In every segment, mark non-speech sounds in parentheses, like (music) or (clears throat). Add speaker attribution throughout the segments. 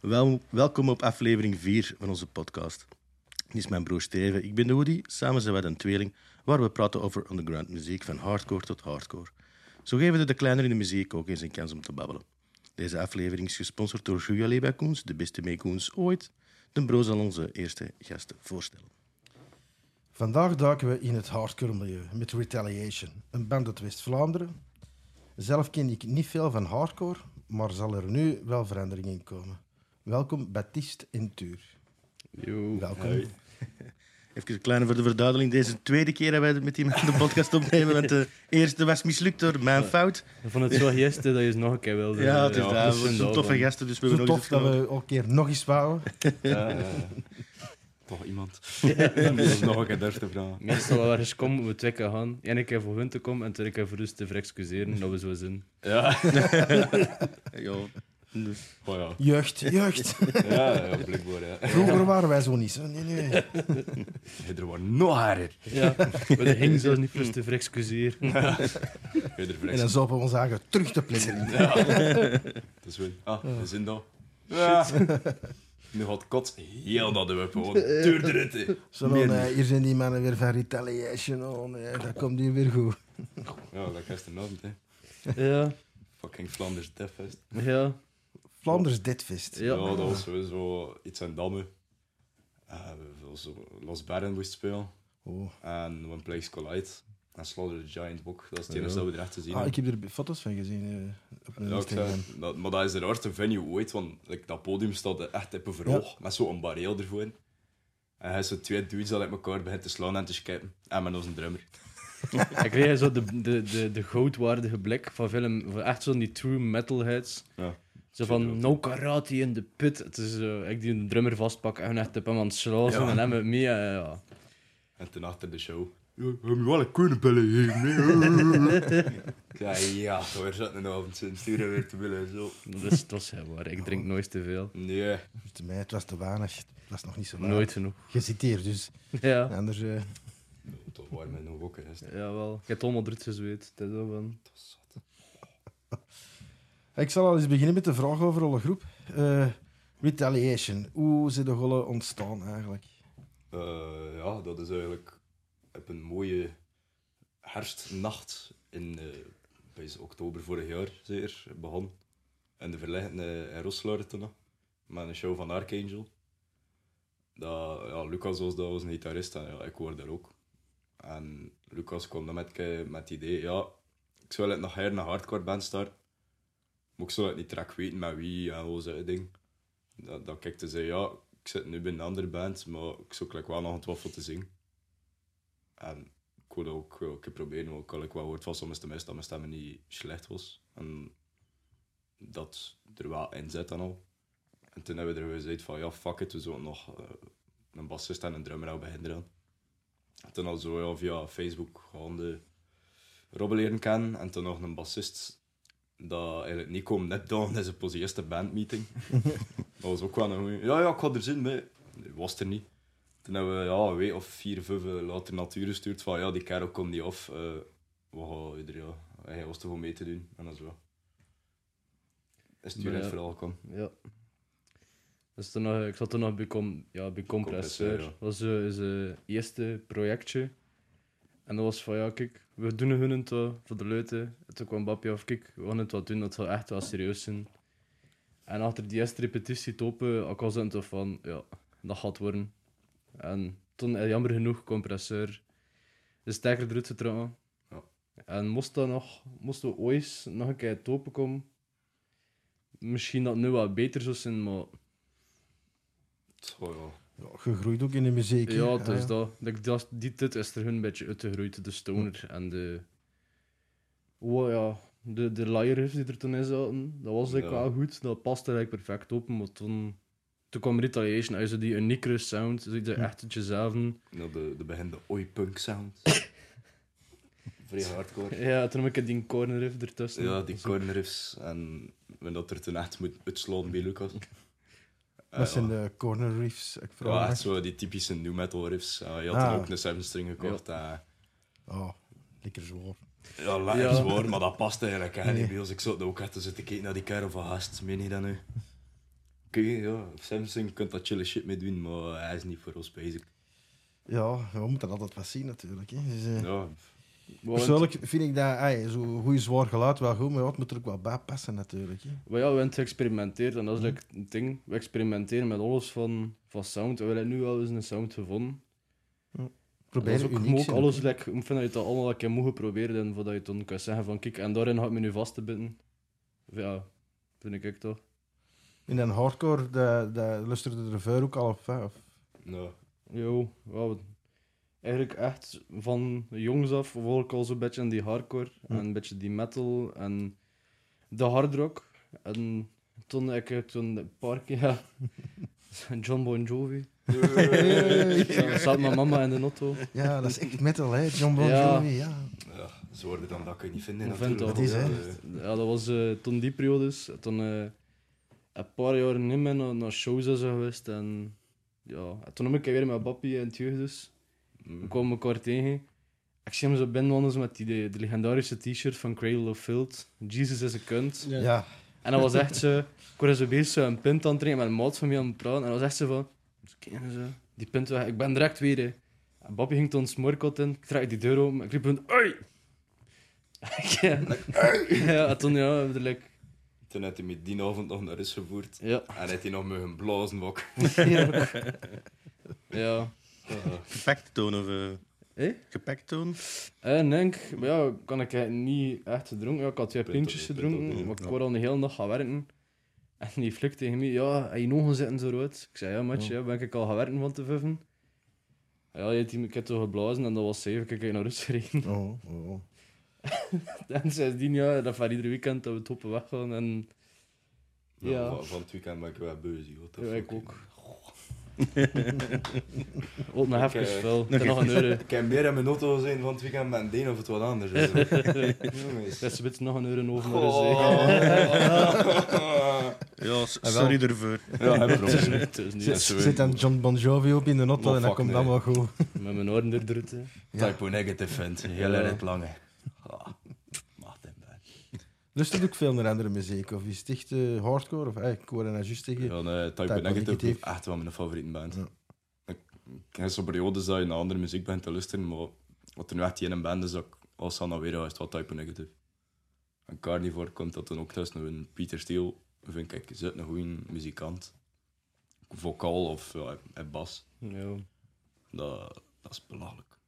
Speaker 1: Wel, welkom op aflevering 4 van onze podcast. Dit is mijn broer Steven, ik ben de Woody. Samen zijn wij een tweeling waar we praten over underground muziek, van hardcore tot hardcore. Zo geven we de kleiner in de muziek ook eens een kans om te babbelen. Deze aflevering is gesponsord door Julia Lebakoens, de beste meekoens ooit. De bro zal onze eerste gasten voorstellen.
Speaker 2: Vandaag duiken we in het hardcore milieu met Retaliation, een band uit West-Vlaanderen. Zelf ken ik niet veel van hardcore, maar zal er nu wel verandering in komen. Welkom Baptiste en Tuur. Welkom.
Speaker 1: Even een kleine voor de verduidelijking. Deze tweede keer dat wij met iemand de podcast opnemen, want de eerste was mislukt door mijn fout.
Speaker 3: Ik vond het zo gisteren dat je het nog een keer wilde.
Speaker 1: Ja, het is daar.
Speaker 3: dat
Speaker 1: We zijn toffe gasten, dus we
Speaker 2: Zo
Speaker 1: hebben nog
Speaker 2: tof
Speaker 1: eens
Speaker 2: dat
Speaker 1: genomen.
Speaker 2: we ook een keer nog eens wouden.
Speaker 4: Toch
Speaker 2: (laughs)
Speaker 4: iemand. (laughs) Dat is nog een keer durf te vragen.
Speaker 3: Meestal wel ergens komen, moeten we twee keer gaan. Eén keer voor hun te komen en twee keer voor ons te verexcuseren dat we zo zijn.
Speaker 4: Ja.
Speaker 1: Ja, dus-
Speaker 4: Oh ja.
Speaker 2: Jeugd, jeugd.
Speaker 4: Ja, ja, blijkbaar. Ja. (laughs)
Speaker 2: Vroeger waren wij zo niet. Hè? Nee, nee.
Speaker 4: Er wordt nog harder.
Speaker 3: Ja, (laughs) we gingen zelfs niet voor ons te verexcuseren.
Speaker 4: Je er
Speaker 2: En dan zopen we ons eigen terug te plezieren.
Speaker 4: Dat is wel. Ah, we zijn daar. Ja.
Speaker 2: (laughs)
Speaker 4: Nu gaat kots heel dat de web gewoon. Duurder het. hè.
Speaker 2: Zo van, eh, hier zijn die mannen weer van Retaliation. Oh nee, dat komt hier weer goed.
Speaker 4: Ja, dat gisteravond, hè.
Speaker 3: Ja,
Speaker 4: Fucking Flanders Deathfest.
Speaker 3: ja,
Speaker 2: Vlaanders Deadfest.
Speaker 4: Ja.
Speaker 3: ja.
Speaker 4: dat was sowieso iets in Damme. Eh, we veel zo Los Barren moest spelen.
Speaker 2: Oh.
Speaker 4: En One Place Collide. En Slaughter the Giant Bok. Dat is het
Speaker 3: Ja.
Speaker 4: enige dat we er echt te zien
Speaker 2: Ah,
Speaker 4: hebben.
Speaker 2: ik heb er foto's van gezien eh, op mijn
Speaker 4: Ja, ik
Speaker 2: Instagram.
Speaker 4: zei, dat, maar dat is de raarste venue ooit, want like, dat podium staat er echt op een verhoog, met zo'n bareel ervoor. En hij is zo twee dudes dat uit elkaar begint te slaan en te schippen. En met onze drummer.
Speaker 3: Ik kreeg zo de, de, de, de goudwaardige blik van film, van echt zo'n die true metalheads.
Speaker 4: Ja.
Speaker 3: Zo van, no karate in de pit. Het is eh, ik die een drummer vastpak en echt op hem aan het slaan
Speaker 4: Ja.
Speaker 3: en hem met mee. eh, ja.
Speaker 4: En toen achter de show. Ja, we hebben wel een koenenbellen gegeven. hè." Ik zei, (laughs) ja, we zitten een avond zijn sturen weer te willen. en Zo.
Speaker 3: Dat is, dat is waar. Ik drink nooit te veel.
Speaker 4: Nee.
Speaker 2: Voor mij, het was te weinig. Het was nog niet zo weinig.
Speaker 3: Nooit genoeg.
Speaker 2: Je zit hier, dus
Speaker 3: Ja,
Speaker 2: anders... eh,
Speaker 4: Toch waar met nog ook is.
Speaker 3: jawel. Ik heb het allemaal druk gezweet. Dat is wel van...
Speaker 2: Ik zal al eens beginnen met de vraag over alle groep. Eh, retaliation, hoe zijn de rollen ontstaan eigenlijk?
Speaker 4: Eh, ja, dat is eigenlijk op een mooie herfstnacht in eh, bij z- oktober vorig jaar zeer begonnen. En de verleggende in Rosselaar toen nog, met een show van Archangel. Dat, ja, Lucas was, dat was een gitarist en ja, ik hoorde daar ook. En Lucas kwam dan met, ke- met het idee, ja, ik zou het nog her een hardcore band starten. Maar ik zou het niet direct weten met wie en hoe zo'n ding. Dat, dat kikte ze, ja, ik zit nu bij een andere band, maar ik zoek like, wel nog een twaffel te zingen. En ik wilde ook wel een keer proberen, want ik had like, wel hoort van sommige mensen dat mijn stem niet slecht was. En dat er wel in zit en al. En toen hebben we er gezegd van, ja, fuck it, we zullen nog eh, een bassist en een drummer hebben beginnen eraan. En toen al zo ja, via Facebook gewoon de Robbe leren kennen en toen nog een bassist dat eigenlijk niet kwam net dan is op onze eerste bandmeeting. Dat was ook wel een goeie. Ja, ja, ik had er zin mee. Nee, was er niet. Toen hebben we ja, een week of vier, vijf eh, later natuur gestuurd van ja, die kerel komt niet af. eh, we gaan ieder ja. Hij was te goed mee te doen en dat is wel. Is het
Speaker 3: Maar
Speaker 4: uur
Speaker 3: ja.
Speaker 4: het verhaal kwam.
Speaker 3: Ja. Dus toen nog, ik zat toen nog bij, Com- ja, bij Compressor.
Speaker 4: Compressor, ja.
Speaker 3: Dat was zo is, eh, eerste projectje. En dat was van, ja, kijk, we doen hun het wel voor de leuten. En toen kwam Bapje af, kijk, we gaan het wat doen, dat zal echt wel serieus zijn. En achter die eerste repetitie topen, ik was dan toch van, ja, dat gaat worden. En toen, eh, jammer genoeg, Compressor de sterker eruit getrokken.
Speaker 4: Ja.
Speaker 3: En moest dat nog, moesten we ooit nog een keer topen komen, misschien dat nu wat beter zou zijn, maar
Speaker 4: Oh, ja.
Speaker 2: Ja, gegroeid ook in de muziek. hè?
Speaker 3: ja, dus
Speaker 2: Ah,
Speaker 3: dat, dat, dat- die tijd is er hun een beetje uitgegroeid, de stoner en de... Oh ja, de, de laaier die er toen in zaten, dat was eigenlijk
Speaker 4: Ja.
Speaker 3: wel goed, dat paste eigenlijk perfect op, maar toen, toen kwam Retaliation uit, zo die uniekere sound, zo die echt jezelf.
Speaker 4: Nou, de, de begin de oi-punk sound. Vrij hardcore.
Speaker 3: (laughs) Ja, toen heb ik die corner riff ertussen.
Speaker 4: Ja, die corner riffs en en dat er ten echt moet uitslaan bij Lucas.
Speaker 2: Dat
Speaker 4: Eh,
Speaker 2: zijn de corner reefs. Ik vraag
Speaker 4: Ja,
Speaker 2: me
Speaker 4: echt
Speaker 2: af.
Speaker 4: zo die typische new metal riffs. Eh, je had
Speaker 2: Ah.
Speaker 4: dan ook een seven string gekocht. Ja,
Speaker 2: Oh, lekker zwaar.
Speaker 4: ja lekker
Speaker 3: Ja.
Speaker 4: zwaar, maar dat past eigenlijk hè,
Speaker 2: Nee.
Speaker 4: niet bij ons. Ik zat ook echt te zitten kijken naar die kerel van Haast, meen je dat nu? ja, Samsung kunt dat chille shit mee doen, maar hij is niet voor ons bezig.
Speaker 2: Ja, we moeten dat altijd wat zien natuurlijk. Hè. Dus, eh,
Speaker 4: Ja,
Speaker 3: (laughs) Want-
Speaker 2: Persoonlijk vind ik dat ey, zo'n goed zwaar geluid wel goed, maar ja, het moet er ook wel bij passen natuurlijk. Hè.
Speaker 3: Maar ja, we hebben geëxperimenteerd en dat is like een ding. We experimenteren met alles van, van sound. We hebben nu wel eens een sound gevonden.
Speaker 2: Probeer
Speaker 3: dat is ook,
Speaker 2: uniek
Speaker 3: je moet ook
Speaker 2: zijn,
Speaker 3: alles,
Speaker 2: hè.
Speaker 3: like, ik vind dat je het allemaal een keer moet geprobeerd en voordat je het dan kan zeggen van kijk, en daarin had ik me nu vast te binden. Ja, vind ik ook toch.
Speaker 2: In een hardcore, dat dat lusterde de reveur ook al op. hè,
Speaker 3: (laughs)
Speaker 2: of-
Speaker 4: nou,
Speaker 3: Yo, ja, we- eigenlijk echt van jongs af volg ik al zo'n beetje in die hardcore en een beetje die metal en de hardrock. En toen heb ik toen een paar keer (laughs) ja, John Bon
Speaker 2: (laughs)
Speaker 3: Jovi. Dan zat mijn mama in de auto.
Speaker 2: Ja, dat is echt metal, hè? John Bon
Speaker 3: Ja.
Speaker 2: Jovi, ja.
Speaker 4: ja, zwaarder dan dat kun je niet vinden.
Speaker 3: Ik vind
Speaker 4: natuurlijk.
Speaker 3: dat,
Speaker 2: dat
Speaker 4: Ja, eh,
Speaker 3: Ja, dat was eh, toen die periodes. Toen eh, een paar jaar niet meer naar, naar shows en zo geweest. En ja, en toen heb ik weer met Bappie en het jeugdhuis. We
Speaker 4: mm.
Speaker 3: kwamen elkaar tegen. Ik zie hem zo binnenwandelen met die, de, de legendarische t-shirt van Cradle of Filth. Jesus is een kunt.
Speaker 2: Ja,
Speaker 3: En dat was echt zo... Ik was zo bezig zo een pint aan het drinken met een maat van mij aan het praten. En dat was echt zo van... "Dus kijk en zo, Die pint weg. Ik ben direct weer, hè. En Bappie ging toen smorkot in. Ik trek die deur open. Ik riep hun... Oi! (laughs) ja, ja, en toen ja, like,
Speaker 4: Toen heeft hij me die avond nog naar huis gevoerd.
Speaker 3: ja.
Speaker 4: En heeft hij nog met een blazen wok.
Speaker 3: ja.
Speaker 4: (laughs) Nou,
Speaker 1: Gepakt toon of... eh,
Speaker 3: Eh?
Speaker 1: Gepakt toon?
Speaker 3: En denk, maar ja, kan ik eigenlijk niet echt gedronken. Ja, ik had twee
Speaker 4: Punt op,
Speaker 3: pintjes
Speaker 4: punt op,
Speaker 3: gedronken,
Speaker 1: ja.
Speaker 3: maar ik
Speaker 1: Ja.
Speaker 3: wou al de hele dag gaan werken. En die flik tegen mij, ja, heb je nog zitten zo rood? Ik zei, ja, matje, ja. ben ik al gaan werken van te vuffen? Ja, je hebt die ik heb toch geblazen en dat was zeven, ik heb naar rust gereden.
Speaker 2: Oh, oh, oh.
Speaker 3: En sindsdien, ja, dat van ieder weekend dat we het hoppen weggaan en...
Speaker 4: Ja.
Speaker 3: Ja.
Speaker 4: van- Van het weekend ben ik wel bezig. Wat
Speaker 3: Ja, ik ook. Ook nog
Speaker 4: Ik,
Speaker 3: even
Speaker 4: eh,
Speaker 3: veel, ik heb nog een euro.
Speaker 4: Ik heb meer in mijn auto zijn van het weekend met een of het wat anders is.
Speaker 3: (laughs)
Speaker 4: Jongens.
Speaker 3: Dat is een beetje nog een euro over naar de zee.
Speaker 4: Oh.
Speaker 1: Ja, s- sorry ervoor.
Speaker 4: Ja,
Speaker 3: (laughs)
Speaker 4: heb ik
Speaker 3: Het is niet, het is niet.
Speaker 4: Ja,
Speaker 2: Zit,
Speaker 4: ze
Speaker 2: zit dan John Bon Jovi op in de auto
Speaker 4: Maar
Speaker 2: en dat
Speaker 4: fuck,
Speaker 2: komt
Speaker 4: nee.
Speaker 2: dan wel goed.
Speaker 3: Met mijn oren eruit, hè.
Speaker 2: Ja.
Speaker 4: Typo negative vindt. Heel
Speaker 3: Ja.
Speaker 4: erg lange. Ah, Mag hem bij.
Speaker 2: Lust ook veel naar andere muziek? Of is het echt eh, hardcore? Of eigenlijk, ik hoorde net juist tegen.
Speaker 4: Ja, nee, Typo,
Speaker 2: Typo
Speaker 4: Negative,
Speaker 2: Negative.
Speaker 4: is echt wel mijn favoriete band.
Speaker 2: Ja.
Speaker 4: Ik ik heb zo'n periodes dat je naar andere muziek bent te luisteren, maar wat er nu echt die ene band is, dat ik als aan weer is het wel Typo Negative. En Carnivore komt dat dan ook tussen een Peter Steele, vind ik, is het een goede muzikant. Vocaal of ja, en bas,
Speaker 3: Ja.
Speaker 4: dat, dat is belachelijk.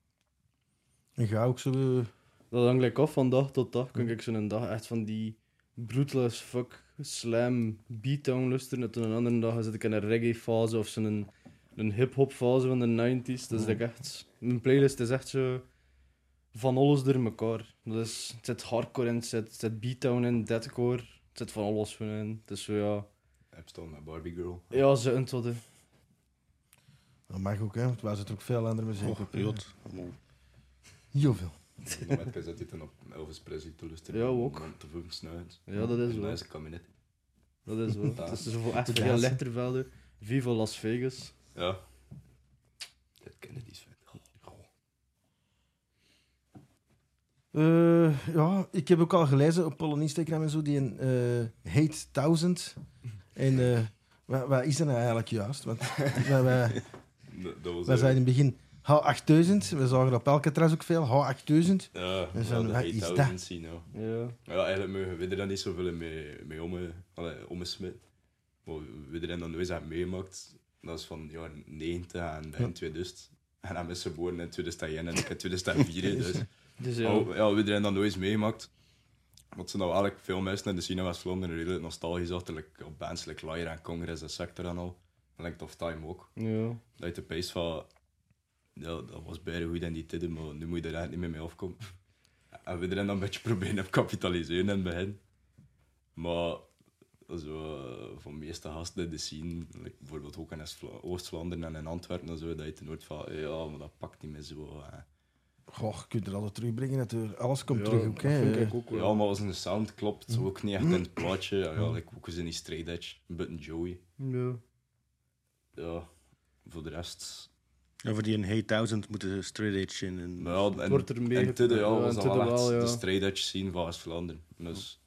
Speaker 2: En ga ook zo. eh,
Speaker 3: Dat hangt like af van dag tot dag. Kan ik zo'n dag echt van die brutal as fuck slam beatdown luisteren. En toen een andere dag zit ik in een reggae fase of zo'n een hip-hop fase van de 90s. Dat is like echt. Mijn playlist is echt zo van alles door elkaar. Dat is, het zit hardcore in, het zit, het zit beatdown in, deadcore. Het zit van alles van in. Het is zo ja.
Speaker 4: Heb staan met Barbie Girl.
Speaker 3: Ja, ze een tot de.
Speaker 2: Dat mag ook, hè? Want waar zit er ook veel andere muziek
Speaker 1: Oh.
Speaker 2: op? hè.
Speaker 1: Jod. Allemaal.
Speaker 2: Heel veel.
Speaker 4: Op dat zit hij dan op Elvis Presley te luisteren.
Speaker 3: Ja, ook.
Speaker 4: Om te voelen snuit.
Speaker 3: Ja, dat is
Speaker 4: En
Speaker 3: wel.
Speaker 4: hij is een kabinet.
Speaker 3: Dat is wel.
Speaker 4: Ja.
Speaker 3: Het is zo voor echt
Speaker 2: Ja.
Speaker 3: veel lettervelden. Viva Las Vegas.
Speaker 4: Ja. Dat Kennedy's vet. Goh.
Speaker 2: Eh, ja, ik heb ook al gelezen op Paul en Instagram en zo die een eh, Hate 1000. En eh wat, wat is dat nou eigenlijk juist? Want (laughs) wij,
Speaker 4: (laughs)
Speaker 2: wij,
Speaker 4: Dat, dat was
Speaker 2: wij
Speaker 4: eh,
Speaker 2: zeiden in het begin H8000. We zagen op Alcatraz ook veel H8000.
Speaker 4: Ja,
Speaker 2: Dus
Speaker 4: ja
Speaker 2: dan,
Speaker 4: de
Speaker 2: wat is
Speaker 4: 8000
Speaker 2: dat?
Speaker 4: zien, ja.
Speaker 3: Ja.
Speaker 4: Ja, eigenlijk mogen we er dan niet zoveel mee, mee om, allee, omgesmet. Maar we er dan nooit hebben meegemaakt. Dat is van ja, 90 en begin 2000. En dan is ze geboren in 2001 en ik
Speaker 2: (laughs)
Speaker 4: in 2004. Dus
Speaker 3: Dus ja.
Speaker 4: ja, we hebben er dan nooit eens meegemaakt. Want ze nou eigenlijk veel mensen in de cinema was Vlaanderen redelijk nostalgisch achter, like, op bands like Liar en Congress en Sector en al. En Length of Time ook.
Speaker 3: ja.
Speaker 4: Dat je de pace van... Ja, dat was bijna goed in die tijden, maar nu moet je daar echt niet meer mee afkomen. (laughs) En we er dan een beetje proberen op kapitaliseren in het begin. Maar zo, eh, van de meeste gasten in de scene, like bijvoorbeeld ook in Oost-Vla- Oost-Vlaanderen en in Antwerpen, en zo, dat je ten nooit van, ja, maar dat pakt niet meer zo. eh.
Speaker 2: Goh, je kunt er altijd terugbrengen natuurlijk. Alles komt
Speaker 3: Ja,
Speaker 2: terug ook, hè.
Speaker 3: dat vind ik ook wel.
Speaker 4: Ja, maar als een sound klopt, ook niet echt in het plaatje. Ja, ja, like, ook eens in die straight edge, Button Joey.
Speaker 3: Ja.
Speaker 4: Ja, voor de rest...
Speaker 1: Ja, voor die een hey 1000 moeten ze straight edge in. En...
Speaker 4: Maar ja, en-
Speaker 3: wordt er meer
Speaker 4: En Tudde, ja,
Speaker 3: geprobeerd. Ja,
Speaker 4: was
Speaker 3: en
Speaker 4: dat
Speaker 3: Tudde
Speaker 4: wel echt
Speaker 3: wel, ja.
Speaker 4: de strijd dat je zien van West-Vlaanderen. Dus,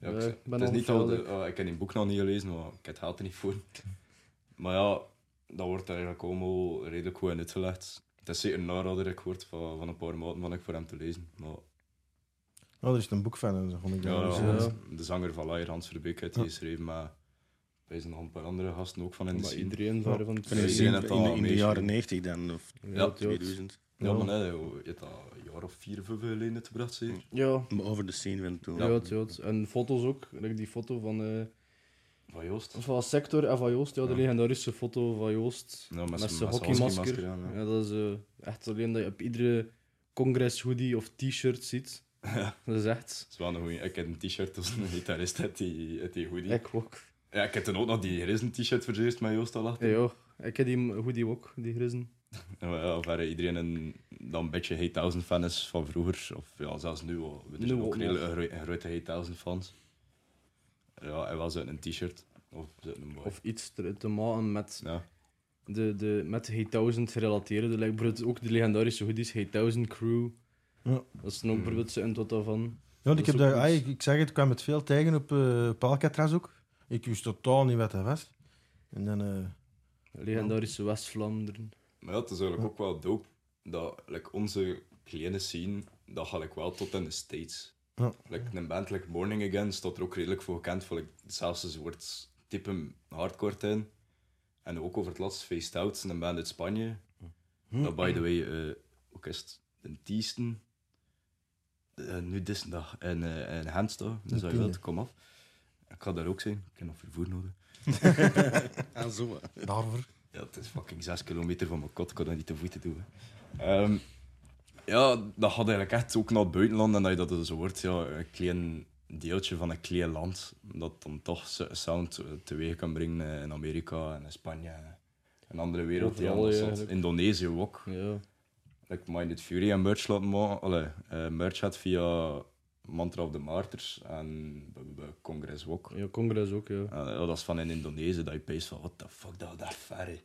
Speaker 4: Ja, ik
Speaker 3: Eh,
Speaker 4: z-
Speaker 3: ik ben
Speaker 4: het is niet dat de,
Speaker 3: onvervuillijk.
Speaker 4: ah, ik heb die boek nog niet gelezen, maar ik heb het geld er niet voor. (laughs) Maar ja, dat wordt eigenlijk allemaal redelijk goed in uitgelegd. Het is zeker een aanrader, ik hoort van, van een paar maanden van ik voor hem te lezen. Maar
Speaker 2: Oh, er is een boek van hem, zeg maar.
Speaker 4: ja,
Speaker 2: Dus,
Speaker 3: ja.
Speaker 2: eh,
Speaker 4: de zanger van Laier, Hans Verbeek, heeft die geschreven, maar er zijn nog een paar andere gasten ook van in de
Speaker 3: Maar
Speaker 4: scene.
Speaker 3: iedereen van
Speaker 2: Ja.
Speaker 3: van het
Speaker 1: Van in,
Speaker 4: Ik
Speaker 1: de-
Speaker 4: zie
Speaker 1: in,
Speaker 4: dat
Speaker 1: de-
Speaker 4: al
Speaker 1: in de
Speaker 4: meestal.
Speaker 1: jaren 90 dan, of
Speaker 4: Ja,
Speaker 3: Ja, ja.
Speaker 1: 2000.
Speaker 4: Ja,
Speaker 3: Ja.
Speaker 4: maar nee, je hebt dat een jaar of vier, vijf geleden uitgebracht, zeker?
Speaker 3: Ja,
Speaker 1: Maar over de scene van toen.
Speaker 4: Ja.
Speaker 3: ja. ja. En foto's ook. like die foto van, eh,
Speaker 4: Van Joost.
Speaker 3: van Sector en van Joost. Ja, de
Speaker 4: Ja.
Speaker 3: legendarische foto van Joost.
Speaker 4: Ja, met
Speaker 3: met
Speaker 4: zijn
Speaker 3: zijn
Speaker 4: hockeymasker.
Speaker 3: hockeymasker.
Speaker 4: aan, ja.
Speaker 3: Ja, dat is eh, echt alleen dat je op iedere congres hoodie of t-shirt ziet.
Speaker 4: (laughs) Ja.
Speaker 3: Dat is echt.
Speaker 4: Dat is wel een goeie. Ik heb een t-shirt als een gitarist uit die, uit die hoodie.
Speaker 3: Ik ook.
Speaker 4: Ja, ik heb toen ook nog die grijze t-shirt voor het eerst met Joost al achter.
Speaker 3: Ja, joh. ik heb die hoodie ook, die grizzen.
Speaker 4: Ja, maar ja, verre iedereen een, dan een beetje Hey 1000 fan is van vroeger, of ja, zelfs nu al. We
Speaker 3: Nu
Speaker 4: zijn
Speaker 3: ook
Speaker 4: ook
Speaker 3: nog.
Speaker 4: redelijk een gro- een grote Hey 1000 fans. Ja, en wel zo'n een t-shirt. Of zo'n een boy.
Speaker 3: Of iets te, te maken met
Speaker 4: Ja.
Speaker 3: de, de met H1000 gerelateerde. Like, bijvoorbeeld ook de legendarische hoodies, H1000 Crew.
Speaker 2: Ja.
Speaker 3: Dat is dan ook bijvoorbeeld zo'n tot daarvan.
Speaker 2: Ja, want
Speaker 3: Dat
Speaker 2: ik,
Speaker 3: is
Speaker 2: heb
Speaker 3: ook
Speaker 2: daar,
Speaker 3: iets.
Speaker 2: ah, ik, ik zeg het, ik kwam het veel tegen op, eh op Alcatraz ook. Ik wist totaal niet wat dat was. En dan, eh,
Speaker 3: Legendarische West-Vlaanderen.
Speaker 4: Maar ja, het is eigenlijk ook wel dope dat like, onze kleine scene, dat ga ik wel tot in de States.
Speaker 2: Ja.
Speaker 4: Like, een band like Morning Again staat er ook redelijk voor gekend. Voor, like, zelfs een soort type hardcore in. En ook over het laatst Faced Out, een band uit Spanje. Dat, by the way, eh ook is het een Tiesten. Eh, nu dinsdag en eh en Handsta, dus als je
Speaker 2: tiende.
Speaker 4: wilt, kom af. Ik ga daar ook zijn, ik heb nog vervoer nodig.
Speaker 1: Ah, zo.
Speaker 2: daarvoor.
Speaker 4: Ja, het is fucking 6 kilometer van mijn kot, ik kan dat niet te voeten doen. hè. Ehm, ja, dat gaat eigenlijk echt ook naar het buitenland en dat je dat dus wordt, ja, een klein deeltje van een klein land, dat dan toch zo- sound eh, teweeg kan brengen eh, in Amerika en in Spanje en een andere wereld.
Speaker 3: Overal,
Speaker 4: anders
Speaker 3: ja,
Speaker 4: zat.
Speaker 3: eigenlijk.
Speaker 4: Indonesië ook.
Speaker 3: Ja.
Speaker 4: Like Minded Fury en merch laten maken. Allee, eh, merch had via Mantra of the Martyrs en bij- bij Congres ook.
Speaker 3: ja, congres ook, ja.
Speaker 4: Eh, ja, dat is van in Indonesië, dat je pees van, what the fuck, dat daar ver, hè.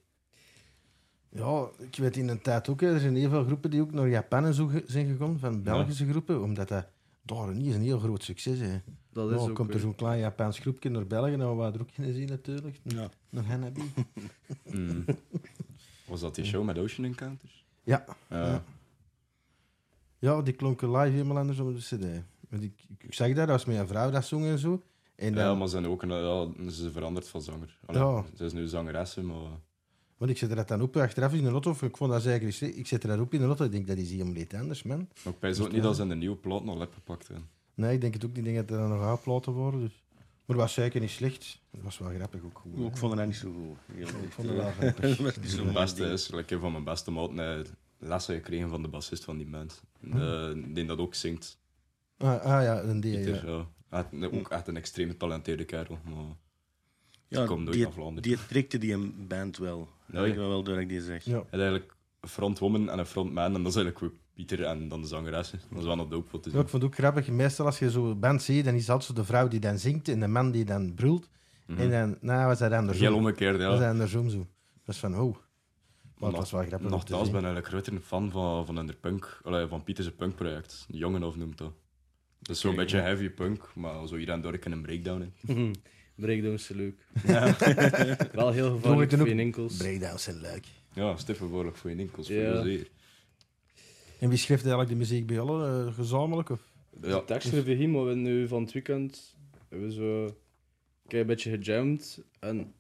Speaker 2: Ja, ik weet in een tijd ook, hè, er zijn heel veel groepen die ook naar Japan en zo ge- zijn gekomen, van Belgische groepen, omdat dat daar niet is een heel groot succes. Hè.
Speaker 3: Dat is
Speaker 2: Nou,
Speaker 3: ook... eh,
Speaker 2: komt er
Speaker 3: ja.
Speaker 2: zo'n klein Japans groepje naar België, nou we er ook in zien natuurlijk.
Speaker 1: Ja.
Speaker 2: Naar Hanabi.
Speaker 4: Mm. (laughs) Was dat die show met Ocean Encounters?
Speaker 2: Ja.
Speaker 4: Ja.
Speaker 2: Ja, die klonken live helemaal anders dan op de cd. Want ik, ik- ik zag dat, dat was met een vrouw dat zong en zo. En dan,
Speaker 4: ja, maar ze, zijn ook een, ja, ze is veranderd van zanger. Allee,
Speaker 2: Ja.
Speaker 4: Ze is nu zangeresse, maar...
Speaker 2: Want ik zette dat dan op achteraf in de auto. of Ik vond dat eigenlijk... Ik zette dat op in de auto. Ik denk, dat is helemaal niet anders, man.
Speaker 4: maar ik pijs ook niet dat ze een nieuwe plaat nog hebben gepakt. hè.
Speaker 2: Nee, ik denk het ook niet. Ik denk dat er nog aanplaten worden. Dus. Maar het was zeker niet slecht. Het was wel grappig ook. Goed, hè.
Speaker 1: Ik vond het niet zo goed.
Speaker 2: ik vond het wel grappig.
Speaker 1: (laughs) Dat
Speaker 4: (laughs)
Speaker 1: was niet zo
Speaker 4: Het beste
Speaker 1: mooi.
Speaker 4: is, like, een van mijn beste maten eh, lessen gekregen van de bassist van die band.
Speaker 2: Hm.
Speaker 4: De, die dat ook zingt.
Speaker 2: Ah, ah ja, een die,
Speaker 4: Pieter,
Speaker 2: ja.
Speaker 4: ja. Echt- ook echt een extreem getalenteerde kerel, maar
Speaker 1: Ja,
Speaker 4: komt nooit
Speaker 1: die,
Speaker 4: naar Vlaanderen.
Speaker 1: die trikte die een band wel.
Speaker 4: Ja,
Speaker 1: Dat
Speaker 4: ja.
Speaker 1: ik wel door dat ik die zeg.
Speaker 2: Ja.
Speaker 4: hij is eigenlijk een frontwoman en een frontman, en dat is eigenlijk ook Pieter en dan de zangeressen. Dat is wel nog dope wat te
Speaker 2: Ja,
Speaker 4: zien.
Speaker 2: ik vond het ook grappig. Meestal als je zo'n band ziet, dan is dat zo de vrouw die dan zingt en de man die dan brult.
Speaker 4: Mhm.
Speaker 2: En dan, nou, was dat andersom.
Speaker 4: Heel omgekeerd, ja.
Speaker 2: Was dat andersom zo. Dat is van, oh. Maar het was wel grappig om te
Speaker 4: Nogthans
Speaker 2: zien.
Speaker 4: ben ik eigenlijk groter een fan van, van hun punk, allee, van Pieter's punkproject. Jongen of noemt dat. Dat is zo'n beetje heavy punk, maar zo hier en daar kan een breakdown in.
Speaker 3: (laughs) Breakdowns zijn leuk. (laughs) Wel heel
Speaker 2: Doe ik
Speaker 3: gevaarlijk
Speaker 2: dan
Speaker 3: voor
Speaker 2: ook-
Speaker 3: je enkels.
Speaker 2: Breakdowns zijn leuk.
Speaker 4: Ja, stiffen voorlijk voor je enkels, voor
Speaker 3: Ja.
Speaker 4: je zeer.
Speaker 2: En wie schreef eigenlijk de muziek bij allen? eh, gezamenlijk? Of?
Speaker 4: Ja,
Speaker 3: De tekst schreef ik hier, maar we nu van het weekend hebben we zo een klein beetje gejamd. En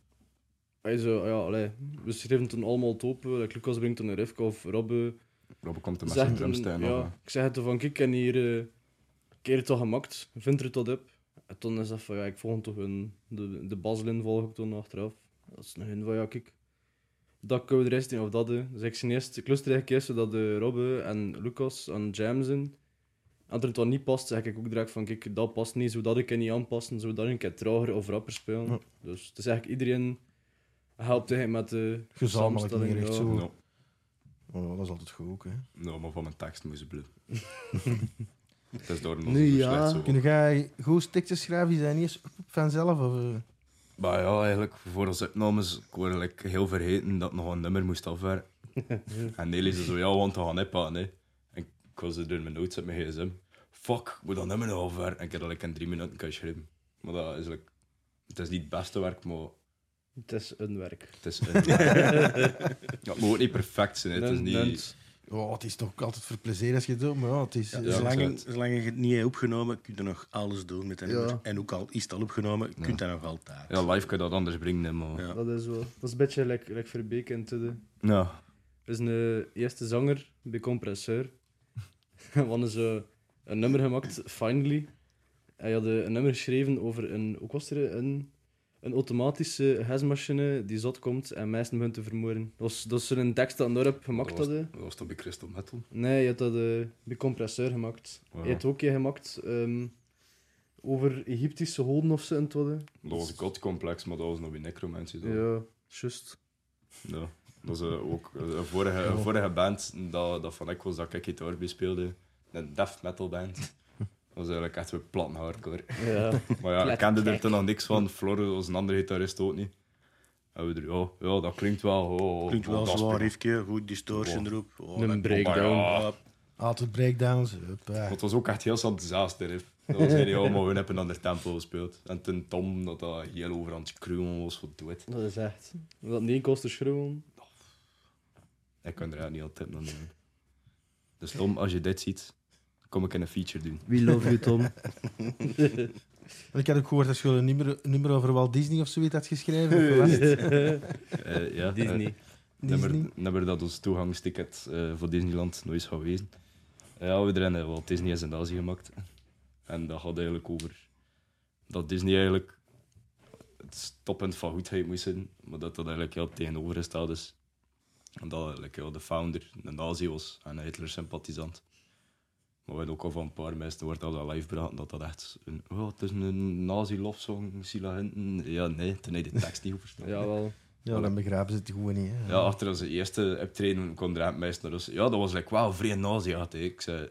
Speaker 3: hij zo, ja, allee, we schreven toen allemaal het open. Like Lucas brengt dan een riff of Robbe.
Speaker 4: Robbe komt er met zijn
Speaker 3: Zegt een-
Speaker 4: drumstijl nog, hè.
Speaker 3: ja, ik zeg het van, kijk, en hier eh, ik heb het toch gemaakt, vind er het tot op. En toen is dat van, ja, ik volg toch hun, de, de baslin volg ik toen achteraf. Dat is nog hun van, ja, kijk, dat kunnen we de rest niet of dat. hè. Dus ik, zijn eerst, ik luister eigenlijk eerst zodat de Robbe en Lucas aan jam zijn. Als het dan niet past, zeg ik ook direct van, kijk, dat past niet, zodat ik het niet aanpassen, zodat ik het trager of rapper speel.
Speaker 2: Ja.
Speaker 3: Dus het is eigenlijk iedereen helpt eigenlijk met de
Speaker 2: Gezamenlijk
Speaker 3: samenstelling,
Speaker 2: meer echt
Speaker 3: ja.
Speaker 2: zo.
Speaker 4: Nou,
Speaker 2: Oh, dat is altijd goed ook, hè.
Speaker 4: nou, maar van mijn tekst moest
Speaker 3: (laughs)
Speaker 4: ze bluffen. Het is door een
Speaker 3: Nu ja.
Speaker 4: slecht zo.
Speaker 2: Kun jij goed teksten schrijven? Is dat niet eens vanzelf? Of, eh?
Speaker 4: Maar ja, eigenlijk, voor onze opnames, ik word eigenlijk heel vergeten dat ik nog een nummer moest afwerken. en Nelly zei zo, ja, want we gaan ippen, hè. En ik was er door mijn notes op mijn gsm. Fuck, ik moet dat nummer nog afwerken. En ik heb dat like, in drie minuten kunnen schrijven. Maar dat is like, het is niet het beste werk, maar
Speaker 3: Het is een werk.
Speaker 4: het is... een- ja, het moet ook niet perfect zijn. hè. Het is
Speaker 3: Nen-
Speaker 4: niet...
Speaker 3: nens.
Speaker 2: Oh, het is toch altijd voor plezier als je het doet, maar ja, het is...
Speaker 4: Ja,
Speaker 2: is-
Speaker 1: zolang,
Speaker 4: absoluut.
Speaker 1: zolang je het niet hebt opgenomen, kun je nog alles doen met dat
Speaker 2: Ja.
Speaker 1: nummer. En ook al is het al opgenomen, kun je dat nog altijd.
Speaker 4: Ja, live kan je dat anders brengen, hè, maar...
Speaker 1: Ja.
Speaker 4: Ja.
Speaker 3: Dat is wel. Dat is een beetje like, like Verbeek en Tudde. Er is een eh, eerste zanger bij Compresseur. (laughs) We hadden zo een nummer gemaakt, Finally. Hij had eh, een nummer geschreven over een, ook was er een, een automatische hesmachine die zot komt en mensen begint te vermoorden. Dat was, dat is zo'n tekst dat Norp gemaakt
Speaker 4: was-
Speaker 3: hadden.
Speaker 4: Dat was toch bij Crystal Metal?
Speaker 3: Nee, je had dat eh, bij Compresseur gemaakt.
Speaker 4: Ja.
Speaker 3: Je hebt ook je gemaakt ehm, over Egyptische goden of zo en het hadden.
Speaker 4: Dat was godcomplex, maar dat was nog bij necromancy. dan.
Speaker 3: Ja, juist.
Speaker 4: Ja. Dat is eh, ook eh, een vorige, een vorige band dat, dat van ik was dat ik gitaar bij speelde. Een death metal band. Dat was eigenlijk echt weer plat hardcore.
Speaker 3: Ja.
Speaker 4: Maar ja, ik
Speaker 3: Plat
Speaker 4: kende er
Speaker 3: crack.
Speaker 4: toen nog niks van. Flor was een andere gitarist ook niet. En we er, ja, ja, dat klinkt wel. Oh, oh,
Speaker 1: Klinkt wel
Speaker 4: oh, dat is
Speaker 1: zwaar,
Speaker 4: prima.
Speaker 1: riffje, goed distortion erop. Oh,
Speaker 3: Een
Speaker 1: dat-
Speaker 3: breakdown.
Speaker 4: Oh,
Speaker 1: Ja,
Speaker 2: Altijd breakdowns. hup, ja.
Speaker 4: Maar Het was ook echt heel zat disaster. Hè. Dat was helemaal, maar we hebben een ander tempo gespeeld. En toen Tom, dat dat heel over aan het schreeuwen was, wat doet.
Speaker 3: Dat is echt. Dat niet kost te
Speaker 4: (laughs)
Speaker 3: schreeuwen.
Speaker 4: Ik kan er eigenlijk niet altijd aan doen. Dus Tom, als je dit ziet, kom ik in een feature doen.
Speaker 3: We love you,
Speaker 1: (laughs)
Speaker 3: Tom.
Speaker 2: Ik had ook gehoord dat je een nummer, een nummer over Walt Disney of zoiets had geschreven. of wat was het?
Speaker 4: Eh, ja, eh,
Speaker 2: (laughs)
Speaker 3: Disney.
Speaker 2: Disney?
Speaker 4: nummer, nummer dat ons toegangsticket eh, voor Disneyland nooit is geweest. Ja, we erin, eh, want Disney is een Azië gemaakt. En dat gaat eigenlijk over dat Disney eigenlijk het toppunt van goedheid moest zijn, maar dat dat eigenlijk heel tegenovergesteld is. En dat eigenlijk heel de founder een Nazi was en een Hitler-sympathisant. Maar we hebben ook al van een paar mensen wordt dat wel live praten dat dat echt een, oh, het is een Nazi-lofzong, Sila Hinton. Ja, nee, toen heb je de tekst niet goed verstaan.
Speaker 3: Jawel.
Speaker 2: Ja, dan begrijpen ze het gewoon niet. Hè.
Speaker 4: Ja, achter onze eerste optreden kwam er een meisje naar ons. dus, Ja, dat was like, wauw, vrij nazi had hè. Ik zei...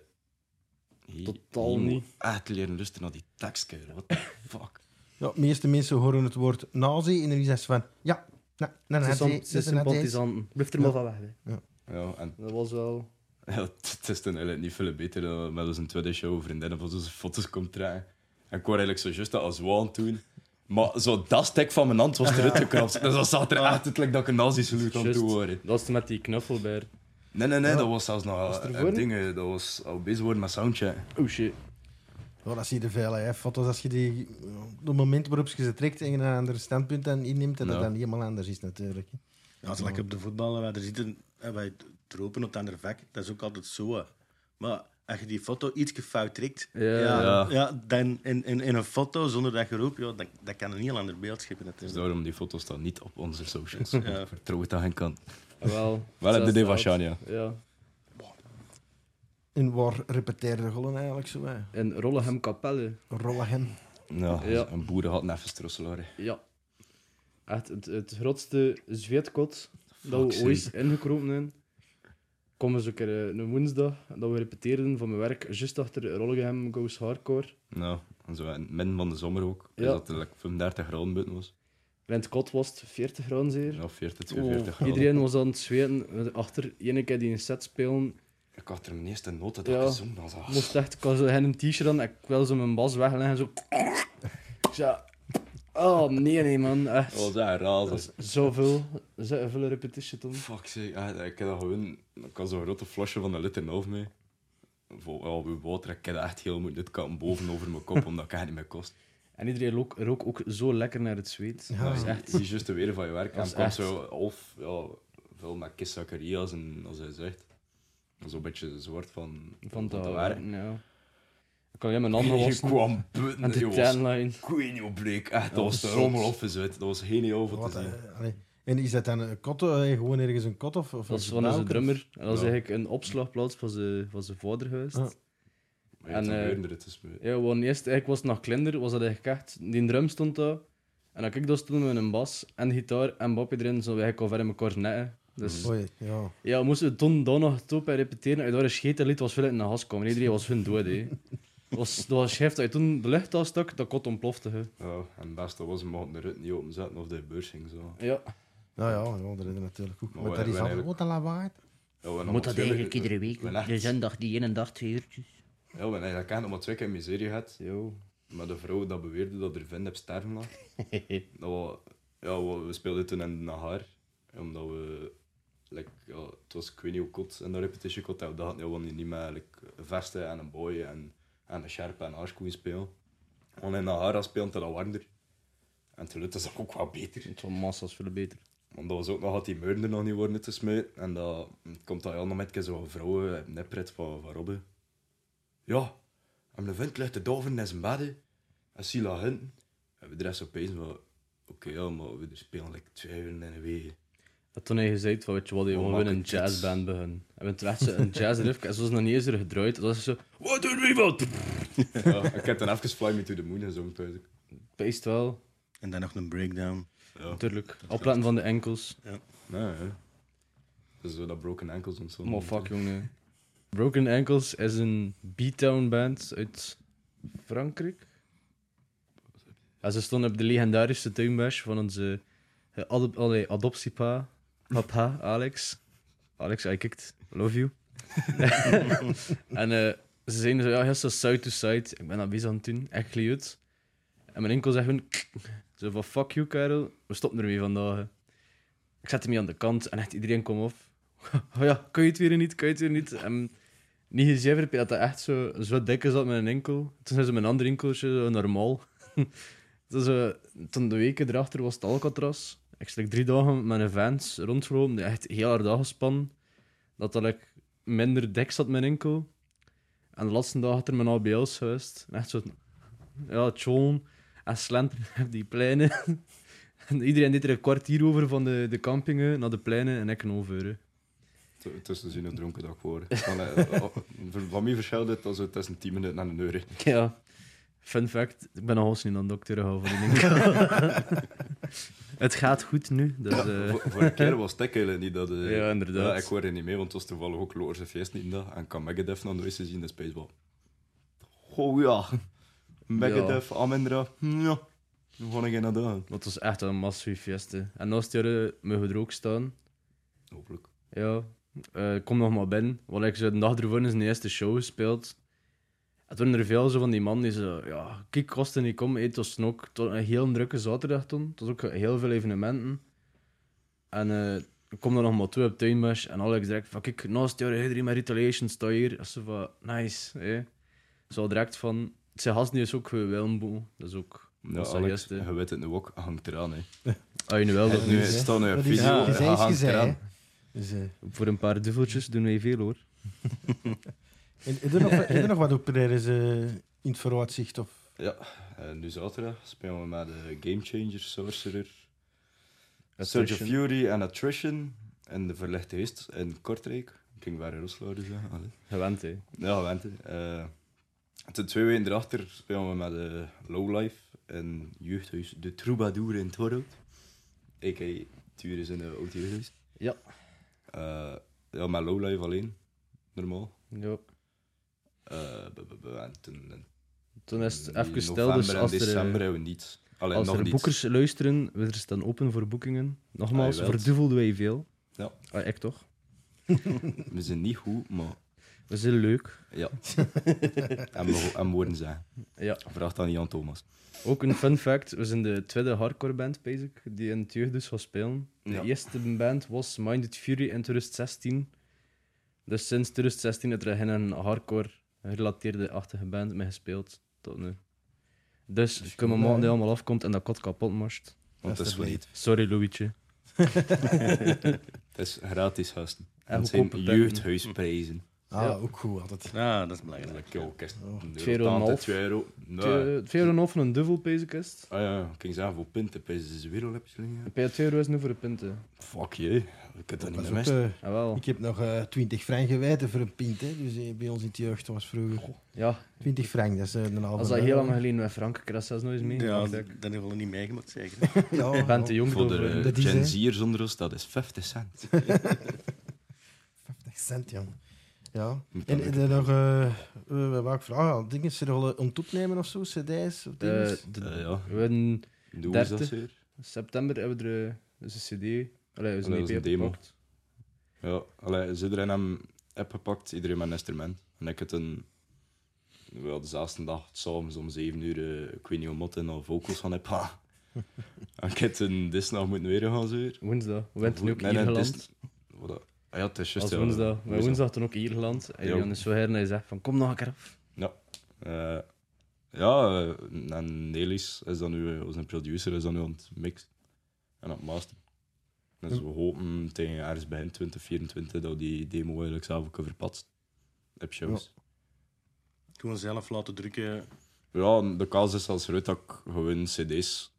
Speaker 4: "Hier-
Speaker 3: Totaal
Speaker 4: hier moet
Speaker 3: niet.
Speaker 4: Echt leren lusten naar die tekst, kerel. What the (laughs) fuck?
Speaker 2: Ja, de meeste mensen horen het woord nazi en dan zeggen ze van... Ja, nou, nou,
Speaker 3: Ze
Speaker 2: nou,
Speaker 3: zijn ze zijn sympathisanten. Blijf er maar
Speaker 2: Ja.
Speaker 3: van weg. hè.
Speaker 4: Ja, en (laughs)
Speaker 3: Dat was wel...
Speaker 4: ja, het is dan eigenlijk niet veel beter dan met onze tweede show vriendinnen van onze foto's komt trekken. En ik wou eigenlijk zo juist dat als waan doen. Maar zo dat stek van mijn hand was eruit
Speaker 3: (laughs)
Speaker 4: gekrapt. Dus dat zat er echt uit like, dat ik een nazi-saluut aan
Speaker 3: Ah. Juist.
Speaker 4: toe horen.
Speaker 3: Dat was met die knuffelbeer.
Speaker 4: Nee, nee, nee, dat was zelfs nog
Speaker 3: er
Speaker 4: eh,
Speaker 3: voor?
Speaker 4: dingen. Dat was al bezig worden met soundcheck.
Speaker 3: Oh shit.
Speaker 2: Ja, dat zie je veel. Hè. Foto's, als je die... Op het moment waarop je ze trekt en je een ander standpunt dan inneemt, dat het
Speaker 4: Ja.
Speaker 2: dan helemaal anders is natuurlijk. hè.
Speaker 1: Ja, als ik op de voetballen, wij er zitten en wij tropen op het andere vak, dat is ook altijd zo. hè. Maar als je die foto iets fout trekt,
Speaker 3: Ja.
Speaker 1: ja,
Speaker 4: Ja.
Speaker 1: ja, dan in, in, in een foto zonder dat geroep, ja, dat, dat kan een heel ander beeld scheppen. Dat
Speaker 4: Dus
Speaker 1: is
Speaker 4: daarom, die foto's staan niet op onze
Speaker 3: (laughs)
Speaker 4: socials.
Speaker 1: Ja.
Speaker 4: Vertrouw het aan geen kant.
Speaker 3: Wel.
Speaker 4: Wel
Speaker 3: Zelfs
Speaker 4: heb de D van
Speaker 3: dat.
Speaker 4: Shania.
Speaker 3: Ja.
Speaker 2: En waar repeteerde gollen eigenlijk zo? Hè.
Speaker 3: En Rollegem Kapelle.
Speaker 2: Rollen.
Speaker 4: Ja,
Speaker 3: Ja.
Speaker 4: een boeren had even strosselaren.
Speaker 3: Ja. Echt het, het grootste zweetkot dat we
Speaker 4: Fuck,
Speaker 3: ooit ingekropen zijn. Kom eens een keer eh, een woensdag dat we repeteerden van mijn werk, juist achter Rollegem Goes Hardcore.
Speaker 4: Nou, en zo in het midden van de zomer ook.
Speaker 3: Ja.
Speaker 4: Dus dat er like, 35 graden buiten was.
Speaker 3: En in het kot was het 40 graden zeer.
Speaker 4: Ja, 40, 42 graden.
Speaker 3: Iedereen was aan het zweten. Achter, ene keer die een set spelen,
Speaker 4: Ik had er mijn eerste noten
Speaker 3: Ja.
Speaker 4: dat gezongen als
Speaker 3: Ik moest echt, ik had zo hen een t-shirt aan, ik wil zo mijn bas wegleggen en zo. Ik zei, oh nee, nee man, echt.
Speaker 4: Oh, Dat was echt raar.
Speaker 3: Dat is zoveel, zoveel repetition om.
Speaker 4: Fuck, zeg. echt, Ik heb dat gewoon... Ik had zo'n grote flesje van een liter en half mee. Voor ja, bij water. Ik heb dat echt heel moeilijk. Dit kan boven over mijn kop, omdat ik echt niet meer kost.
Speaker 3: En iedereen rook, rook ook zo lekker naar het zweet.
Speaker 2: Ja.
Speaker 3: Dat is
Speaker 4: echt.
Speaker 3: echt.
Speaker 4: Die is juist de weer van je werk.
Speaker 3: Dat
Speaker 4: En
Speaker 3: is
Speaker 4: komt
Speaker 3: echt.
Speaker 4: zo half ja, veel met Kis Zacharias en als hij zegt. Zo'n beetje zwart van,
Speaker 3: Van
Speaker 4: dat
Speaker 3: te
Speaker 4: werk.
Speaker 3: werken, ja. Ik kan jij mijn handen
Speaker 4: (laughs) Je
Speaker 3: wassen.
Speaker 4: kwam putten,
Speaker 3: En
Speaker 4: je
Speaker 3: de
Speaker 4: was
Speaker 3: tanline.
Speaker 4: queen bleek. Echt, dat was
Speaker 3: was
Speaker 4: rommel
Speaker 3: zot.
Speaker 4: of gezet. Dat was geniaal voor
Speaker 2: Wat,
Speaker 4: te zien.
Speaker 2: eh, allee. En is dat dan een kot, eh, gewoon ergens een kot? Of, of
Speaker 3: Dat is
Speaker 2: een
Speaker 3: van onze
Speaker 2: balk, of-
Speaker 3: drummer. En dat is
Speaker 4: Ja.
Speaker 3: eigenlijk een opslagplaats van zijn, van zijn vader geweest.
Speaker 2: Ah.
Speaker 4: Maar ja, toen
Speaker 3: eh,
Speaker 4: gebeurde het dus mee.
Speaker 3: Ja, want eerst, eigenlijk was het nog kleiner, was dat eigenlijk echt, die drum stond daar. En dan ik dat stond met een bas en gitaar en Bobby erin, zo wij al ver in mijn cornetten. Dus
Speaker 2: Oei, ja.
Speaker 3: ja, we moesten toen dan nog top en repeteren. En daar een scheet liet was veel in de gas komen. Iedereen was hun dood,
Speaker 4: (laughs)
Speaker 3: hè. Was, dat was schijf dat je toen de lucht al stak, dat kot ontplofte. hè.
Speaker 4: Ja, en het beste was, we mochten de rut niet openzetten of de beurs ging zo.
Speaker 3: Ja.
Speaker 2: Ja, ja, Nou ja, dat is er natuurlijk ook.
Speaker 4: Maar
Speaker 2: Maar
Speaker 4: wij-
Speaker 2: dat is
Speaker 4: wij
Speaker 2: altijd
Speaker 4: eigenlijk-
Speaker 2: wat een lawaai.
Speaker 4: Ja, we
Speaker 5: Moet dat eigenlijk iedere week?
Speaker 4: we
Speaker 5: De
Speaker 4: hebben echt-
Speaker 5: zondag die ene dag twee uurtjes.
Speaker 4: Ja, we hebben eigenlijk echt nog maar twee keer miserie gehad.
Speaker 3: Yo.
Speaker 4: met een vrouw dat beweerde dat er vin op sterven lag. dat wa- ja, wa- we speelden toen in de haar, omdat we, like, ja, het was ik weet niet hoe kot in de repetition kot, dat we dachten, ja, we gaan niet meer like, vesten en een boy en, en een scherp en aarskoen spelen. Want in de haar spelen dat warmer. En het geluid is ook wat beter.
Speaker 3: Het was massa's veel beter.
Speaker 4: Want dat was ook nog had die murder nog niet worden te smijten. En dat hm, komt dat nog met zo'n vrouwen op nepret van, van Robbe. Ja, en de vent ligt te doven in zijn bed. En zie laat hinten. En we de rest opeens van, oké, ja, maar we spelen like twee uur in een week.
Speaker 3: En toen hij gezegd van, weet je wat, we
Speaker 4: Oh,
Speaker 3: willen een
Speaker 4: makkelijk, dit.
Speaker 3: jazzband beginnen. En we terecht zo een jazzriff, en ze was nog niet eens er gedraaid. En toen was ze zo, what do we want?
Speaker 4: ja, ik heb dan even Fly Me To The Moon gezongen thuis.
Speaker 3: Beest wel,
Speaker 1: En dan nog een breakdown.
Speaker 4: Ja,
Speaker 3: natuurlijk. Opletten van de enkels.
Speaker 4: nou ja. Dus zo dat Broken Ankles en zo.
Speaker 3: Maar fuck, jongen. Broken Ankles is een B-town band uit Frankrijk. En ze stonden op de legendarische tuinbash van onze eh, adop allee, adoptiepa, papa, Alex. Alex, I kicked. Love you. (laughs) en eh, ze zeiden zo, ja, heel zo side to side. Ik ben dat bezig aan het doen, echt geleerd. En mijn enkel zegt gewoon, zo van, fuck you, Karel. We stoppen ermee vandaag. hè. Ik zet hem hier aan de kant en echt iedereen kwam op. Oh ja, kan je het weer niet, kan je het weer niet. En niet gezien heb je dat hij echt zo, zo dik zat met een enkel. Toen zijn ze met een ander enkeltje, zo normaal. (laughs) dus, eh toen de weken erachter was het Alcatraz. Ik slik drie dagen met een fans rondgelopen, die echt heel hard aangespannen. Dat dat ik minder dik zat met een enkel. En de laatste dag had er mijn ABL's geweest. En echt zo, ja, tjoen en slenteren (laughs) op die pleinen. en iedereen deed er een kwartier over van de, de campingen naar de pleinen en ik een half uur, hè.
Speaker 4: T- Tussen zien een dronken dag worden. Van, eh, oh, van mij verschilt het als het tussen 10 minuten en een uur.
Speaker 3: (laughs) Ja. Fun fact, ik ben nog eens niet aan de dokter gehouden van (laughs) die enkel. het gaat goed nu, dus... eh,
Speaker 4: Voor- Vorige keer was het ik eigenlijk niet dat... eh,
Speaker 3: Ja, inderdaad.
Speaker 4: ja, ik hoorde niet mee, want het was toevallig ook Loorse feest niet in dat. En ik kan Megadeth nog nooit zien in de Spaceball. Oh ja. Megadeth, Amendra. Hm, Ja. Dan ga ik naar doen.
Speaker 3: Dat was echt een massief feest. hè. En naast jaren mogen we er ook staan.
Speaker 4: Hopelijk.
Speaker 3: Ja. Eh, kom nog maar binnen. Want ik zo de dag ervoor in zijn eerste show gespeeld. Het waren er veel zo van die man die zo... Ja, kijk, kosten niet komen. Het was toen ook het was een heel drukke zaterdag toen. Het was ook heel veel evenementen. En eh, ik kom er nog maar toe op Tuinbash. En Alex direct van... Kijk, naast jou, hey, drie met Retaliation, sta hier. En zo van... Nice, hè. Zo direct van... Zijn gast die is ook Wilmbo. Dat is ook...
Speaker 4: Ja,
Speaker 3: dat is
Speaker 4: Alex,
Speaker 3: de
Speaker 4: je weet het nu ook, hangt eraan. Hè.
Speaker 3: Ah, je nu wel, dat
Speaker 4: Nu
Speaker 3: nu...
Speaker 2: is, hè.
Speaker 4: staat nu een
Speaker 2: Dat is,
Speaker 4: video,
Speaker 2: ja, is
Speaker 4: hij
Speaker 2: eens
Speaker 4: hangt
Speaker 2: gezegd,
Speaker 4: eraan.
Speaker 2: hè. Dus, eh,
Speaker 3: Voor een paar duveltjes doen wij veel, hoor.
Speaker 2: en- heb je nog- heb je nog wat optredens eh in het vooruitzicht? Of?
Speaker 4: Eh, nu zaterdag spelen we met de Game Changer, Sorcerer, Surge
Speaker 3: Attrition.
Speaker 4: of Fury en Attrition. En de Verlichte Heest in Kortrijk. Ik ging waar in Roslaar dus. hè. Allee.
Speaker 3: Gewend, hè.
Speaker 4: Ja, Wente. eh de twee weken erachter spelen we met de Lowlife en jeugdhuis De Troubadour in Torhout. A.k.a. Tuur is in de oud jeugdhuis.
Speaker 3: Ja.
Speaker 4: Eh, ja, met Lowlife alleen. Normaal.
Speaker 3: Ja.
Speaker 4: Eh, b- b- b- en toen, en
Speaker 3: Toen is het
Speaker 4: in
Speaker 3: even stil,
Speaker 4: november
Speaker 3: dus
Speaker 4: en
Speaker 3: als
Speaker 4: december
Speaker 3: er, eh,
Speaker 4: hebben we niets. Alleen
Speaker 3: als
Speaker 4: nog
Speaker 3: er
Speaker 4: niets.
Speaker 3: boekers luisteren, we staan open voor boekingen. Nogmaals,
Speaker 4: Ah, je
Speaker 3: voor
Speaker 4: wilt.
Speaker 3: duvel doen wij veel.
Speaker 4: Ja.
Speaker 3: Ah, ik toch.
Speaker 4: We zijn niet goed, maar
Speaker 3: Dat is heel leuk.
Speaker 4: ja. en, we, en we worden zijn.
Speaker 3: Ja.
Speaker 4: Vraag dan Jan Thomas.
Speaker 3: Ook een fun fact, we zijn de tweede hardcore band, basic, die in het jeugdhuis gaat spelen. De
Speaker 4: Ja.
Speaker 3: eerste band was Minded Fury in 2016. Dus sinds 2016 heeft er geen hardcore gerelateerde achtige band mee gespeeld. Tot nu. Dus, ik kan me
Speaker 2: goed,
Speaker 3: maken die
Speaker 2: hè?
Speaker 3: allemaal afkomt en dat kot kapot marst.
Speaker 4: Want het is wel niet.
Speaker 2: Alsjeblieft.
Speaker 3: Sorry, Louietje.
Speaker 4: Het is gratis gasten.
Speaker 3: En
Speaker 4: Het zijn
Speaker 3: goedkope punten.
Speaker 4: jeugdhuisprijzen.
Speaker 2: Ah,
Speaker 3: Ja.
Speaker 2: ook goed altijd.
Speaker 1: Ja, dat is belangrijk.
Speaker 4: Eigenlijk, joh, kist.
Speaker 2: Oh.
Speaker 4: Een
Speaker 3: Twee
Speaker 4: euro
Speaker 3: euro en
Speaker 4: tante,
Speaker 3: half.
Speaker 4: twee euro. Nee.
Speaker 3: Te- 2,5 van een duvel, basic is het.
Speaker 4: Ah ja, ik ging zeggen, voor punten prijzen is weer al heb je liggen.
Speaker 3: Bij 2 euro is nu voor de punten. Ah,
Speaker 4: Fuck je, ik kan dat niet
Speaker 2: Dat is
Speaker 4: meer
Speaker 2: ook,
Speaker 4: missen.
Speaker 2: eh,
Speaker 3: Jawel.
Speaker 2: ik heb nog eh 20 frank geweten voor een pint. Hè. Dus eh, bij ons in de jeugd was vroeger
Speaker 3: Ja,
Speaker 2: 20 frank. Dat is eh, een halve.
Speaker 3: als dat
Speaker 2: euro.
Speaker 3: heel lang geleden met Frank, ik had dat zelfs nooit eens mee.
Speaker 1: Ja,
Speaker 3: Ja,
Speaker 1: dat
Speaker 3: ik
Speaker 1: hebben we niet meegemaakt, zeker.
Speaker 2: (laughs) Ja,
Speaker 3: ben te
Speaker 2: ja.
Speaker 3: jong
Speaker 4: Voor
Speaker 3: voor.
Speaker 4: de
Speaker 2: dat
Speaker 4: eh,
Speaker 2: is, hè.
Speaker 4: Gen Z'ers onder ons, dat is 50 cent.
Speaker 2: 50 cent, jong. Ja.
Speaker 4: Moet dat
Speaker 2: En heb je nog... eh eh, wat wou ik vragen? Ah, Dingen, ze willen ontopnemen of zo? CD's of dingen?
Speaker 3: Eh, de-
Speaker 4: Eh, ja.
Speaker 3: We hebben
Speaker 4: Doe eens dat
Speaker 3: Dertig.
Speaker 4: zeer.
Speaker 3: september hebben we er eh, dus een CD. Allee, dus
Speaker 4: dat
Speaker 3: een
Speaker 4: was
Speaker 3: EP
Speaker 4: een demo.
Speaker 3: opgepakt.
Speaker 4: Ja, allee, als iedereen hem app gepakt, iedereen met een instrument. En ik heb een We hadden zelfs een dag s'avonds om 7 uur eh, ik weet niet hoe mot en al vocals van heb gehad. En ik heb een Disney moeten weer gaan zeur.
Speaker 3: Woensdag. We wint nu ook Ierland.
Speaker 4: Disney- Wat dat- Ah, ja, het is
Speaker 3: Als
Speaker 4: juist. ja,
Speaker 3: woensdag. Maar
Speaker 4: woensdag.
Speaker 3: woensdag toen ook Ierland. En
Speaker 4: Ja.
Speaker 3: Jan is zo her en hij zegt van, kom nog een keer af.
Speaker 4: Ja. Eh, ja, eh, en Nelis is dan nu, eh, onze producer, is dan nu aan het mixen en aan het masteren. Dus we hopen tegen ergens begin 2024 dat we die demo eigenlijk zelf ook verpatst. Heb shows.
Speaker 1: Gewoon zelf laten drukken.
Speaker 4: Ja. de kans is als groot dat ik gewoon cd's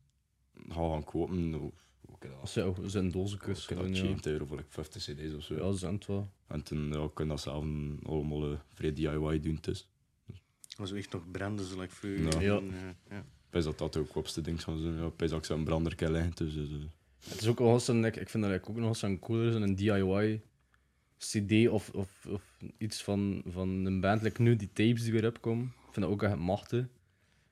Speaker 4: ga gaan kopen. Nou, Oké,
Speaker 3: Als
Speaker 4: dat
Speaker 3: ze ook zijn dozenkus
Speaker 4: is
Speaker 3: kunnen,
Speaker 4: dat
Speaker 3: ja.
Speaker 4: 70 euro voor like 50 cd's of zo.
Speaker 3: Ja, ze zijn het wel.
Speaker 4: En toen ja, kun je dat zelf allemaal eh, vrij DIY doen. Dus
Speaker 1: Dat was echt nog branden, zo like vroeger.
Speaker 4: Ja.
Speaker 3: Ja.
Speaker 1: En, eh, ja.
Speaker 4: ik denk dat dat ook kopste ding zou zijn. Ja, ik denk dat ik zo'n brander kan leggen. Dus, eh,
Speaker 3: Het is ook wel zo'n, ik, ik vind dat eigenlijk ook nog zo'n cooler is dan een DIY CD of, of, of iets van, van een band. Like nu die tapes die weer opkomen. Ik vind dat ook echt machtig.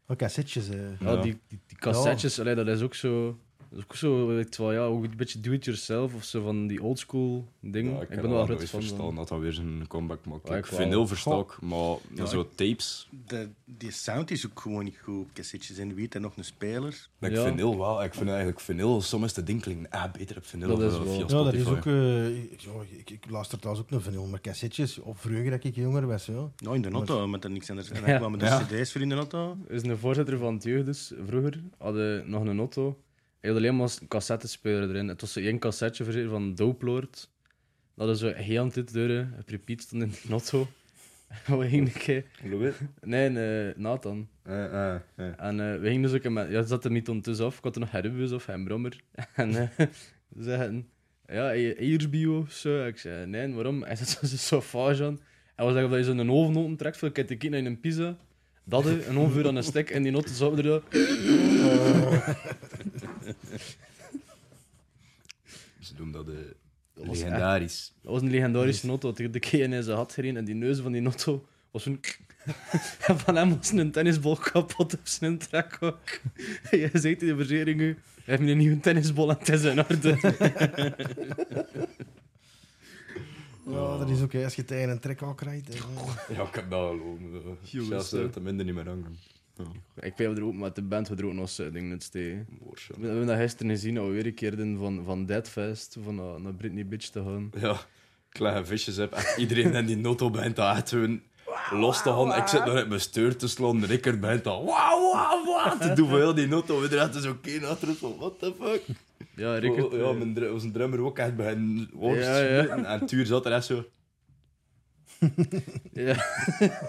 Speaker 2: Oké, cassettes. eh.
Speaker 3: Ja,
Speaker 4: Ja.
Speaker 3: die, die, die cassettes, allee, dat is ook zo. Dat is ook zo, weet je wel, ja, ook een beetje do-it-yourself of zo van die oldschool dingen.
Speaker 4: Ja,
Speaker 3: ik,
Speaker 4: kan
Speaker 3: ben wel
Speaker 4: dat
Speaker 3: groot
Speaker 4: nooit
Speaker 3: fan
Speaker 4: verstaan
Speaker 3: van.
Speaker 4: dat dat weer zijn comeback maakt.
Speaker 3: Ja, ik
Speaker 4: ik
Speaker 3: wel.
Speaker 4: vind heel verstak, maar zo tapes.
Speaker 1: De, die sound is ook gewoon niet goed. Cassettes en wiet en nog een speler.
Speaker 4: Maar
Speaker 3: Ja.
Speaker 4: ik vind heel wel. Ik vind eigenlijk vinyl, soms de ding klinkt ah, beter op vinyl
Speaker 3: Dat
Speaker 4: dan
Speaker 3: is
Speaker 4: via
Speaker 3: wel. Ja,
Speaker 2: Ja, dat is
Speaker 4: Spotify.
Speaker 2: ook... eh, ik- ja, ik, ik luister trouwens ook nog vinyl, maar cassettes. Of vroeger dat ik jonger was, ja.
Speaker 1: Nou, in de auto, met er niks anders. En dan
Speaker 3: Ja.
Speaker 1: kwamen de
Speaker 4: Ja.
Speaker 1: cd's voor in de auto.
Speaker 3: Er is een voorzitter van het jeugd, dus vroeger hadden nog een auto. Hij had alleen maar een cassettespeler erin. Het was zo één cassetje verzeker van Dope Lord. Dat is zo heel aan dit deuren. Op repeat stond in die auto. (laughs) we gingen een keer... Nee, nee, Nathan.
Speaker 4: Eh, eh, eh.
Speaker 3: En eh, we gingen dus ook een met... Ja, ze zat er niet ondertussen af. Ik had er nog Herbus of Hembrommer. (laughs) En eh, ze zeiden... Ja, Eiersbio of zo. Ik zei, nee, waarom? Hij zat zo'n sauvage aan. Hij was zeggen dat je zo'n oven opentrekt voor te kijken naar een pizza. Dat hè, een half uur aan een stek en die noten zouden er...
Speaker 4: Ze doen dat eh,
Speaker 3: was echt-
Speaker 4: legendarisch.
Speaker 3: Dat was een legendarische auto. De de keer in zijn had gereden en die neus van die auto was zo'n... (laughs) en van hem was een tennisbal kapot op zijn trek ook. (laughs) Je zegt in de verzekering nu, we hebben een nieuwe tennisbal en het is in orde. Oh.
Speaker 2: Ja, dat is ook, hè, als je het een trek al krijgt. eh,
Speaker 4: (laughs) Ja, ik heb dat geloven.
Speaker 3: Jongens, eh.
Speaker 4: Zelfs eh,
Speaker 3: hè.
Speaker 4: dat het minder niet meer hangen.
Speaker 3: (laughs) Ik weet er ook met de band we er ook nog zo'n ding net steken.
Speaker 4: Moors,
Speaker 3: We hebben dat gisteren gezien, dat we weer een keer doen van, van Deadfest, van naar, naar Britney Bitch te gaan.
Speaker 4: Ja, kleine visjes heb. Echt iedereen in die notto begint dat echt hun los te gaan. Ik zit nog uit mijn steur te slaan. Rickert begint dat wauw, wauw, wauw te doen voor heel die notto. We dragen dus ook geen achter van what the fuck.
Speaker 3: Ja, Rickert.
Speaker 4: Oh, ja,
Speaker 3: eh,
Speaker 4: mijn dru- onze drummer ook echt begint worst
Speaker 3: Ja, ja.
Speaker 4: smitten. En Tuur zat er
Speaker 3: (laughs)
Speaker 4: echt zo.
Speaker 3: ja,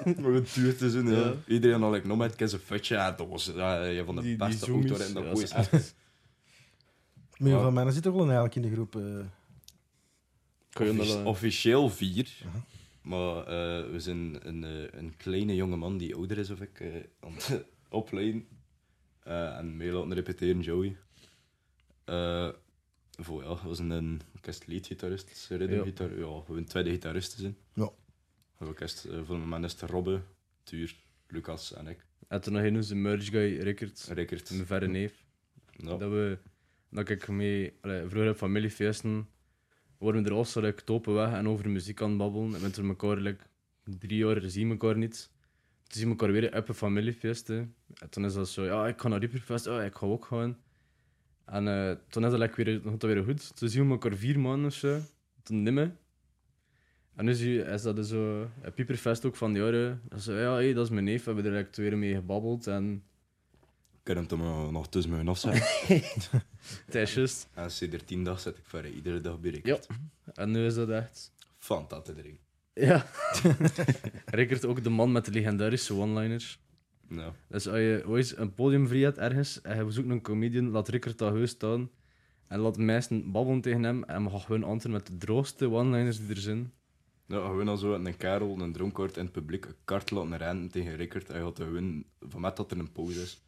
Speaker 4: Nog een tuur te doen. Ja.
Speaker 3: Ja.
Speaker 4: Iedereen had like, nog met een futje. Ja, dat was ja, een (laughs) van de
Speaker 3: Die- die
Speaker 4: beste
Speaker 3: zoomies.
Speaker 4: auto's in dat
Speaker 3: Ja,
Speaker 4: boy is
Speaker 3: ze-
Speaker 4: echt.
Speaker 2: Maar ja,
Speaker 4: Ja.
Speaker 2: van mij zit er wel een eigenlijk in de groep. eh.
Speaker 3: kun je eh,
Speaker 4: Offici-
Speaker 3: dat...
Speaker 4: officieel vier. Maar eh, we zijn een, eh, een kleine jongeman die ouder is of ik eh, aan het (laughs) opleiden. Eh, en mee laten repeteren, Joey. Eh voor, ja, was een, een orkest leadgitarist, rhythmgitar, ja. gewoon tweede gitaristen zijn.
Speaker 2: Ja.
Speaker 4: Voor orkest, eh, voor het moment is het Robbe, Tuur, Lucas en ik.
Speaker 3: En toen nog een onze merge guy, Rickert,
Speaker 4: Rickert.
Speaker 3: mijn verre neef.
Speaker 4: Ja.
Speaker 3: Dat, we, dat ik mee, allee, vroeger op familiefeesten, worden we er als like, topen weg en over muziek aan het babbelen. En met elkaar like, drie jaar zien we elkaar niet. Toen zien we elkaar weer op een familiefeest. hè. En toen is dat zo, ja, ik ga naar Rieperfest, oh, ik ga ook gaan. En eh, toen is dat like, weer, dan gaat dat weer goed. Toen zien we elkaar vier maanden of zo, toen nimmer. En nu zie je, is dat dus zo, op Pieperfest ook van de jaren. Dat is zo, ja, hey, dat is mijn neef, we hebben er like, twee jaar mee gebabbeld. En
Speaker 4: Ik kan hem eh, nog tussen
Speaker 3: (laughs)
Speaker 4: mijn afzetten.
Speaker 3: het is juist.
Speaker 4: en sinds 10 dag zet ik verder iedere dag bij
Speaker 3: Ja.
Speaker 4: Rickert.
Speaker 3: En nu is dat echt.
Speaker 4: Fantastisch erin.
Speaker 3: Ja. (laughs) Rickert ook de man met de legendarische one-liners.
Speaker 4: Ja.
Speaker 3: Dus als je ooit een podium vrij hebt ergens en je zoekt een comedian, laat Rickert dat heus staan. En laat mensen babbelen tegen hem en we gaan gewoon antwoorden met de droogste one-liners die er zijn.
Speaker 4: Ja, gewoon al zo een kerel, een dronkaard in het publiek, een kart laten rennen tegen Rickert. Hij had gewoon, van met dat er een pauze is.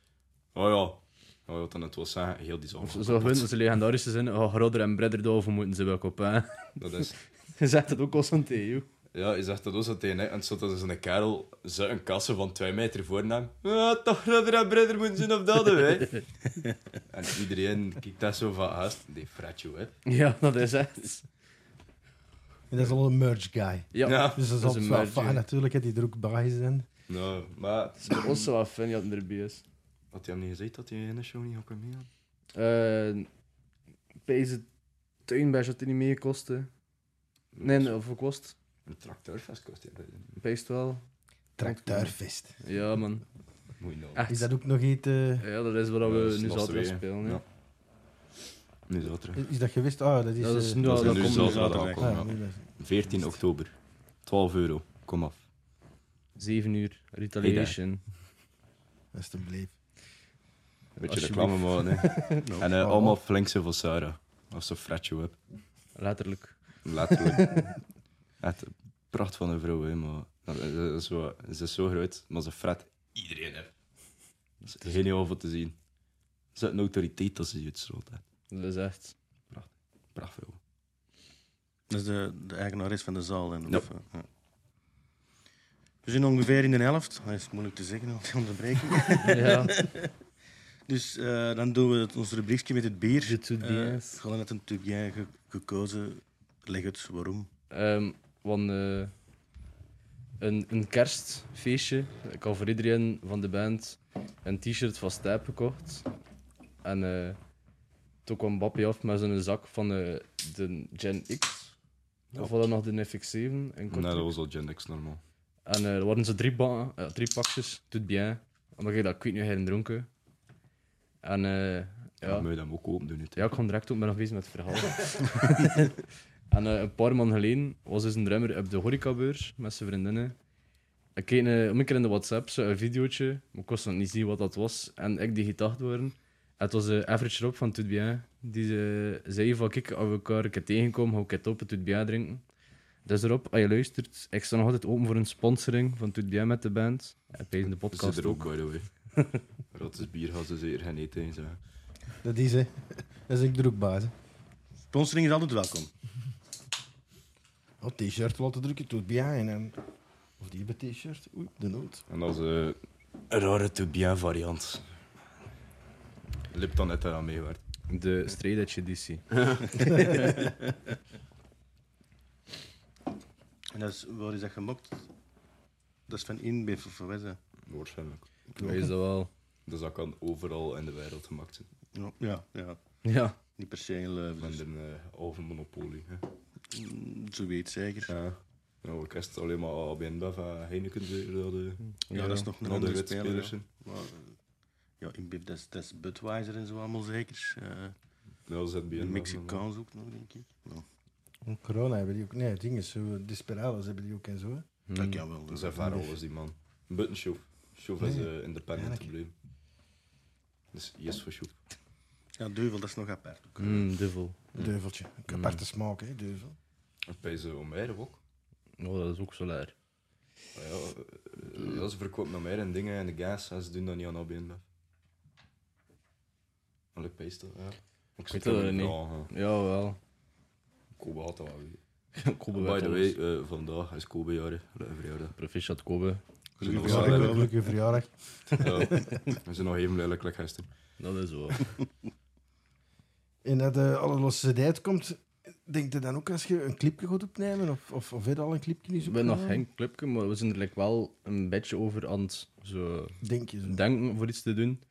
Speaker 4: Oh ja. Hij had dan het wel zeggen, heel die
Speaker 3: Of
Speaker 4: zon.
Speaker 3: zo gewoon zijn legendarische zin, oh, Rodder en Bredder daarover moeten ze wel op. Hè. (laughs)
Speaker 4: Dat is...
Speaker 3: Je zegt het ook al zo'n tegen jou.
Speaker 4: Ja, je zegt dat ook zo tegen hè. En zo dat is een kerel, zo een kasse van twee meter voor hem. Ja, toch brother en brother moeten zijn of
Speaker 3: (laughs)
Speaker 4: dat, hè. en iedereen kijkt dat zo van, gast, die fret je, hè.
Speaker 3: Ja, dat is echt.
Speaker 2: En dat is al een merge guy.
Speaker 3: Ja.
Speaker 4: Ja.
Speaker 2: Dus dat is
Speaker 3: Dat is
Speaker 2: altijd
Speaker 3: een
Speaker 2: wel
Speaker 3: merge,
Speaker 2: fijn
Speaker 3: ja.
Speaker 2: natuurlijk, hè, die er ook bij zijn.
Speaker 4: Nou, maar
Speaker 3: Het is voor ons zo wel fijn dat hij erbij is.
Speaker 4: had hij hem niet gezegd dat hij in de show niet kon mee
Speaker 3: Eh Deze tuinbadge had hij niet meer kostte. Nee, nee, hoeveel kost?
Speaker 4: Een tracteurfest kost hij.
Speaker 3: Peest wel.
Speaker 2: Tractuurfest.
Speaker 3: Ja, man.
Speaker 4: Moet je nou.
Speaker 3: Echt.
Speaker 2: Is dat ook nog iets... eh,
Speaker 3: Ja, dat is waar
Speaker 4: Ja, dat
Speaker 3: we
Speaker 4: is
Speaker 3: nu
Speaker 4: lastig
Speaker 3: zaterdag
Speaker 4: weer.
Speaker 3: spelen. hè.
Speaker 4: Ja. Nu zaterdag.
Speaker 2: is dat gewist? Ah, dat is...
Speaker 3: Ja, dat is
Speaker 2: eh,
Speaker 3: nu
Speaker 4: dat
Speaker 3: al-
Speaker 4: is
Speaker 3: dat
Speaker 4: nu
Speaker 3: komt
Speaker 4: zelfs
Speaker 3: nu
Speaker 4: wel
Speaker 3: zaterdag.
Speaker 4: al.
Speaker 2: ah,
Speaker 4: ja.
Speaker 2: nee, dat is-
Speaker 4: 14 oktober. 12 euro. Kom af.
Speaker 3: 7 uur, retaliation.
Speaker 2: dat is te bleef.
Speaker 4: Een beetje
Speaker 3: Alsjeblieft.
Speaker 4: reclame maken. hè. (laughs)
Speaker 1: Nou,
Speaker 4: en eh, allemaal flink zijn voor Sarah. Als ze fratje hebt.
Speaker 3: Letterlijk.
Speaker 4: (laughs) Letterlijk. Echt een pracht van een vrouw, hè, maar dat is- dat is wel- ze is zo groot, maar ze fret iedereen hè. Dat is geniaal voor te zien. Ze is een autoriteit als ze je uitstoot. hè.
Speaker 3: Dat is
Speaker 4: (laughs)
Speaker 3: echt.
Speaker 4: Prachtvrouw.
Speaker 1: Dat is de, de eigenares van de zaal. En,
Speaker 4: Ja.
Speaker 1: of, eh, ja. We zijn ongeveer in de helft. Dat is moeilijk te zeggen, al die onderbreking.
Speaker 3: ja.
Speaker 1: dus eh, dan doen we het, ons rubriekje met het bier.
Speaker 3: Je doet
Speaker 1: Eh,
Speaker 3: biens.
Speaker 1: Gewoon net een tubien ge- gekozen. Leg het, waarom?
Speaker 3: Ehm, want eh, een, een kerstfeestje. Ik had voor iedereen van de band een t-shirt van Stijp gekocht. En eh, toen kwam Bappie af met zo'n zak van eh, de Gen X.
Speaker 4: Ja.
Speaker 3: Of was dat nog de FX7? En
Speaker 4: Nee, dat was al Gen X normaal.
Speaker 3: En eh, er waren zo drie, ba- eh, drie pakjes, doet bien. Omdat ik dat kwijt nu heen dronken. En eh,
Speaker 4: Ja.
Speaker 3: ja.
Speaker 4: moet je dat ook open doen. nu, hè.
Speaker 3: ja, ik kon direct ook ben nog bezig met het verhaal. en eh, een paar maanden geleden was dus een drummer op de horecabeurs met zijn vriendinnen. Ik keek eh, om een keer in de WhatsApp zo een videootje, maar ik kon nog niet zien wat dat was. En ik die gedacht worden. Het was de average Rob van Tout Bien. Die ze- zei van, kijk, als we elkaar een keer tegenkomen, hou ik het op en Tout Bien drinken. Dus Rob, als je luistert, ik sta nog altijd open voor een sponsoring van Tout Bien met de band. En bij de
Speaker 4: Ze zit
Speaker 3: podcast
Speaker 4: er ook,
Speaker 3: ook.
Speaker 4: by the way. (laughs) Rot is bier, gaan ze zeer geen eten in zeggen.
Speaker 2: Dat is, hè. (laughs) Dat is een drukbaas. hè.
Speaker 1: Sponsoring is altijd welkom.
Speaker 2: Oh, t-shirt laten drukken, doet bij en... Of die bij t-shirt. Oei, de nood.
Speaker 4: En dat is eh, een rare te bien variant. Lipton heeft daar aan meegewerkt.
Speaker 3: De Straight Edge editie.
Speaker 1: En dat is, waar is dat gemokt? Dat is van InBev of wat is dat?
Speaker 4: Waarschijnlijk.
Speaker 3: Wees dat wel.
Speaker 4: Dus dat kan overal in de wereld gemaakt zijn.
Speaker 1: Ja, ja, ja.
Speaker 3: Ja.
Speaker 1: niet per se in Leuven.
Speaker 4: Met
Speaker 1: Dus,
Speaker 4: een eh, overmonopolie. Hè.
Speaker 1: mm, zo weet zeker. Ja,
Speaker 4: Ja. Nou, ik wist alleen maar al bij een dag van Heineken zeker dat de,
Speaker 1: dat is nog een
Speaker 4: dat de
Speaker 1: andere
Speaker 4: wetspelers
Speaker 1: speler. Ja.
Speaker 4: zijn.
Speaker 1: Maar, eh, ja, InBev, dat is, dat is Budweiser en zo allemaal zeker. Eh,
Speaker 4: Dat is het
Speaker 1: de
Speaker 4: BN.
Speaker 1: Mexicaans ook nog, denk ik. Nou,
Speaker 2: Corona hebben die ook. Nee, dingen. Zo, Desperados hebben die ook en zo. hè.
Speaker 3: Mm.
Speaker 1: Dat kan wel.
Speaker 4: Dat
Speaker 1: Dus.
Speaker 4: zijn ver alles, die man. Button Show. Show is eh, independent
Speaker 2: Eigenlijk.
Speaker 4: gebleven. Dus yes voor Show.
Speaker 1: Ja, Duivel, dat is nog apart. ook.
Speaker 3: Mm, duvel.
Speaker 2: Deuveltje. Een
Speaker 3: Mm.
Speaker 2: aparte smaak, hè, deuvel.
Speaker 4: En bij ze Omer ook.
Speaker 3: Oh, dat is ook zo leer.
Speaker 4: Maar ja, eh, ja, ze verkopen Omer en dingen en de gas en ze doen dat niet aan ABN. Maar ik pees dat, ja. Ik
Speaker 3: weet
Speaker 4: zit
Speaker 3: dat niet.
Speaker 4: er niet. Ja,
Speaker 3: Jawel. (laughs)
Speaker 4: Kobe had dat wel weer.
Speaker 3: Kobe
Speaker 4: By
Speaker 3: werd
Speaker 4: the
Speaker 3: ons.
Speaker 4: way, eh, vandaag is Kobe jarig. Leuke verjaardag.
Speaker 3: Proficiat Kobe.
Speaker 1: Gelukkig
Speaker 4: Ja,
Speaker 1: wel.
Speaker 4: dat
Speaker 2: Gelukkige
Speaker 4: hebben we.
Speaker 2: gelukkige verjaardag.
Speaker 4: Ja, we zijn nog even lelijk like gisteren.
Speaker 3: Dat is wel.
Speaker 2: En dat de alle losse tijd komt, denk je dan ook als je een clipje gaat opnemen? Of, of, of heb je al een clipje niet zo
Speaker 3: Ik ben nog geen clubje, maar we zijn er like wel een beetje over aan het zo
Speaker 2: Denk je zo.
Speaker 3: denken voor iets te doen.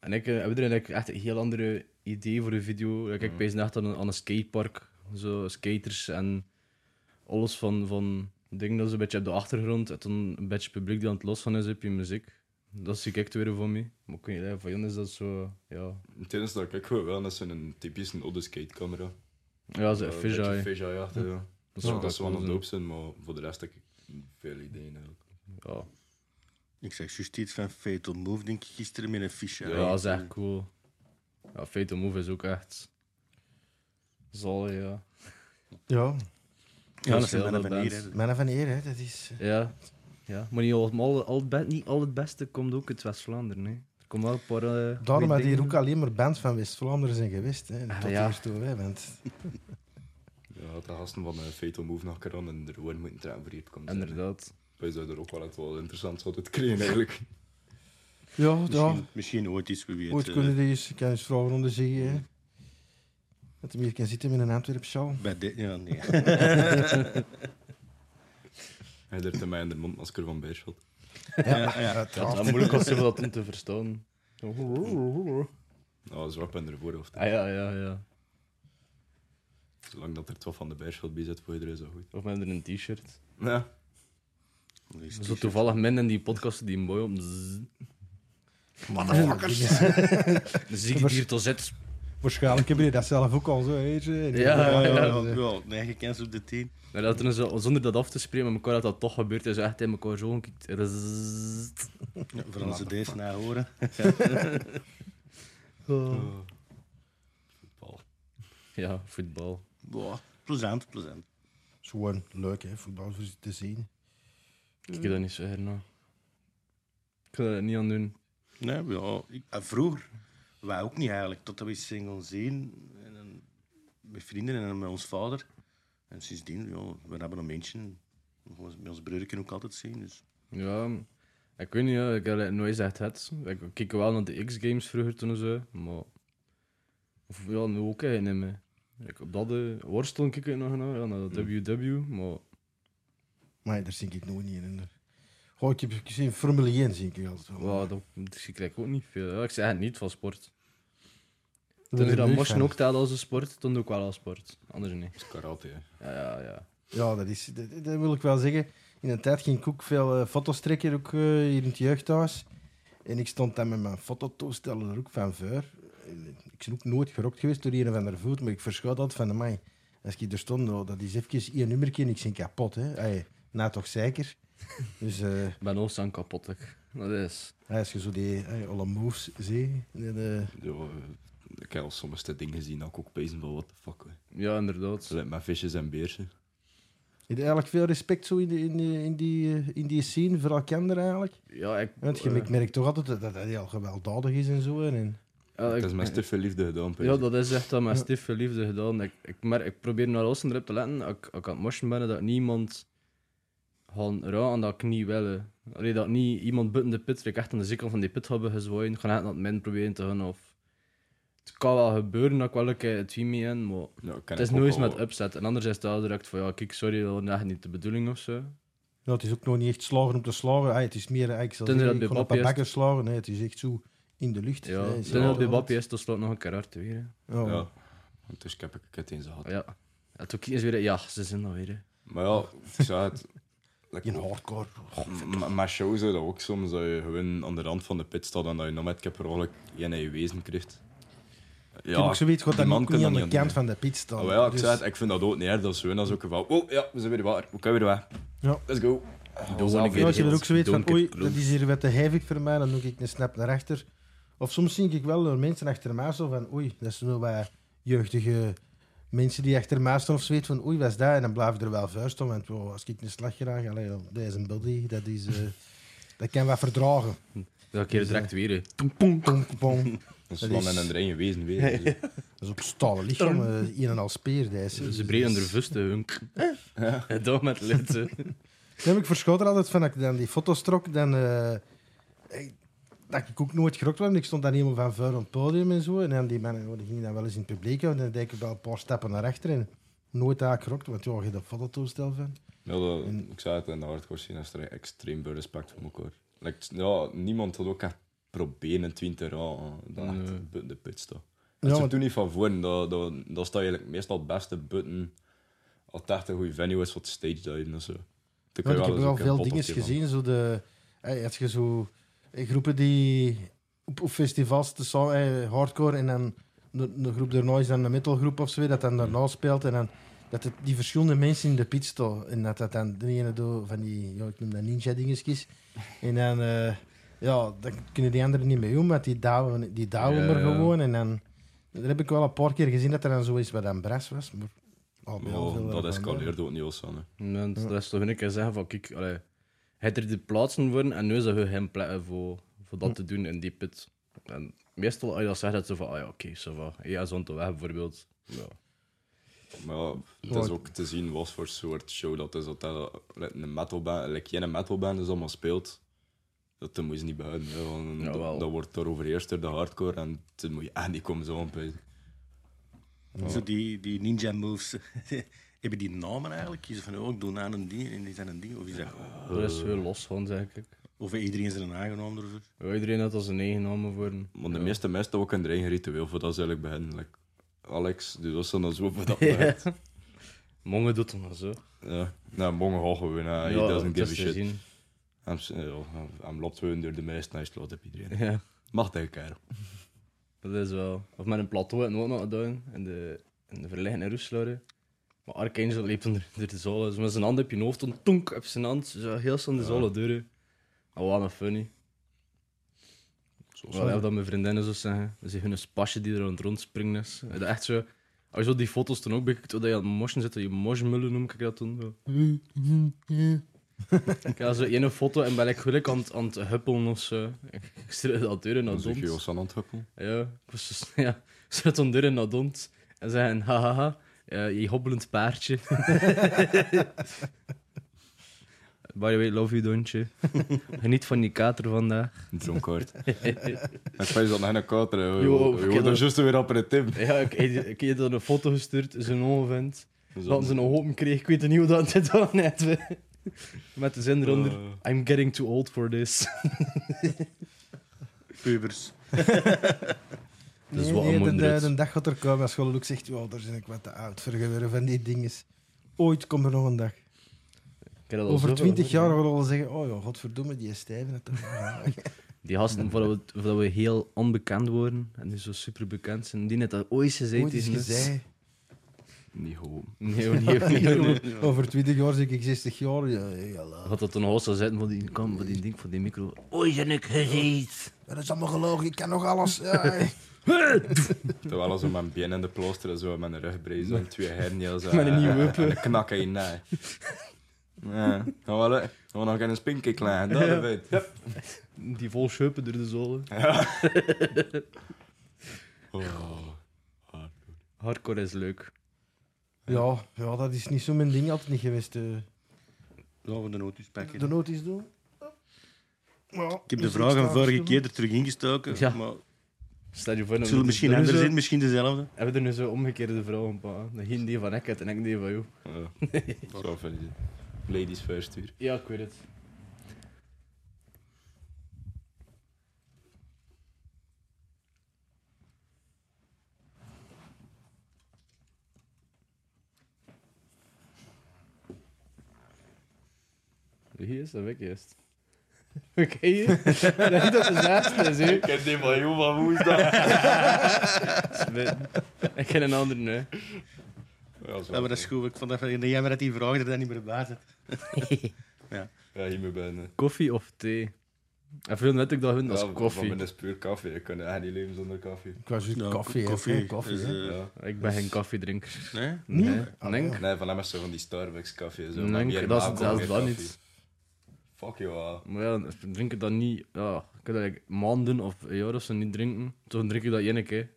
Speaker 3: En ik eh, heb er eigenlijk echt een heel andere idee voor een video. Like,
Speaker 4: Mm.
Speaker 3: ik pees echt aan een, aan een skatepark. Zo skaters en alles van, van dingen dat ze een beetje op de achtergrond. En dan een beetje publiek die aan het los van is op je muziek. Dat zie ik weer van mij. Maar kun je van Jan is dat zo. Ja,
Speaker 4: Het enige dat ik gewoon wel, dat is een typische oude skatecamera. Eh,
Speaker 3: ja zo
Speaker 4: Ja,
Speaker 3: een
Speaker 4: een
Speaker 3: fisheye.
Speaker 4: beetje Fisheye achter, ja. Dat
Speaker 3: zou wel
Speaker 4: zou dat
Speaker 3: dus, eh.
Speaker 4: ze
Speaker 3: cool
Speaker 4: wel aan het
Speaker 3: zijn.
Speaker 4: doop zijn, maar voor de rest heb ik veel ideeën eigenlijk.
Speaker 3: Ja,
Speaker 1: Ik zeg juist iets van Fatal Move, denk ik, gisteren met een fiche.
Speaker 3: ja, dat is echt cool. Ja, Fatal Move is ook echt. Zal ja.
Speaker 2: Ja,
Speaker 1: Ja, dat zijn
Speaker 3: heel
Speaker 1: mannen
Speaker 3: veel
Speaker 1: van hier.
Speaker 3: bands.
Speaker 1: hè.
Speaker 2: mannen van hier, hè, dat is... eh,
Speaker 3: Ja, ja. maar niet al, al, al het be- niet al het beste komt ook uit West-Vlaanderen. hè. Er komen wel een paar. eh, goeie
Speaker 2: Daarom had
Speaker 3: dingen.
Speaker 2: hier ook alleen maar bands van West-Vlaanderen zijn geweest, hè. En
Speaker 3: Ah,
Speaker 2: tot
Speaker 3: ja.
Speaker 2: hier toe, hè, want...
Speaker 4: Ja, had de gasten van eh, Fatal Move nog een keer aan en er gewoon moeten trekken voor hier te komen.
Speaker 3: Inderdaad.
Speaker 4: Wij zouden er ook wel het wel interessant zouden het krijgen eigenlijk.
Speaker 2: Ja, ja.
Speaker 1: Misschien, misschien ooit iets, wie weet.
Speaker 2: Ooit
Speaker 1: eh,
Speaker 2: kunnen die eens, ik kan eens vrouwen onder zee, hè. Dat hij hier kan zitten met een Antwerpsjaal.
Speaker 1: Bij dit, ja, nee.
Speaker 4: Hij durfde mij in de mond masker van Beerschot.
Speaker 1: Ja, ja.
Speaker 3: Dat is wel
Speaker 2: uiteraard.
Speaker 3: moeilijk als ze
Speaker 2: (laughs)
Speaker 3: dat doen te verstaan.
Speaker 2: Oh,
Speaker 4: Nou, zwart ben er voorhoofd.
Speaker 3: Ah ja, ja, ja.
Speaker 4: Zolang dat er 12 van de Beerschot bij zit, voor iedereen is dat goed.
Speaker 3: Of met een t-shirt.
Speaker 4: Ja.
Speaker 3: Zo toevallig men in die podcast die mooi op. Zzz.
Speaker 2: Motherfuckers.
Speaker 3: Zie ik hier tot zet.
Speaker 5: Waarschijnlijk hebben jullie dat zelf ook al zo, weet je. En-
Speaker 3: Ja,
Speaker 1: Ja, ja,
Speaker 3: ja.
Speaker 1: ja. ja. Nee, gecanceld de 10.
Speaker 3: Maar dat doen ze, zonder dat af te spreken met elkaar, dat dat toch gebeurt, is echt in elkaar zo gekikt. Zzz.
Speaker 1: Ja, vooral als ze deze na horen.
Speaker 4: Oh. Voetbal.
Speaker 3: Ja, voetbal.
Speaker 1: Boah, plezant, plezant.
Speaker 2: Het is gewoon leuk, hè, voetbal voor te zien.
Speaker 3: Ik heb dat niet zo herna. Hm. Ik kan dat niet aan doen.
Speaker 1: Nee, ja, ik, eh, vroeger, wij ook niet eigenlijk, totdat we single zien. En, dan met vrienden en dan met ons vader. En sindsdien, ja, we hebben een mensen. Met ons broerken ook altijd zien. Dus.
Speaker 3: Ja, ik weet niet, ja, ik heb het nooit echt het. Ik keek wel naar de X-games vroeger toen en zo, maar. Of ja, nu ook eigenlijk niet meer. Ik, op dat eh, worstel kijk ik nog naar, ja, naar de WW, maar.
Speaker 2: Maar daar zie ik nog niet in. Goh, ik heb gezien, Formule 1 zie ik hier altijd wel.
Speaker 3: Ja, dat, dus ik krijg ook niet veel. Ja, ik zeg het niet van sport.
Speaker 2: ben
Speaker 3: Toen
Speaker 2: ik
Speaker 3: je dat
Speaker 2: niet
Speaker 3: motion
Speaker 2: fan.
Speaker 3: ook telde als een sport, toen doe ik wel als sport. Anders niet.
Speaker 4: Dat is karate, hè.
Speaker 3: Ja, ja, ja.
Speaker 2: Ja, dat, is, dat, dat wil ik wel zeggen. In een tijd ging ik ook veel eh, foto's trekken, ook eh, hier in het jeugdhuis. En ik stond dan met mijn fototoestellen er ook van voor. En Ik ben ook nooit gerokt geweest door een of andere voet, maar ik verschoot altijd van de mij. Als ik er stond, nou, dat is even één nummertje en ik zing kapot. Hè. Ai, nou toch zeker. (laughs) Dus eh,
Speaker 3: Ik ben ook zo'n kapot. ik. Dat is.
Speaker 2: als je zo die ai, alle moves ziet, dat, eh,
Speaker 4: Ja, eh, ik heb al soms dit ding gezien dat ik ook pezen van what the fuck. hè.
Speaker 3: Ja, inderdaad.
Speaker 4: Zo lijkt met visjes en beersen.
Speaker 2: Je hebt eigenlijk veel respect zo in, die- in, die- in, die, eh, in die scene voor elkaar eigenlijk.
Speaker 3: Ja, ik.
Speaker 2: Want je,
Speaker 3: eh,
Speaker 2: ik merk toch altijd dat dat hij heel gewelddadig is en zo. hè, En,
Speaker 3: ja,
Speaker 4: Het
Speaker 3: ik-
Speaker 4: is met te veel liefde gedaan, pezen.
Speaker 3: Ja, dat is echt aan mijn stiefde liefde gedaan. Ik, ik, merk, ik probeer naar alles erop te letten. Als ik, als ik aan het motion ben, dat ik niemand gaan raken dat ik niet wil. hè. Allee, dat ik niet iemand buiten de pit, dat ik echt aan de zekel van die pit hebben gezwaaid. Gaan echt naar het min proberen te gaan. Of... Het kan wel gebeuren dat ik wel een keer het team mee in, maar
Speaker 4: Ja,
Speaker 3: het
Speaker 4: ken Nou, ik
Speaker 3: is
Speaker 4: ook
Speaker 3: nooit
Speaker 4: al.
Speaker 3: met opzet. En anders is het wel direct van, ja, kijk, sorry, dat was echt niet de bedoeling of zo.
Speaker 2: ja, het is ook nog niet echt slagen om te slagen. Ai, het is meer, ai, ik zal zeggen,
Speaker 3: Tenzij dat
Speaker 2: ik
Speaker 3: bij
Speaker 2: kon op
Speaker 3: Bobby
Speaker 2: een
Speaker 3: is-
Speaker 2: bakker slagen. Nee, het is echt zo in de lucht.
Speaker 3: Ja,
Speaker 2: Nee,
Speaker 3: ik
Speaker 2: is
Speaker 3: denk dat bij
Speaker 2: altijd-
Speaker 3: Bappie is, tot slot nog een keer hard weer. hè.
Speaker 2: Ja.
Speaker 4: Ja. Want dus ik heb ik het eens gehad.
Speaker 3: Ja. En toen kiezen ze weer, ja, ze zijn alweer. hè.
Speaker 4: Maar ja, ik zei het.
Speaker 2: In
Speaker 4: Like,
Speaker 2: hardcore.
Speaker 4: m- Oh, maar shows hè, dat ook soms dat je gewoon aan de rand van de pit staat en dat je nog met heb eigenlijk in je wezen krijgt.
Speaker 2: ik heb ook zoiets gehad
Speaker 4: die
Speaker 2: dat
Speaker 4: man
Speaker 2: ik
Speaker 4: kan
Speaker 2: niet
Speaker 4: dat
Speaker 2: aan de
Speaker 4: niet
Speaker 2: kant
Speaker 4: aan
Speaker 2: van de pit staan.
Speaker 4: Ah, maar ja, ik
Speaker 2: Dus-
Speaker 4: zei het, ik vind dat ook niet erg. Dat is gewoon als ook van, oh ja, we zijn weer waar, we kunnen weer weg.
Speaker 2: Ja.
Speaker 4: Let's go.
Speaker 3: Doe
Speaker 4: zelf
Speaker 3: een
Speaker 2: Ja,
Speaker 3: keer
Speaker 2: als je er ook zo weet van,
Speaker 3: Don't
Speaker 2: oei,
Speaker 3: get close.
Speaker 2: dat is hier wat te hevig voor mij, dan doe ik een snap naar achter. Of soms zie ik wel door mensen achter mij zo van, oei, dat zijn wel wat jeugdige mensen die achter mij staan of zo weet van, oei, wat is dat? En dan blijf ik er wel vuist om, want wow, als ik een slag graag, allee, joh, dat is een buddy, dat is... eh, dat kan wat verdragen.
Speaker 3: Dat keer direct weer. hè.
Speaker 2: Pom, pom.
Speaker 4: Dat is
Speaker 2: Dat
Speaker 4: wel
Speaker 2: is-
Speaker 4: met een erin wezen weer. dus,
Speaker 2: Dat is ook stalen lichaam, eh, een en al speer. Dat is,
Speaker 3: Dus Ze breden er vusten, hun. Dat met litten.
Speaker 2: Nee, maar ik verschoot er altijd van dat ik dan die foto's trok. Dan, eh, ik- dat ik ook nooit gerokt werd. Ik stond dan helemaal van vuur op het podium en zo. En dan die mannen oh, die gingen dan wel eens in het publiek. En dan deed ik wel een paar stappen naar achter. En nooit eigenlijk gerokt, want ja, je hebt een fototoestel van.
Speaker 4: Ja, dat- ik zei het in de hardcore scene, is er extreem veel respect voor elkaar. Like, ja, niemand had ook echt proberen 20 jaar eh, dan echt
Speaker 3: Nee.
Speaker 4: buiten de put staan.
Speaker 2: Ja,
Speaker 4: Ja,
Speaker 2: want-
Speaker 4: toen niet van voren, dat, dat, dat staat eigenlijk meestal het beste buiten. Als het echt een goede venue is voor het stage diven en zo. Dan kun
Speaker 2: Want
Speaker 4: je
Speaker 2: ik heb
Speaker 4: eens
Speaker 2: wel
Speaker 4: ook een
Speaker 2: veel
Speaker 4: pot
Speaker 2: dingen
Speaker 4: opgeven.
Speaker 2: gezien. Zo de, hey, had je zo eh, groepen die op, op festivals te sa- eh, hardcore en dan de, de groep daarna is dan een metalgroep of zo, dat dan daarna speelt en dan dat het, die verschillende mensen in de pit staan en dat dat dan de ene doet van die, ja, ik noem dat ninja dingetjes en dan eh, ja, dan kunnen die anderen niet mee om, want die douwen, die douwen
Speaker 3: Ja,
Speaker 2: maar
Speaker 3: ja.
Speaker 2: gewoon en dan daar heb ik wel een paar keer gezien dat er dan zo is wat aan bras was, maar al bij al
Speaker 4: Ja,
Speaker 2: veel
Speaker 4: dat
Speaker 2: ervan, hè.
Speaker 4: escaleerde ook niet als aan. hè.
Speaker 3: Want dat is toch een keer zeggen van, kijk, allee, hij had er die plaatsen worden en nu zou je hem plekken voor, voor dat te doen in die pit. En meestal als je dat zegt, dat ze van, ah ja, oké, zo va. Ja, zo'n te weg bijvoorbeeld. Ja.
Speaker 4: Maar ja, het is ook te zien wat voor soort show dat is. Dat, dat like, een metalband, like, geen metalband is allemaal speelt. Dat, dat moet je niet behouden. hè, want dat-
Speaker 3: Jawel.
Speaker 4: dat, wordt daar overheerst door de hardcore en dat moet je echt niet komen zo aanpijzen.
Speaker 1: Zo die, die ninja moves. (laughs) Hebben
Speaker 4: Eh.
Speaker 1: die namen eigenlijk? Kiezen van, oh, ik doe aan een ding en die zijn een ding. Of is dat gewoon...
Speaker 3: Dat is heel los van, zeg ik.
Speaker 1: Of heeft iedereen zijn eigen naam ervoor?
Speaker 3: Ja, iedereen had al zijn eigen namen voor. hem.
Speaker 4: Maar de
Speaker 3: Ja.
Speaker 4: meeste mensen hebben ook een eigen ritueel voor dat ze eigenlijk beginnen. Like, Alex doet dat zo, dan
Speaker 3: (laughs)
Speaker 4: zo voor dat begint.
Speaker 3: Mongen doet hem maar zo.
Speaker 4: Ja. Nou, morgen hoog gewoon. hè. Ah, He doesn't
Speaker 3: het
Speaker 4: give a
Speaker 3: is te
Speaker 4: shit. (laughs)
Speaker 3: zien.
Speaker 4: Hem, s- eh, ja, hem- hem loopt gewoon door de meest en hij slaat op iedereen.
Speaker 3: Ja,
Speaker 4: Mag tegen
Speaker 3: Nou,
Speaker 4: elkaar.
Speaker 3: dat is wel. Of met een plateau en ook nog gedaan. In de, in de verliggende roeslaren. Maar Archangel liep onder, (laughs) door de zolen. Zo met zijn hand op je hoofd. En tonk op zijn hand. Zo heel snel de
Speaker 4: Ja.
Speaker 3: zolen deuren. Dat was nog funny.
Speaker 4: Zo.
Speaker 3: Wel, ja, dat mijn vriendinnen zo zeggen. Dat is hun spasje die er aan het rondspringen is. Dat is echt zo... Als je zo die foto's toen ook bekijkt, hoe dat je aan het moschen zit, dat je moshmullen noem ik dat toen.
Speaker 4: (laughs)
Speaker 3: Zo. ik had zo één foto en ben ik gelukkig aan, het- aan het huppelen of zo. Ik stuurde dat deur naar
Speaker 4: Dan zeg je
Speaker 3: dond.
Speaker 4: ons aan het huppelen.
Speaker 3: Ja, ik was dus, (laughs) ja, zet een deur in dat dond en zeggen, hahaha, eh, je hobbelend paardje. (laughs) By the way, love you, (laughs) Dontje. Geniet van die kater vandaag.
Speaker 4: Een dronkaard. (laughs) Ik vrees dat nog een kater. hè.
Speaker 3: Jo,
Speaker 4: Jo,
Speaker 3: verkeerde-
Speaker 4: jo, dat is juist weer aperitief.
Speaker 3: (laughs) Ja, ik, ik heb dan een foto gestuurd, zo'n onvent.
Speaker 4: Dus
Speaker 3: Dat ze een hoop kreeg, ik weet niet hoe dat dit dan net Met de zin eronder,
Speaker 4: Eh.
Speaker 3: I'm getting too old for this.
Speaker 1: Pubers.
Speaker 3: Dat is
Speaker 2: nee,
Speaker 3: wel een
Speaker 2: nee, de,
Speaker 3: moeilijke
Speaker 2: de,
Speaker 3: rit.
Speaker 2: de dag gaat er komen als Golleloek zegt, "Wow, daar ben ik wat te oud voor geworden van die dingen. Ooit komt er nog een dag.
Speaker 3: Ik heb dat al
Speaker 2: Over
Speaker 3: zoveel
Speaker 2: twintig
Speaker 3: gehoord,
Speaker 2: jaar gaan we al zeggen, oh ja, godverdomme, die stijven
Speaker 1: (laughs)
Speaker 2: het toch.
Speaker 3: hè. Die gasten, voordat we, voordat we heel onbekend worden en nu zo super bekend zijn, die net dat ooit gezegd
Speaker 2: Ooit is
Speaker 3: net-
Speaker 2: gezegd.
Speaker 4: Niet gewoon.
Speaker 3: Nee, hoor, nee, hoor, nee, hoor, nee.
Speaker 2: (laughs) Over twintig jaar zeg ik 60 jaar. Ja, ja, la.
Speaker 3: (laughs) Had dat een hoos zou zetten voor die, kom, voor die ding, voor die micro. Oei, zijn ik gereed.
Speaker 2: Dat is allemaal gelogen, ik kan nog alles.
Speaker 1: (laughs)
Speaker 2: Ja,
Speaker 4: Terwijl als we met mijn been in de plooster en zo met een rugbrees en twee
Speaker 3: (laughs)
Speaker 4: hernia's en,
Speaker 3: Met een nieuwe
Speaker 4: en, en een knak in je nek. Ja, nou wel, hè. Gewoon nog een spinkie klaar, dat
Speaker 3: Ja.
Speaker 4: weet je.
Speaker 3: Die vol scheupen door de zolen.
Speaker 4: Oh.
Speaker 3: Hardcore is leuk.
Speaker 2: ja, ja, dat is niet zo mijn ding altijd niet geweest. eh.
Speaker 1: Laten we de nootjes pakken.
Speaker 2: De noties doen. Ja,
Speaker 1: Ik heb de vraag van vorige keer er terug ingestoken.
Speaker 3: Ja.
Speaker 1: Maar
Speaker 3: Stel je voor...
Speaker 1: het
Speaker 3: dat
Speaker 1: zullen
Speaker 3: we-
Speaker 1: misschien
Speaker 3: dat we
Speaker 1: anders
Speaker 3: zo-
Speaker 1: zijn, misschien dezelfde.
Speaker 3: Hebben we er nu zo omgekeerde vrouwen, pa? De geen die van ik had en ik die van jou.
Speaker 4: Ja. Oh. Zo van die ladies first hier.
Speaker 3: Ja, ik weet het. Wie is dat? Wie is het? (laughs) Oké, hier. dat is de laatste, is hè?
Speaker 4: Ik heb die van, joh, van hoe is dat?
Speaker 3: Ik ken een ander nu.
Speaker 4: Ja, zo.
Speaker 1: Ja, maar dat is goed. Ik vond dat jammer dat die vraag er dan niet meer bij zit.
Speaker 4: Ja, hiermee ben ik.
Speaker 3: Koffie of thee? En veel net ik dat hun, dat
Speaker 4: Ja,
Speaker 3: is
Speaker 4: Van
Speaker 3: koffie.
Speaker 4: mijn is puur koffie. Ik kan echt niet leven zonder koffie.
Speaker 2: Ik was
Speaker 1: Ja, koffie
Speaker 2: koffie. Koffie. koffie
Speaker 1: is,
Speaker 2: hè.
Speaker 1: eh,
Speaker 4: Ja.
Speaker 3: Ik ben geen koffiedrinker.
Speaker 1: nee?
Speaker 3: Nee?
Speaker 2: Ah,
Speaker 3: Denk.
Speaker 4: Nee, van hem is zo van die Starbucks koffie. Zo.
Speaker 3: Nee,
Speaker 4: maar hier
Speaker 3: dat is-
Speaker 4: maak ik
Speaker 3: dat
Speaker 4: ook
Speaker 3: is
Speaker 4: geen
Speaker 3: dat
Speaker 4: koffie.
Speaker 3: niet.
Speaker 4: Fuck ah. joh.
Speaker 3: Maar ja, drink ik dat niet. Ja, ik kan dat like, maanden of een jaar of zo niet drinken. Toen drink ik dat één keer.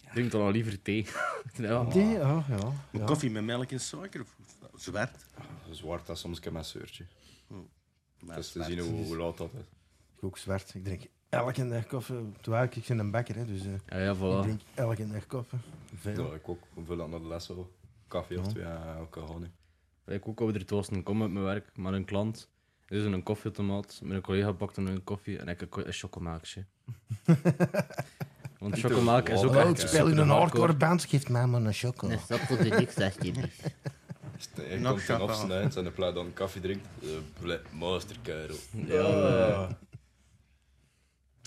Speaker 3: Ik drink dan al liever thee. (laughs) ja.
Speaker 2: Die,
Speaker 1: eh,
Speaker 2: ja, ja.
Speaker 1: Maar
Speaker 2: ja.
Speaker 1: Koffie met melk en suiker? of- nou, Zwart.
Speaker 4: Zwart dat soms kan mijn zeurtje.
Speaker 1: Maar
Speaker 4: Dat is Dus te
Speaker 1: zwart.
Speaker 4: zien hoe, hoe laat dat is.
Speaker 2: Ik ook zwart. Ik drink elke dag koffie. Terwijl ik ik ben een bakker, hè, dus eh,
Speaker 3: Ja, ja,
Speaker 2: ik
Speaker 3: voilà.
Speaker 2: drink elke dag koffie. Veel.
Speaker 4: Ja, ik ook. Hoeveel dat naar de les al? Koffie of
Speaker 2: Ja.
Speaker 4: twee eh, aan alcohol niet.
Speaker 3: Ik ook over de toasten kom met mijn werk, met een klant. Er is een koffieautomaat. Mijn collega pakte een koffie en ik een, ko- een chocomaaksje. Want
Speaker 4: Niet te
Speaker 3: chocomaak is ook
Speaker 4: Hallo,
Speaker 2: Hallo,
Speaker 4: ik
Speaker 2: Oh, ik
Speaker 3: echt
Speaker 2: speel in
Speaker 3: super
Speaker 2: een hardcore band. Geef mij maar een choco.
Speaker 6: Een sok voor de niks, alsjeblieft.
Speaker 4: Is het- Ik
Speaker 1: Nog
Speaker 4: kom ten
Speaker 1: champagne.
Speaker 4: opsnijden en in plaats dat een koffie drinkt, eh, ble- masterkerel.
Speaker 3: Ja, eh,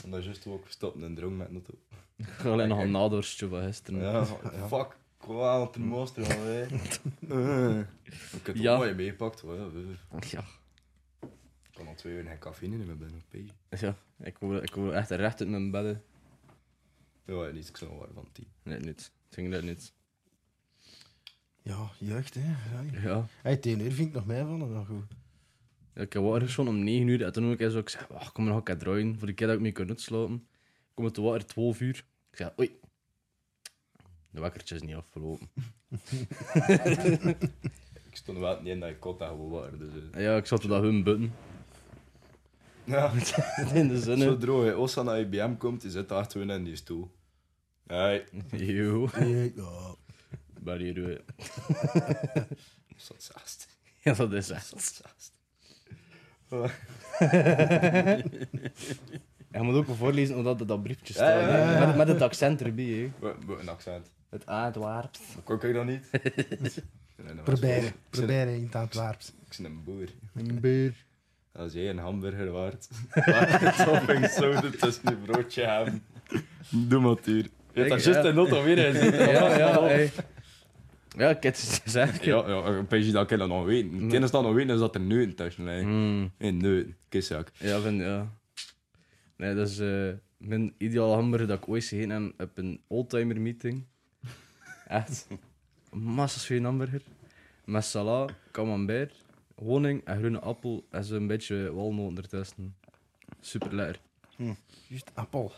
Speaker 4: En dat is juist ook gestopt in een dronk met noto.
Speaker 3: ik ga alleen nog een nadoorstje van gisteren.
Speaker 4: Ja, fuck. Kwaal op de master man, hè. (laughs) Eh. Ik heb het
Speaker 3: Ja.
Speaker 4: ook mooi meegepakt, hoor. ja, we-
Speaker 3: Ja.
Speaker 4: Ik kan al twee uur geen cafeïne meer binnen, op page.
Speaker 3: Ja, ik word, ik word echt recht uit mijn bedden.
Speaker 4: Ja, niet, ik snap waar van tien.
Speaker 3: Nee, niet. Ik ging dat niet.
Speaker 2: Ja, jeugd, hè. Ja.
Speaker 3: Ja.
Speaker 2: Hey, tegen uur vind ik nog mij van, dat wel goed.
Speaker 3: Ja, Ik heb water geschoten om 9 uur. En toen ook ik zo, ik zei, "Wacht, kom maar nog een keer draaien. Voor de keer dat ik mee kan uitslopen. Kom het te water 12 uur. Ik zei, oei. De wakkertje is niet afgelopen.
Speaker 4: Ik stond wel niet in dat ik kot dat gewoon waar, dus... eh.
Speaker 3: En ja, ik zat op dat hun button.
Speaker 4: Ja.
Speaker 3: (laughs) In de zin.
Speaker 4: Zo
Speaker 3: hè.
Speaker 4: droog, hè. Als hij naar IBM komt, die zit daar gewoon in die stoel. Hey,
Speaker 3: Yo,
Speaker 2: Eh, Ja.
Speaker 3: ben hier eh, (laughs) weer.
Speaker 4: zat zaast.
Speaker 3: (laughs) Ja, dat is echt.
Speaker 4: Zat zaast.
Speaker 3: Je moet ook wel voorlezen omdat het dat briefje
Speaker 4: Ja,
Speaker 3: staat.
Speaker 4: ja, ja,
Speaker 3: Met, met het accent erbij. Hè.
Speaker 4: We- we- Een accent.
Speaker 3: Het Antwerps.
Speaker 4: Kon ik dat niet?
Speaker 3: (laughs)
Speaker 4: Nee, dat was-
Speaker 2: Proberen.
Speaker 4: Ik ben-
Speaker 2: Proberen in het Antwerps.
Speaker 4: ik ben een boer.
Speaker 5: Een beer.
Speaker 4: Als jij een hamburger waard, (laughs) Ah, waar de topping zo tussen je broodje hebben. Doe maar, tuur. Je hebt daar
Speaker 3: Ik- ja.
Speaker 4: juist een auto weer in zitten.
Speaker 3: (laughs) Ja, ja, hey. Ja, ik heb het gezegd.
Speaker 4: Ja, ja, een beetje dat ik dat nog weet. Het enige dat ik nog weet is dat er neuten tussen liggen.
Speaker 3: Hmm.
Speaker 4: Nee, neuten.
Speaker 3: (laughs)
Speaker 4: Kissak.
Speaker 3: Ja, vind ja. Nee, dat is eh, mijn ideale hamburger dat ik ooit gezien heb op een oldtimer (laughs) meeting. Echt. Massas goeie hamburger. Met salade, camembert, honing en groene appel en zo'n beetje walnoten ertussen. Super lekker.
Speaker 2: Juist, appel.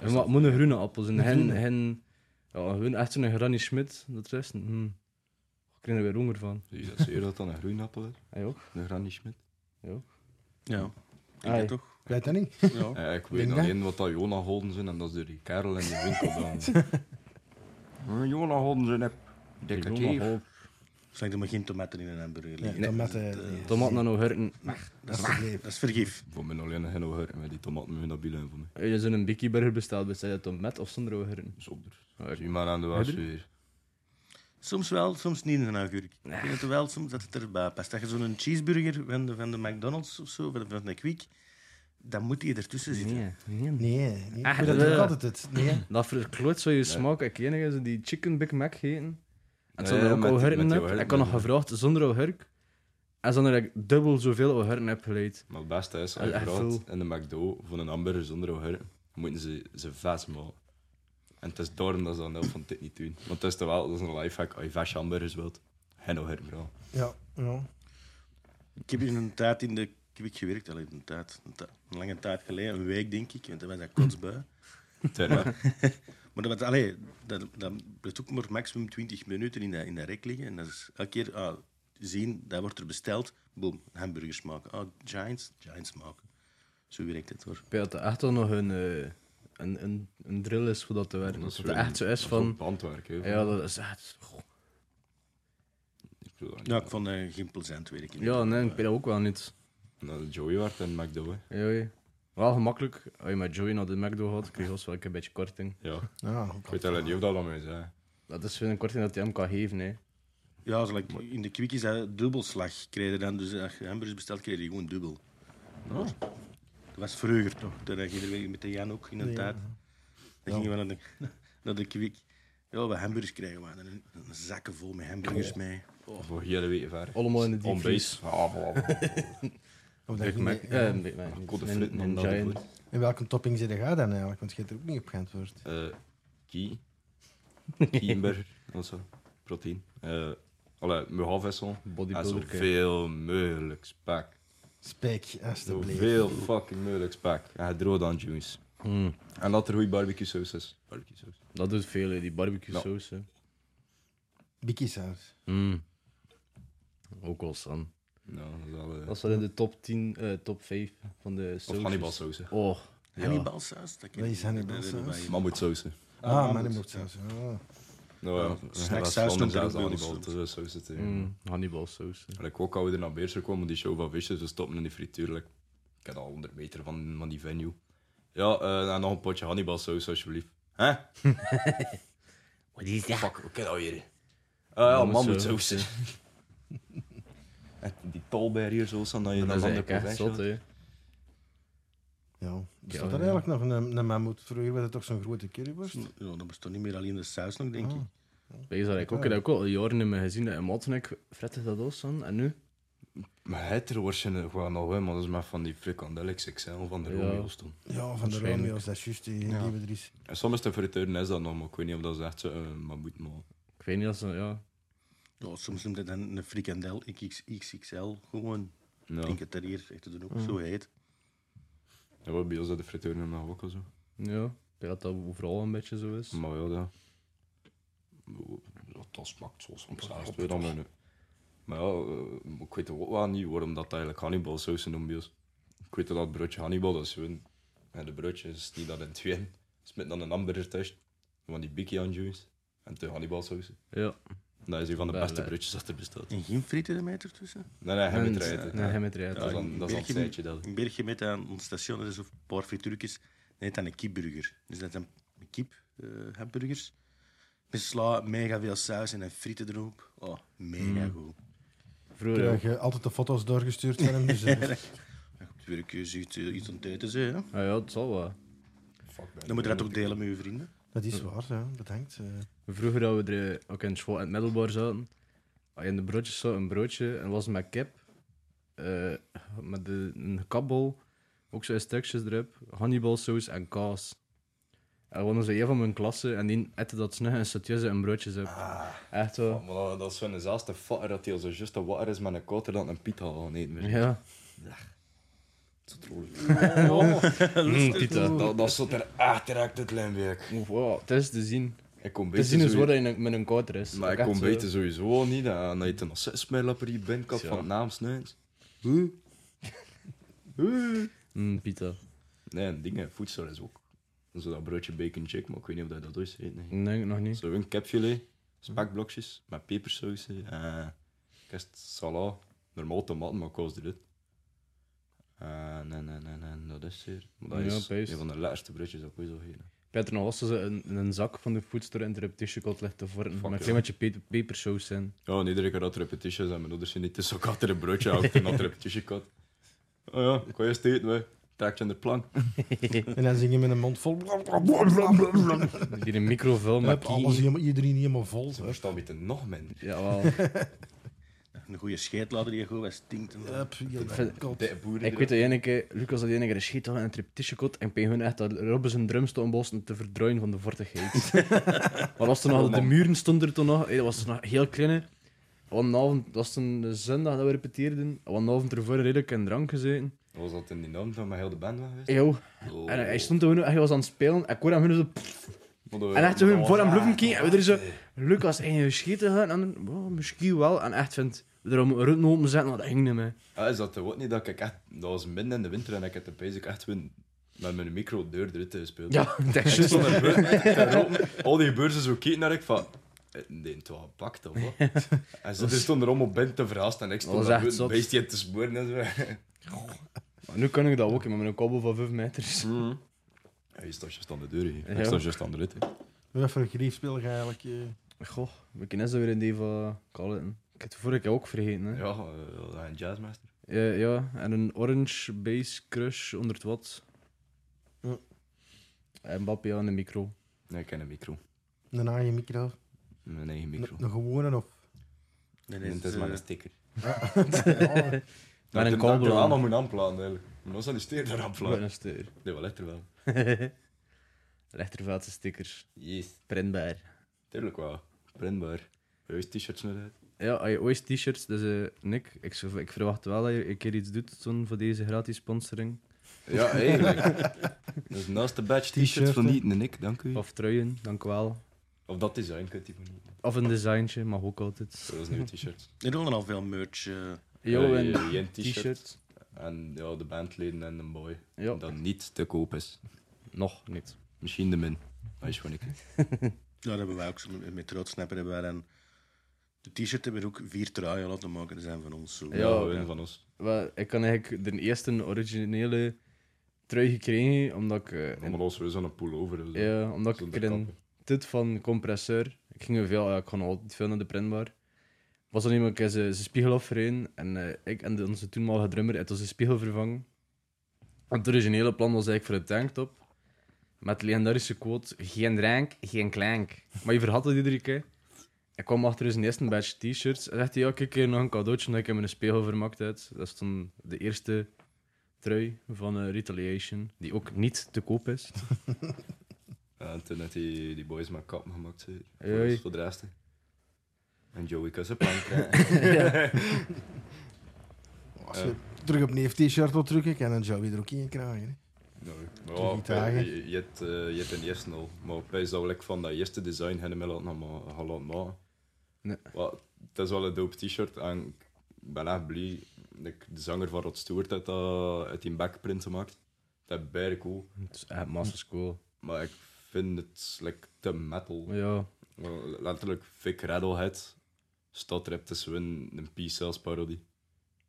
Speaker 3: En wat moet een groene appel zijn? Hen, hen, ja, gewoon echt zo'n Granny Schmidt ertussen. Hm. Ik krijg er weer honger van.
Speaker 4: Zie je dat zeer dat dan een groenappel is?
Speaker 3: Hij ook?
Speaker 4: Een Granny Schmidt?
Speaker 1: Ja, ik
Speaker 3: Ai.
Speaker 1: denk
Speaker 2: (laughs)
Speaker 1: toch.
Speaker 2: Ik Weet dat niet?
Speaker 1: Ja.
Speaker 4: Ja, Eh, ik
Speaker 2: Denk
Speaker 4: weet
Speaker 2: dat.
Speaker 4: alleen wat dat Jona Holden zijn en dat is door die kerel in de winkel dan.
Speaker 3: (laughs)
Speaker 4: Hm, Jona Holden zijn heb. Dikke teef.
Speaker 1: Slang er maar geen tomaten in een hamburger.
Speaker 2: Nee,
Speaker 1: liggen.
Speaker 2: dan met
Speaker 1: dat,
Speaker 2: de-
Speaker 1: eh,
Speaker 2: nee.
Speaker 3: Tomaten en augurken.
Speaker 2: Dat is vergeven.
Speaker 1: dat is vergif.
Speaker 4: Voor mijn alleen geen ogen met die tomaten met dat bielen voor mij.
Speaker 3: Als je zo'n Bikkie Burger bestelt, bestel je dat dan met of zonder augurken?
Speaker 4: Zonder.
Speaker 3: Ja, ik-
Speaker 4: Zie maar aan de was
Speaker 3: Hebben?
Speaker 4: weer.
Speaker 1: Soms wel, soms niet in een augurk. Ik vind het wel, soms dat het erbij past. Dat je zo'n cheeseburger van de, van de McDonald's of zo, van de, van de Quick, dan moet die ertussen zitten.
Speaker 3: Nee, nee.
Speaker 2: Nee, nee. Ik
Speaker 3: Ah,
Speaker 2: weet dat ook
Speaker 3: eh.
Speaker 2: altijd het. Nee.
Speaker 3: Dat verkloot zo je smaak. Ik enige is die chicken Big Mac heten. En ze
Speaker 4: Ja,
Speaker 3: hadden
Speaker 4: ja,
Speaker 3: ook
Speaker 4: met die-
Speaker 3: augurken
Speaker 4: met die
Speaker 3: op.
Speaker 4: augurken,
Speaker 3: Ik had nog
Speaker 4: ja.
Speaker 3: gevraagd zonder augurk. En ze hadden dat ik dubbel zoveel augurken heb geleid.
Speaker 4: Maar het beste is,
Speaker 3: Dat
Speaker 4: als
Speaker 3: is
Speaker 4: je
Speaker 3: Ah, echt
Speaker 4: vraagt in de McDo voor een hamburger zonder augurken, moeten ze ze vers maken. En het is daarom dat ze dat van dit niet doen. Want het is toch wel dat is een lifehack als je vers hamburgers wilt. Geen augurken, bro.
Speaker 2: Ja, ja.
Speaker 1: Ik heb in een tijd in de Quick gewerkt, al een tijd, een, ta- een lange tijd geleden, een week denk ik, want dan was dat kotsbui.
Speaker 3: (laughs)
Speaker 4: Terwijl,
Speaker 1: Maar dat, was- allee, dat, dat blijft ook maar maximum 20 minuten in dat, in dat rek liggen. En dat is elke keer ah, zien, dat wordt er besteld. Boom, hamburgers maken. Ah, Giants, Giants maken. Zo werkt het hoor.
Speaker 3: Ik weet dat er echt wel nog een, eh, een, een, een drill is voor dat te werken.
Speaker 4: Dat
Speaker 3: Dat
Speaker 4: is
Speaker 3: het
Speaker 4: wel-
Speaker 3: echt zo is
Speaker 4: dat
Speaker 3: van...
Speaker 4: ook bandwerk, hè.
Speaker 3: Ja, dat is echt... goh.
Speaker 4: Ik bedoel,
Speaker 1: Ja, ik vond dat geen plezant werk.
Speaker 3: Ja, nee, ik weet dat ook wel niet.
Speaker 4: Nou, Joey werd in McDo, hè.
Speaker 3: Ja, ja. Wel gemakkelijk. Als je met Joey naar de McDo gaat, krijg je wel een beetje korting.
Speaker 4: Ja,
Speaker 2: Ja,
Speaker 4: ik weet eigenlijk niet of dat allemaal is, hè.
Speaker 3: Dat is een korting dat hij hem kan geven, hè.
Speaker 1: Ja, zo, like, in de Quick is dat dubbelslag. Kreeg je dan, dus als je hamburgers bestelt, kreeg je gewoon dubbel. Maar Dat was vroeger toch? Toen ging je er weer met de Jan ook in een
Speaker 2: Nee,
Speaker 1: tijd. Dan gingen we naar de, (laughs) naar de Quick. Ja, we hamburgers krijgen we. En een- een zakken vol met hamburgers mee.
Speaker 4: Voor hele weken ver.
Speaker 3: Allemaal in de deep
Speaker 4: Onbees. Ah, bla, bla,
Speaker 3: (laughs)
Speaker 4: bla.
Speaker 2: Of dat
Speaker 3: Big
Speaker 2: je
Speaker 3: Mac.
Speaker 2: niet- ja.
Speaker 3: Eh, Big Mac. niet.
Speaker 4: Code
Speaker 3: Een-
Speaker 4: flitten
Speaker 3: een
Speaker 4: en dat
Speaker 3: Giant.
Speaker 4: ervoor.
Speaker 2: En welke topping zit jij dan eigenlijk? Want je hebt er ook niet op geantwoord.
Speaker 4: Eh,
Speaker 3: (laughs)
Speaker 4: Kie. Kienberg. of zo. Proteïne. Eh allee, muhalvessel. Ah, En
Speaker 3: Bodybuilder. kijk.
Speaker 4: zoveel mogelijk spek.
Speaker 2: Spek, alsjeblieft.
Speaker 4: Zoveel fucking mogelijk spek. En het droog dan juice.
Speaker 3: Hmm,
Speaker 4: En dat er goede barbecue saus is. Barbecue saus.
Speaker 3: Dat doet veel, hè, die barbecue
Speaker 4: Ja.
Speaker 3: saus. hè.
Speaker 2: Bikkisaus.
Speaker 3: Hmm. Ook wel san.
Speaker 4: Nou, dat is wel... eh,
Speaker 3: Dat staat in de top 10, eh, top 5 van de saus.
Speaker 4: of Hannibal saus. hè.
Speaker 3: Oh, ja.
Speaker 1: Hannibalsaus? Dat, ken
Speaker 2: Wat
Speaker 1: ik
Speaker 2: is
Speaker 1: niet.
Speaker 2: Hannibalsaus?
Speaker 1: Dat hebben wij-
Speaker 4: Mammoet saus.
Speaker 2: Ah, maar die moet saus. Ah.
Speaker 4: Nou ja,
Speaker 1: snacksaus noemt er ook
Speaker 4: saus.
Speaker 1: bij ons
Speaker 4: Hannibal saus. het, eh.
Speaker 3: Hmm, Hannibal saus. hè.
Speaker 4: Maar ik ook ouder naar Beersen kwam, want die show van visjes, we stoppen in die frituur. like, ik had al 100 meter van, van die venue. Ja, eh, en nog een potje Hannibal saus, alsjeblieft. Hè?
Speaker 6: Wat is dat?
Speaker 4: Fuck, wat kan dat hier? Ah ja,
Speaker 3: Mammoet
Speaker 4: mammoet
Speaker 3: saus.
Speaker 4: (laughs) saus. Die tolbeer hier zo staan dat je
Speaker 3: Dat is
Speaker 4: andere
Speaker 3: eigenlijk echt zot, hè.
Speaker 2: Ja, bestaat
Speaker 3: Ja,
Speaker 2: er
Speaker 3: ja.
Speaker 2: eigenlijk nog een, een mammoet? Vroeger was het toch zo'n grote curryworst?
Speaker 1: Ja, dat bestond niet meer alleen de saus nog, denk
Speaker 2: Ah.
Speaker 1: ik.
Speaker 3: Wees dat ik ook, ik heb ook al jaren niet meer gezien dat in Mottenek frette dat ook san. En nu?
Speaker 4: Maar het er wordt je gewoon al, hè, maar dat is maar van die frikandel XXL van de
Speaker 3: Ja.
Speaker 4: Romeo's toen.
Speaker 2: Ja, van de
Speaker 3: Waarschijnlijk.
Speaker 2: Romeo's, dat is juist die,
Speaker 1: Ja.
Speaker 2: die we er is.
Speaker 4: En soms de frituren is dat nog, maar ik weet niet of dat ze echt zo, eh, mammoet, maar...
Speaker 3: Ik weet niet als ze, ja.
Speaker 1: Ja, soms noemt het dan een frikandel XXL. Gewoon,
Speaker 4: Ja,
Speaker 1: ik denk het dat hier echt te doen ook
Speaker 2: Mm.
Speaker 1: zo heet.
Speaker 4: ja wel, bij ons dat de frituren nog ook al zo.
Speaker 3: Ja. Ik denk dat dat overal een beetje zo is.
Speaker 4: Maar ja, dat... dat- Dat smaakt zo soms zelfs weer dan maar nu. Maar ja, eh, ik weet ook wel niet waarom dat eigenlijk Hannibal saus noemt bij ons. Ik weet dat dat broodje Hannibal dat is gewoon... En de broodjes die dat in tweeën. Smit dan een hamburger thuis. Van die bikkie aan juice. En de Hannibal saus.
Speaker 3: Ja.
Speaker 4: Dat is een van de
Speaker 3: Wel,
Speaker 4: beste
Speaker 3: eh.
Speaker 4: broodjes dat er bestaat.
Speaker 1: En geen frieten tussen?
Speaker 4: Nee, nee, hem
Speaker 3: En-
Speaker 4: met rijden.
Speaker 3: eh, Nee,
Speaker 4: Ja.
Speaker 3: hij met
Speaker 4: Dat is
Speaker 3: rijden.
Speaker 4: dan- dat is dan
Speaker 1: België-
Speaker 4: een tijdje dat.
Speaker 1: Een bergje met aan ons station, dat is een paar frituurtjes. Dat heet dan een kiepburger. Dus dat zijn kip eh, hamburgers. Eh, Met sla, mega veel saus en dan frieten erop. Oh,
Speaker 2: Mm.
Speaker 1: mega goed.
Speaker 2: Ik
Speaker 3: Vroeger,
Speaker 2: krijg eh, altijd de foto's doorgestuurd van hem. (laughs) Dus, eh,
Speaker 1: Dan heb je weer een keuze iets, eh, iets aan het eten, hè.
Speaker 3: ja, Ah, ja, het zal wel.
Speaker 4: Fuck, man.
Speaker 1: Dan moet je dat ook delen met je vrienden.
Speaker 2: dat is waar, ja, bedankt. eh.
Speaker 3: Vroeger dat we er eh, ook in school in het middelbaar zaten, had je in de broodjes zo een broodje en was met kip, eh, met de, een kabbel, ook zo in stukjes erop, hannibalsaus en kaas. En gewoon zo een van mijn klasse en die ette dat snug en satjes en broodjes op. Echt
Speaker 4: Ja,
Speaker 3: wel.
Speaker 4: maar dat, dat is zo'n zaaste fatter dat hij al zo juist een water is met een koter dan een pita al niet meer.
Speaker 3: Ja.
Speaker 4: Dat is trolijk.
Speaker 3: Mm, pita.
Speaker 4: Dat, dat zat er echt direct het limwerk.
Speaker 3: Wow, het is te zien.
Speaker 4: Ik kom
Speaker 3: Te
Speaker 4: beter
Speaker 3: zien is
Speaker 4: sowieso-
Speaker 3: waar je met een kouter is.
Speaker 4: Maar ik
Speaker 3: Echt eh.
Speaker 4: kom
Speaker 3: zo.
Speaker 4: beter sowieso al niet eh, dat dat je ten assessment lapper die bent kap
Speaker 3: Ja.
Speaker 4: van het naam snijdt.
Speaker 3: Mm, pita.
Speaker 4: Nee, en dingen, voedsel is ook. Zo dat broodje bacon chick, maar ik weet niet of dat dat ooit heet. Nee.
Speaker 3: Ik denk het nog niet.
Speaker 4: Zo een
Speaker 3: Hm.
Speaker 4: capfilet, spekblokjes met pepersaus, eh, kerst sala, normaal tomaten, maar koos dit. Eh nee, nee, nee, nee, dat is hier. Maar dat
Speaker 3: Ja,
Speaker 4: is
Speaker 3: peest.
Speaker 4: een van de lekkerste broodjes dat ik ooit al gegeten heb.
Speaker 3: Peter, nog was ze een, een zak van de foodstore in de repetition ligt te vormen. Met een
Speaker 4: ja.
Speaker 3: klein beetje pe- pepersaus in.
Speaker 4: Ja, en iedere keer Oh, dat repetities en mijn ouders zijn niet tussen elkaar een
Speaker 3: (laughs)
Speaker 4: broodje achter en repetitie had. Oh ja, ik kan je steeds mee. Trek je aan de plank.
Speaker 2: En dan zing je met een mond (laughs) vol.
Speaker 3: Die een microfilm met
Speaker 2: Hup, alles
Speaker 3: kie.
Speaker 2: helemaal, iedereen helemaal vol.
Speaker 4: Daar staat met nog minder.
Speaker 3: Jawel. (laughs)
Speaker 1: Een goede scheet laten die gewoon wat stinkt. en-
Speaker 2: Hup, heel
Speaker 3: vind-
Speaker 2: dat kot.
Speaker 4: De boeren
Speaker 3: ik weet dat ene keer, Lucas had de ene keer een scheet gehad in het repetitiekot en bij hun echt dat Robben zijn drum stond bossen te verdruinen van de (laughs) vortigheid. maar was toen nog, de muren stonden er toen nog, eh, dat was toen nog heel klein. Want een avond, dat was toen de zondag dat we repeteerden, want een avond ervoor redelijk in drank gezeten.
Speaker 4: Was dat in die naam van mijn hele band was geweest?
Speaker 3: Yo,
Speaker 4: Oh.
Speaker 3: en hij stond toen, hij was aan het spelen en ik hoorde hem gewoon zo
Speaker 4: Maar dat-
Speaker 3: En echt zo
Speaker 4: dat
Speaker 3: hun
Speaker 4: was
Speaker 3: voor hem bluffen
Speaker 4: echt-
Speaker 3: kijken en we er zo... Lucas, en je schieten gaan? En dan, "Wow, misschien wel. En echt vindt, we er om een rut open zetten, dat ging niet meer.
Speaker 4: Ah, is dat wat niet dat ik echt... Dat was midden in de winter en ik heb de basic echt win met mijn micro deur eruit gespeeld.
Speaker 3: Ja, (laughs) dat
Speaker 4: Ik
Speaker 3: is juist.
Speaker 4: stond er buiten te roepen. Al die beurzen zo keken naar ik van... eh, Nee, het was gepakt of
Speaker 3: (laughs)
Speaker 4: wat? En ze stonden er allemaal binnen te verrast en ik
Speaker 3: Dat
Speaker 4: stond
Speaker 3: was
Speaker 4: daar
Speaker 3: echt
Speaker 4: buiten
Speaker 3: zot.
Speaker 4: een beestje te smoren en zo.
Speaker 3: Maar nu kan ik dat ook, hè, met een kobbel van 5 meter.
Speaker 4: Ja, je staat juist aan de deur hier.
Speaker 3: Ja.
Speaker 4: Ik sta juist aan de rit. hè.
Speaker 2: Wat voor grief speel je eigenlijk? eh?
Speaker 3: Goh, we kennen ze weer in die van Calleton. Ik heb het vorige keer ook vergeten, hè. Ja,
Speaker 4: Ja, eh, een jazzmaster.
Speaker 3: ja en een orange base crush onder het wat.
Speaker 2: Ja.
Speaker 3: En Mbappé aan de micro.
Speaker 4: Nee, ik ken een micro.
Speaker 2: Een eigen micro?
Speaker 4: Mijn eigen micro.
Speaker 2: Een een gewone (laughs) of...
Speaker 1: Nee, nee,
Speaker 4: Het
Speaker 1: dat is,
Speaker 4: is maar
Speaker 1: eh,
Speaker 4: een sticker.
Speaker 2: Ja,
Speaker 3: Met een
Speaker 4: kabel.
Speaker 3: kabel
Speaker 4: Dat
Speaker 3: aan.
Speaker 4: nog moet aanplaten, eigenlijk. Maar dan zou die steer daar
Speaker 3: Wat
Speaker 4: aanplaten.
Speaker 3: een steur. (laughs)
Speaker 4: Nee, wel echt er wel.
Speaker 3: Rechterveldse stickers.
Speaker 4: Yes.
Speaker 3: Printbaar.
Speaker 4: Tuurlijk wel. Printbaar. Juist t-shirts net uit.
Speaker 3: Ja, als je ooit t-shirts, dus eh, Nick, ik, zou- ik verwacht wel dat je een keer iets doet toen voor deze gratis sponsoring.
Speaker 4: (laughs) Ja, eigenlijk. Dus naast de badge t-shirts
Speaker 2: T-shirt,
Speaker 4: van
Speaker 2: hè.
Speaker 4: Nieten en ik, dank u. Of,
Speaker 3: Of truien, dank wel.
Speaker 4: dat design kunt u van Nieten.
Speaker 3: Of een designtje, mag ook altijd.
Speaker 4: Dat is nieuwe t-shirts.
Speaker 1: eh, er rollen al veel merch. eh.
Speaker 3: Jo,
Speaker 4: Eh,
Speaker 3: een
Speaker 4: je t-shirt.
Speaker 3: t-shirt.
Speaker 4: En ja, de bandleden en een boy.
Speaker 3: Ja,
Speaker 4: Dat niet te koop is.
Speaker 3: nog niet.
Speaker 4: Misschien de min. Dat is gewoon ik.
Speaker 1: Ja, dat hebben wij ook. zo Met, met Roodsnapper hebben wij dan... De t-shirt hebben we ook vier truien laten maken. Dat zijn van ons. eh, Zo.
Speaker 4: Ja,
Speaker 3: ja.
Speaker 4: een van ons.
Speaker 3: Wel, ik kan eigenlijk de eerste originele trui gekregen, omdat ik, eh, in-
Speaker 4: Allemaal als we zo'n pullover. of dus zo.
Speaker 3: ja, omdat ik
Speaker 4: Zonder
Speaker 3: er een
Speaker 4: kappen.
Speaker 3: tit van compressor. Ik ging er veel, ja, ik kon altijd veel naar de printbar. Was dan iemand zijn, zijn spiegel afgereden en eh, ik en de- onze toenmalige drummer het onze spiegel vervangen. Het originele plan was eigenlijk voor de tanktop. Met de legendarische quote: geen drank, geen klank. Maar je vergat het iedere keer. Ik kwam achter zijn eerste batch t-shirts en zegt hij: Ja, kijk hier nog een cadeautje omdat ik hem in een spiegel vermakt uit. Dat is dan de eerste trui van eh, Retaliation, die ook niet te koop is.
Speaker 4: En toen had die, die boys maar kap gemaakt. Ze, voor,
Speaker 3: Oei.
Speaker 4: ons, voor de rest. hè. En Joey kan zijn plank krijgen.
Speaker 3: (laughs)
Speaker 2: Als je terug op een neef-t-shirt wil drukken, kan dan Joey er ook in krijgen. hè.
Speaker 4: Nou,
Speaker 2: Drie
Speaker 4: ja,
Speaker 2: dagen.
Speaker 4: je, je hebt, eh, je hebt een eerste al. Maar op is dat wel ik van dat eerste design hebben we laten ma- gaan laten maken.
Speaker 3: Nee.
Speaker 4: Maar het is wel een dope t-shirt en ik ben echt blij dat ik de zanger van Rod Stewart uit, dat, uit die backprint gemaakt. Dat is bijna cool.
Speaker 3: Het is echt massa school.
Speaker 4: Maar ik vind het like, te metal.
Speaker 3: Ja,
Speaker 4: Wel, Letterlijk, Vic Rattlehead stadrap tussen een, een P-Cells parodie.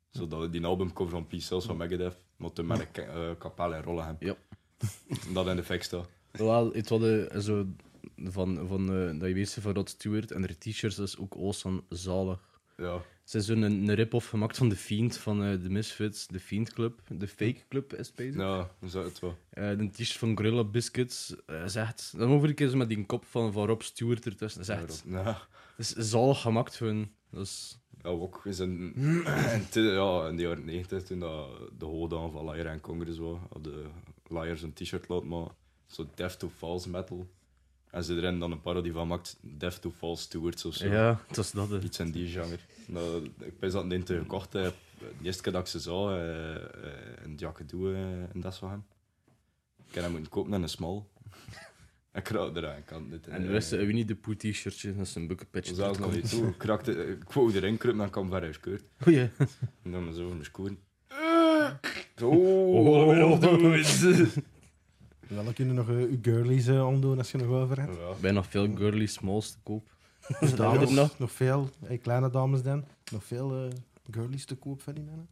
Speaker 4: Zodat die albumcover van P-Cells van Megadeth, maar toen met een ka- eh, kapel en Rollenhem.
Speaker 3: Ja.
Speaker 4: (laughs) Dat in de fik staat.
Speaker 3: Wel, het hadden zo van, van eh, dat je wees van Rod Stewart en haar t-shirts, dat is ook awesome zalig.
Speaker 4: Ja.
Speaker 3: Ze is zo'n een, een rip-off gemaakt van The Fiend, van eh The Misfits, The Fiend Club, The Fake Club is het bezig.
Speaker 4: Ja, dan zou het wel.
Speaker 3: Eh, de t-shirt van Gorilla Biscuits eh, zegt. Dan over een keer zo met die kop van, van Rob Stewart ertussen. Dat is echt.
Speaker 4: Ja,
Speaker 3: dat is zalig gemaakt hun. Dat is,
Speaker 4: ja ook in zijn... (clears throat) in de- ja, in de jaren 90, toen dat de hoogdagen van Liar en Congress was, had de Liar zijn t-shirt laten maken. Zo Death to False metal. En ze erin dan een parodie van maakt, Death to False Stewards of zo.
Speaker 3: ja, dat is dat. eh.
Speaker 4: Iets in die genre. Nou, ik ben dat niet gekocht heb. De eerste keer dat ik ze zag, eh, eh, een jakke doe en eh, dat van hem. Ik heb hem moeten kopen en een smal. (laughs) ik raak eraan, ik kan het niet.
Speaker 3: En
Speaker 4: eh,
Speaker 3: we wisten eh, wie niet de poe t-shirtje, dat is een bukkepetje.
Speaker 4: Zelfs nog niet toe. Ik, raakte, ik wou erin kruipen en ik kwam verder gekeurd.
Speaker 3: (laughs) Goeie.
Speaker 4: En dan mijn zo van mijn schoen.
Speaker 3: Eh. (laughs)
Speaker 4: Oh, weer opdoen.
Speaker 2: Wel, dan kunnen nog eh, uw girlies eh, omdoen als je nog over hebt.
Speaker 4: Ja.
Speaker 3: Bijna veel girly smalls te
Speaker 2: (laughs)
Speaker 3: koop.
Speaker 2: Of dames,
Speaker 3: er nog?
Speaker 2: nog? veel, eh, kleine dames dan, nog veel eh girlies te koop van die mannen.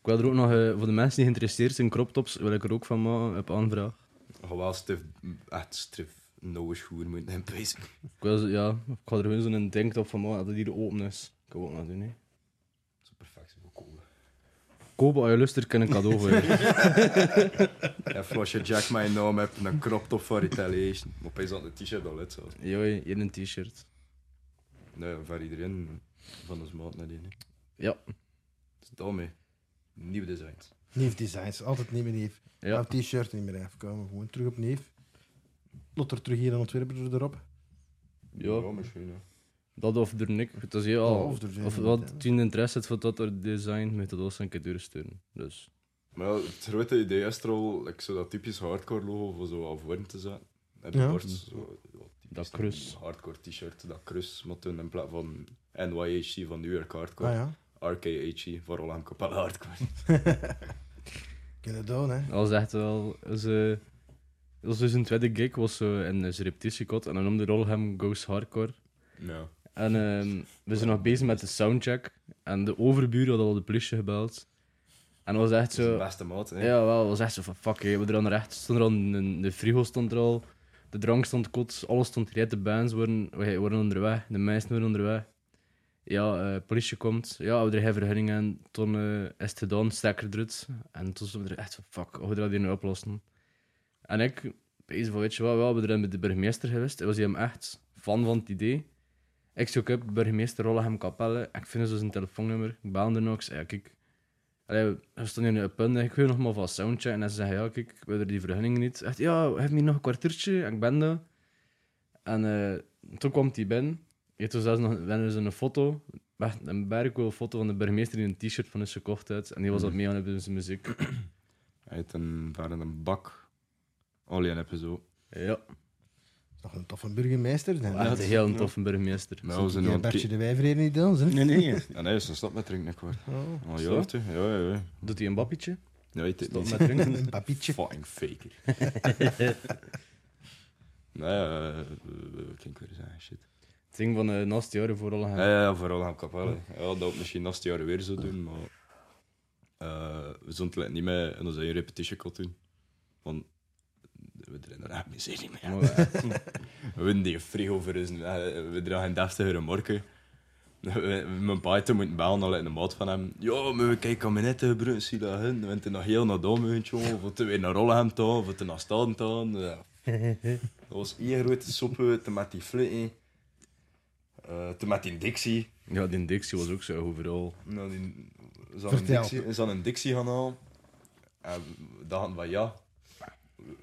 Speaker 3: Ik wil er ook nog, eh, voor de mensen die geïnteresseerd zijn in crop tops, wil ik er ook van maken op aanvraag.
Speaker 4: Gewoon stif, echt stif, nauwe schoen moet hem bezig.
Speaker 3: Ik wil, zo- ja, ik ga er gewoon zo'n denktop van maken, dat die er open is. Ik wil ook nog doen, hè.
Speaker 4: Dat is perfect, zo cool.
Speaker 3: Kopen als je lust, er kan een cadeau voor je. (laughs)
Speaker 4: Even als je Jack mijn naam hebt, dan crop top voor Retaliation. Maar opeens had een t-shirt al uit zelfs.
Speaker 3: Joi, hier een t-shirt.
Speaker 4: Nee, voor iedereen van ons maat naar die. hè.
Speaker 3: Ja.
Speaker 4: Dus daarmee. Nieuw designs.
Speaker 2: Nieuw designs, altijd nieuw en nieuw.
Speaker 3: Ja.
Speaker 2: Een t-shirt niet meer even komen, gewoon terug opnieuw. Lot er terug hier in Antwerpen erop.
Speaker 3: Ja.
Speaker 4: misschien. Ja.
Speaker 3: Dat of er niks. Het is heel,
Speaker 2: Ja,
Speaker 3: of,
Speaker 2: of er zijn
Speaker 3: wat
Speaker 2: inderdaad,
Speaker 3: toen interesse had voor dat er design, moet dat ook een keer doorsturen. Dus
Speaker 4: Maar ja, het grote idee is er al, like, zo dat typisch hardcore logo voor zo afworm te zetten. En
Speaker 2: Ja.
Speaker 4: ja. bord, zo, wat typisch
Speaker 3: Dat kruis.
Speaker 4: Hardcore t-shirt, dat krus. Maar toen in plaats van NYHC van New York Hardcore,
Speaker 2: Ah ja,
Speaker 4: RKHE voor Roland Capella Hardcore.
Speaker 2: kunnen doen hè.
Speaker 3: dat was echt wel. Ze, dat was dus een tweede gig, was zo in een repetitiekot en dan noemde Rolham Goes Hardcore.
Speaker 4: ja.
Speaker 3: En ehm, we zijn nog bezig met de soundcheck en de overburen hadden al de politie gebeld. En dat was echt
Speaker 4: Dat is de
Speaker 3: zo.
Speaker 4: beste maat. Hè.
Speaker 3: Ja, wel, was echt zo van fuck, hé. we er aan recht stond er al een, een- de frigo stond er al, de drank stond kot, alles stond gereed, de bands worden, wij worden onderweg, de meisjes worden onderweg. Ja, eh, politie komt, ja, we er geen vergunning aan, toen eh, is het gedaan, stekker eruit. En toen stonden we er echt van fuck, hoe gaan we dat hier nu oplossen? En ik, bezig van weet je wat, wel, we zijn met de burgemeester geweest, en was hij hem echt fan van het idee. Ik zoek op burgemeester Rollegem Capelle, ik vind zo zijn telefoonnummer, ik bel hem er nog, ik zei, ja, kijk, Allee, we stonden in een punt en ik wil nog maar van soundcheck. En dan zeggen ja, kijk, we hebben die vergunning niet. Echt, ja, heb je nog een kwartiertje? En ik ben daar. En eh, toen kwam die binnen. Je toen zelfs nog we hadden dus een foto, echt een bergcool foto van de burgemeester in een t-shirt van is gekocht uit. En die was dat mee aan hebben zijn muziek.
Speaker 4: Hij heeft een, daar in een bak. Alleen heb je zo.
Speaker 3: Ja,
Speaker 2: Nog een toffe burgemeester dan.
Speaker 3: echt een heel toffe burgemeester.
Speaker 4: Nou, ze
Speaker 2: Die
Speaker 4: nu aan het
Speaker 2: Bertje
Speaker 4: ki-
Speaker 2: de Wijver hier niet doen, hè?
Speaker 1: Nee, nee.
Speaker 2: (laughs)
Speaker 4: Ja, (laughs) nee, ze stopt met drinken kwart.
Speaker 2: Oh,
Speaker 4: Oh,
Speaker 3: Zo?
Speaker 4: ja, heeft hij? ja, ja, ja.
Speaker 3: Doet hij een babbetje?
Speaker 4: Ja, hij deed
Speaker 3: Stop
Speaker 4: niet.
Speaker 3: met drinken.
Speaker 4: (laughs)
Speaker 2: een papietje.
Speaker 4: Fucking faker. nee, eh, eh, wat kan ik weer zeggen? Shit.
Speaker 3: Het ding van eh naast jaren voor alle
Speaker 4: Ja, ja, ja, vooral aan Capelle. Ja, dat we misschien naast jaar weer zo doen, maar eh, we zullen het niet meer in onze eigen repetition call doen. Want we dragen daar echt mijn zin in mee. (laughs) We winnen die frigo voor ons, eh, we dragen een deftigere morken. Mijn pa had toen moeten bellen al in de maat van hem. Ja, maar we kijken aan net gebruiken, zie dat hun. We hebben nog heel naar Dommeuntje, jongen. Voor te weer naar Rollenham te gaan, voor te naar Staden te gaan. (laughs) Ja. Dat was één grote soep, te met die flitten. eh te met die Dixie.
Speaker 3: Ja, die Dixie was ook zo overal.
Speaker 4: Nou, die is aan een
Speaker 2: Vertel.
Speaker 4: Dixie, is aan een Dixie gaan halen. En dan hadden we ja,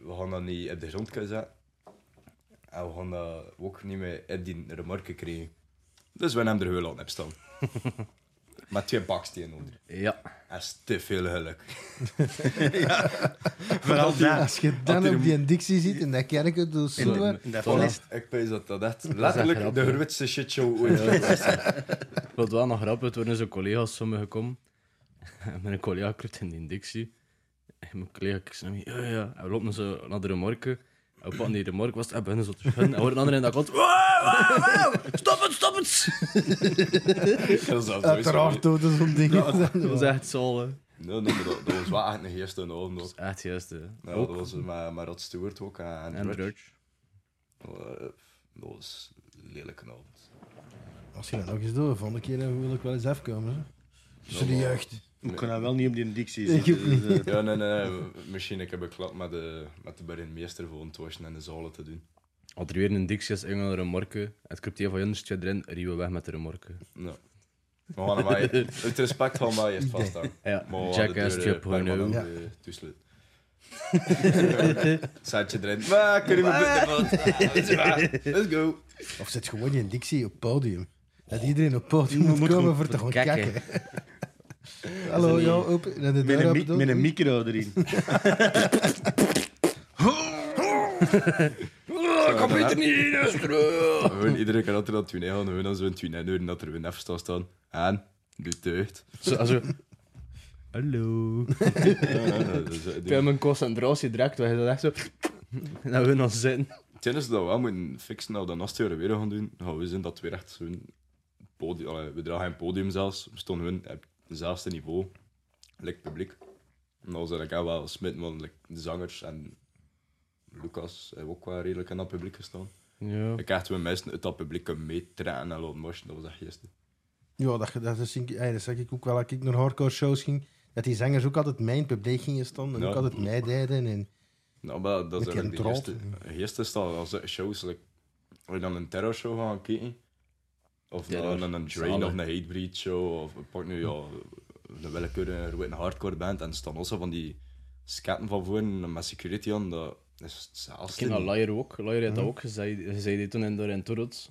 Speaker 4: we gaan dat niet op de grond kunnen zetten. En we gaan dat ook niet meer in die remarken krijgen. Dus we hebben hem er heel laten op staan. (laughs) Met twee bakstenen onder.
Speaker 3: Ja.
Speaker 4: Dat is te veel (laughs) geluk.
Speaker 1: Vooral daar.
Speaker 2: Als je
Speaker 4: Had
Speaker 2: dan
Speaker 4: hij
Speaker 2: op
Speaker 4: hem-
Speaker 2: die dictie ziet in dat kerkje, dus
Speaker 1: In,
Speaker 2: zo, hè.
Speaker 1: in dat
Speaker 3: Voilà.
Speaker 1: feest.
Speaker 4: Ik weet dat dat echt
Speaker 3: echt
Speaker 4: letterlijk
Speaker 3: grappig,
Speaker 4: de
Speaker 3: hè?
Speaker 4: grootste shitshow ooit is.
Speaker 3: Wat wel nog grappig, het worden zijn collega's sommigen gekomen. (laughs) En mijn collega kruipt in die dictie. En mijn collega kijkt zo naar mij, ja, ja. En we lopen zo naar de remorke. En we pakken die remork was en beginnen zo te schudden. En hoort een ander in dat kot. Wow, wow, wow, Stop het, stop het!
Speaker 4: Dat is
Speaker 2: Uiteraard doden zo'n ding.
Speaker 3: (laughs) Dat was echt zol, hè. Dat
Speaker 4: Nee, nee, maar dat, dat was wel echt een eerste naam. Dat,
Speaker 3: was echt juist, hè.
Speaker 4: ja, dat was met, met Rod Stewart ook en,
Speaker 3: En
Speaker 4: Drudge.
Speaker 3: Drudge.
Speaker 4: Eh, dat was een lelijke naam.
Speaker 2: Als je dat nog eens doet, volgende keer eh, wil ik wel eens afkomen. hè. Tussen de
Speaker 4: Ja, maar-
Speaker 2: jeugd.
Speaker 1: We kunnen wel niet om die dictie
Speaker 2: Ik
Speaker 1: zitten.
Speaker 2: ook
Speaker 1: dus, eh,
Speaker 4: Ja, nee, nee. Misschien ik heb een klap met de, met de Berlinmeester gewoon te wassen en de zalen te doen.
Speaker 3: Had er weer een dictie als Engel remorke. Het crypteer van Junders twee erin, rieven weg met de remorke.
Speaker 4: Ja. We gaan (laughs) hem maar- uit respect gaan we eerst vasthouden.
Speaker 3: Ja,
Speaker 4: Maar we gaan de
Speaker 3: Jackass
Speaker 4: deur,
Speaker 3: Trip
Speaker 4: eh, permanent,
Speaker 3: Hono.
Speaker 2: Ja.
Speaker 4: eh, (laughs) toesluiten. Zet je erin. Maar kunnen we (laughs) buiten Let's go.
Speaker 2: Of zit gewoon in Dixie op podium. Dat iedereen op podium moet, komen voor te gaan
Speaker 6: kakken.
Speaker 2: kakken. Hallo, ja, open. (laughs) Dat de
Speaker 1: met,
Speaker 2: deur
Speaker 1: een
Speaker 2: open
Speaker 1: mi-
Speaker 2: doen.
Speaker 1: met een micro erin.
Speaker 4: Kom er niet in, Iedere keer dat er dat tune gaan, gewoon als we een tune doen, dat er een F staat staan. En, doe deugd.
Speaker 3: Zo, also, Hallo.
Speaker 4: Ja, dus, eh, die-
Speaker 3: Ik heb mijn concentratie direct weg. Dat echt zo... (laughs) Dat we nog zitten.
Speaker 4: Het is dat we wel moeten fixen dat we dat naast weer gaan doen. Dan gaan we zien dat het weer echt zo'n podium... allee, we dragen een podium zelfs. We stonden gewoon op hetzelfde niveau. Like publiek. En dan zijn ik ook wel smitten, want like, de zangers en Lucas hebben ook wel redelijk in dat publiek gestaan.
Speaker 3: Ja.
Speaker 4: Ik krijg toen mensen uit dat publiek meetrainen en laten marchen. Dat was echt gisteren.
Speaker 2: Ja, dat, dat, is, ey, dat zeg ik ook wel. Als ik naar hardcore shows ging, dat die zangers ook altijd mijn publiek gingen staan en
Speaker 4: Ja.
Speaker 2: ook altijd mij deden. En
Speaker 4: Nou, maar dat is
Speaker 2: Met die
Speaker 4: eigenlijk de
Speaker 2: trots,
Speaker 4: eerste, de eerste staan. Als er shows, like, als je dan een terrorshow gaan kijken, of
Speaker 3: Terror,
Speaker 4: naar een Drain of een
Speaker 3: zalig.
Speaker 4: Hatebreed show, of pak nu ja, een willekeurige een hardcore band, en staan also van die skaten van voren met security aan, dat is hetzelfde.
Speaker 3: Ik ken dat Liar ook. Liar had dat ook. Ze zei ze zei dit toen in, door in Torot.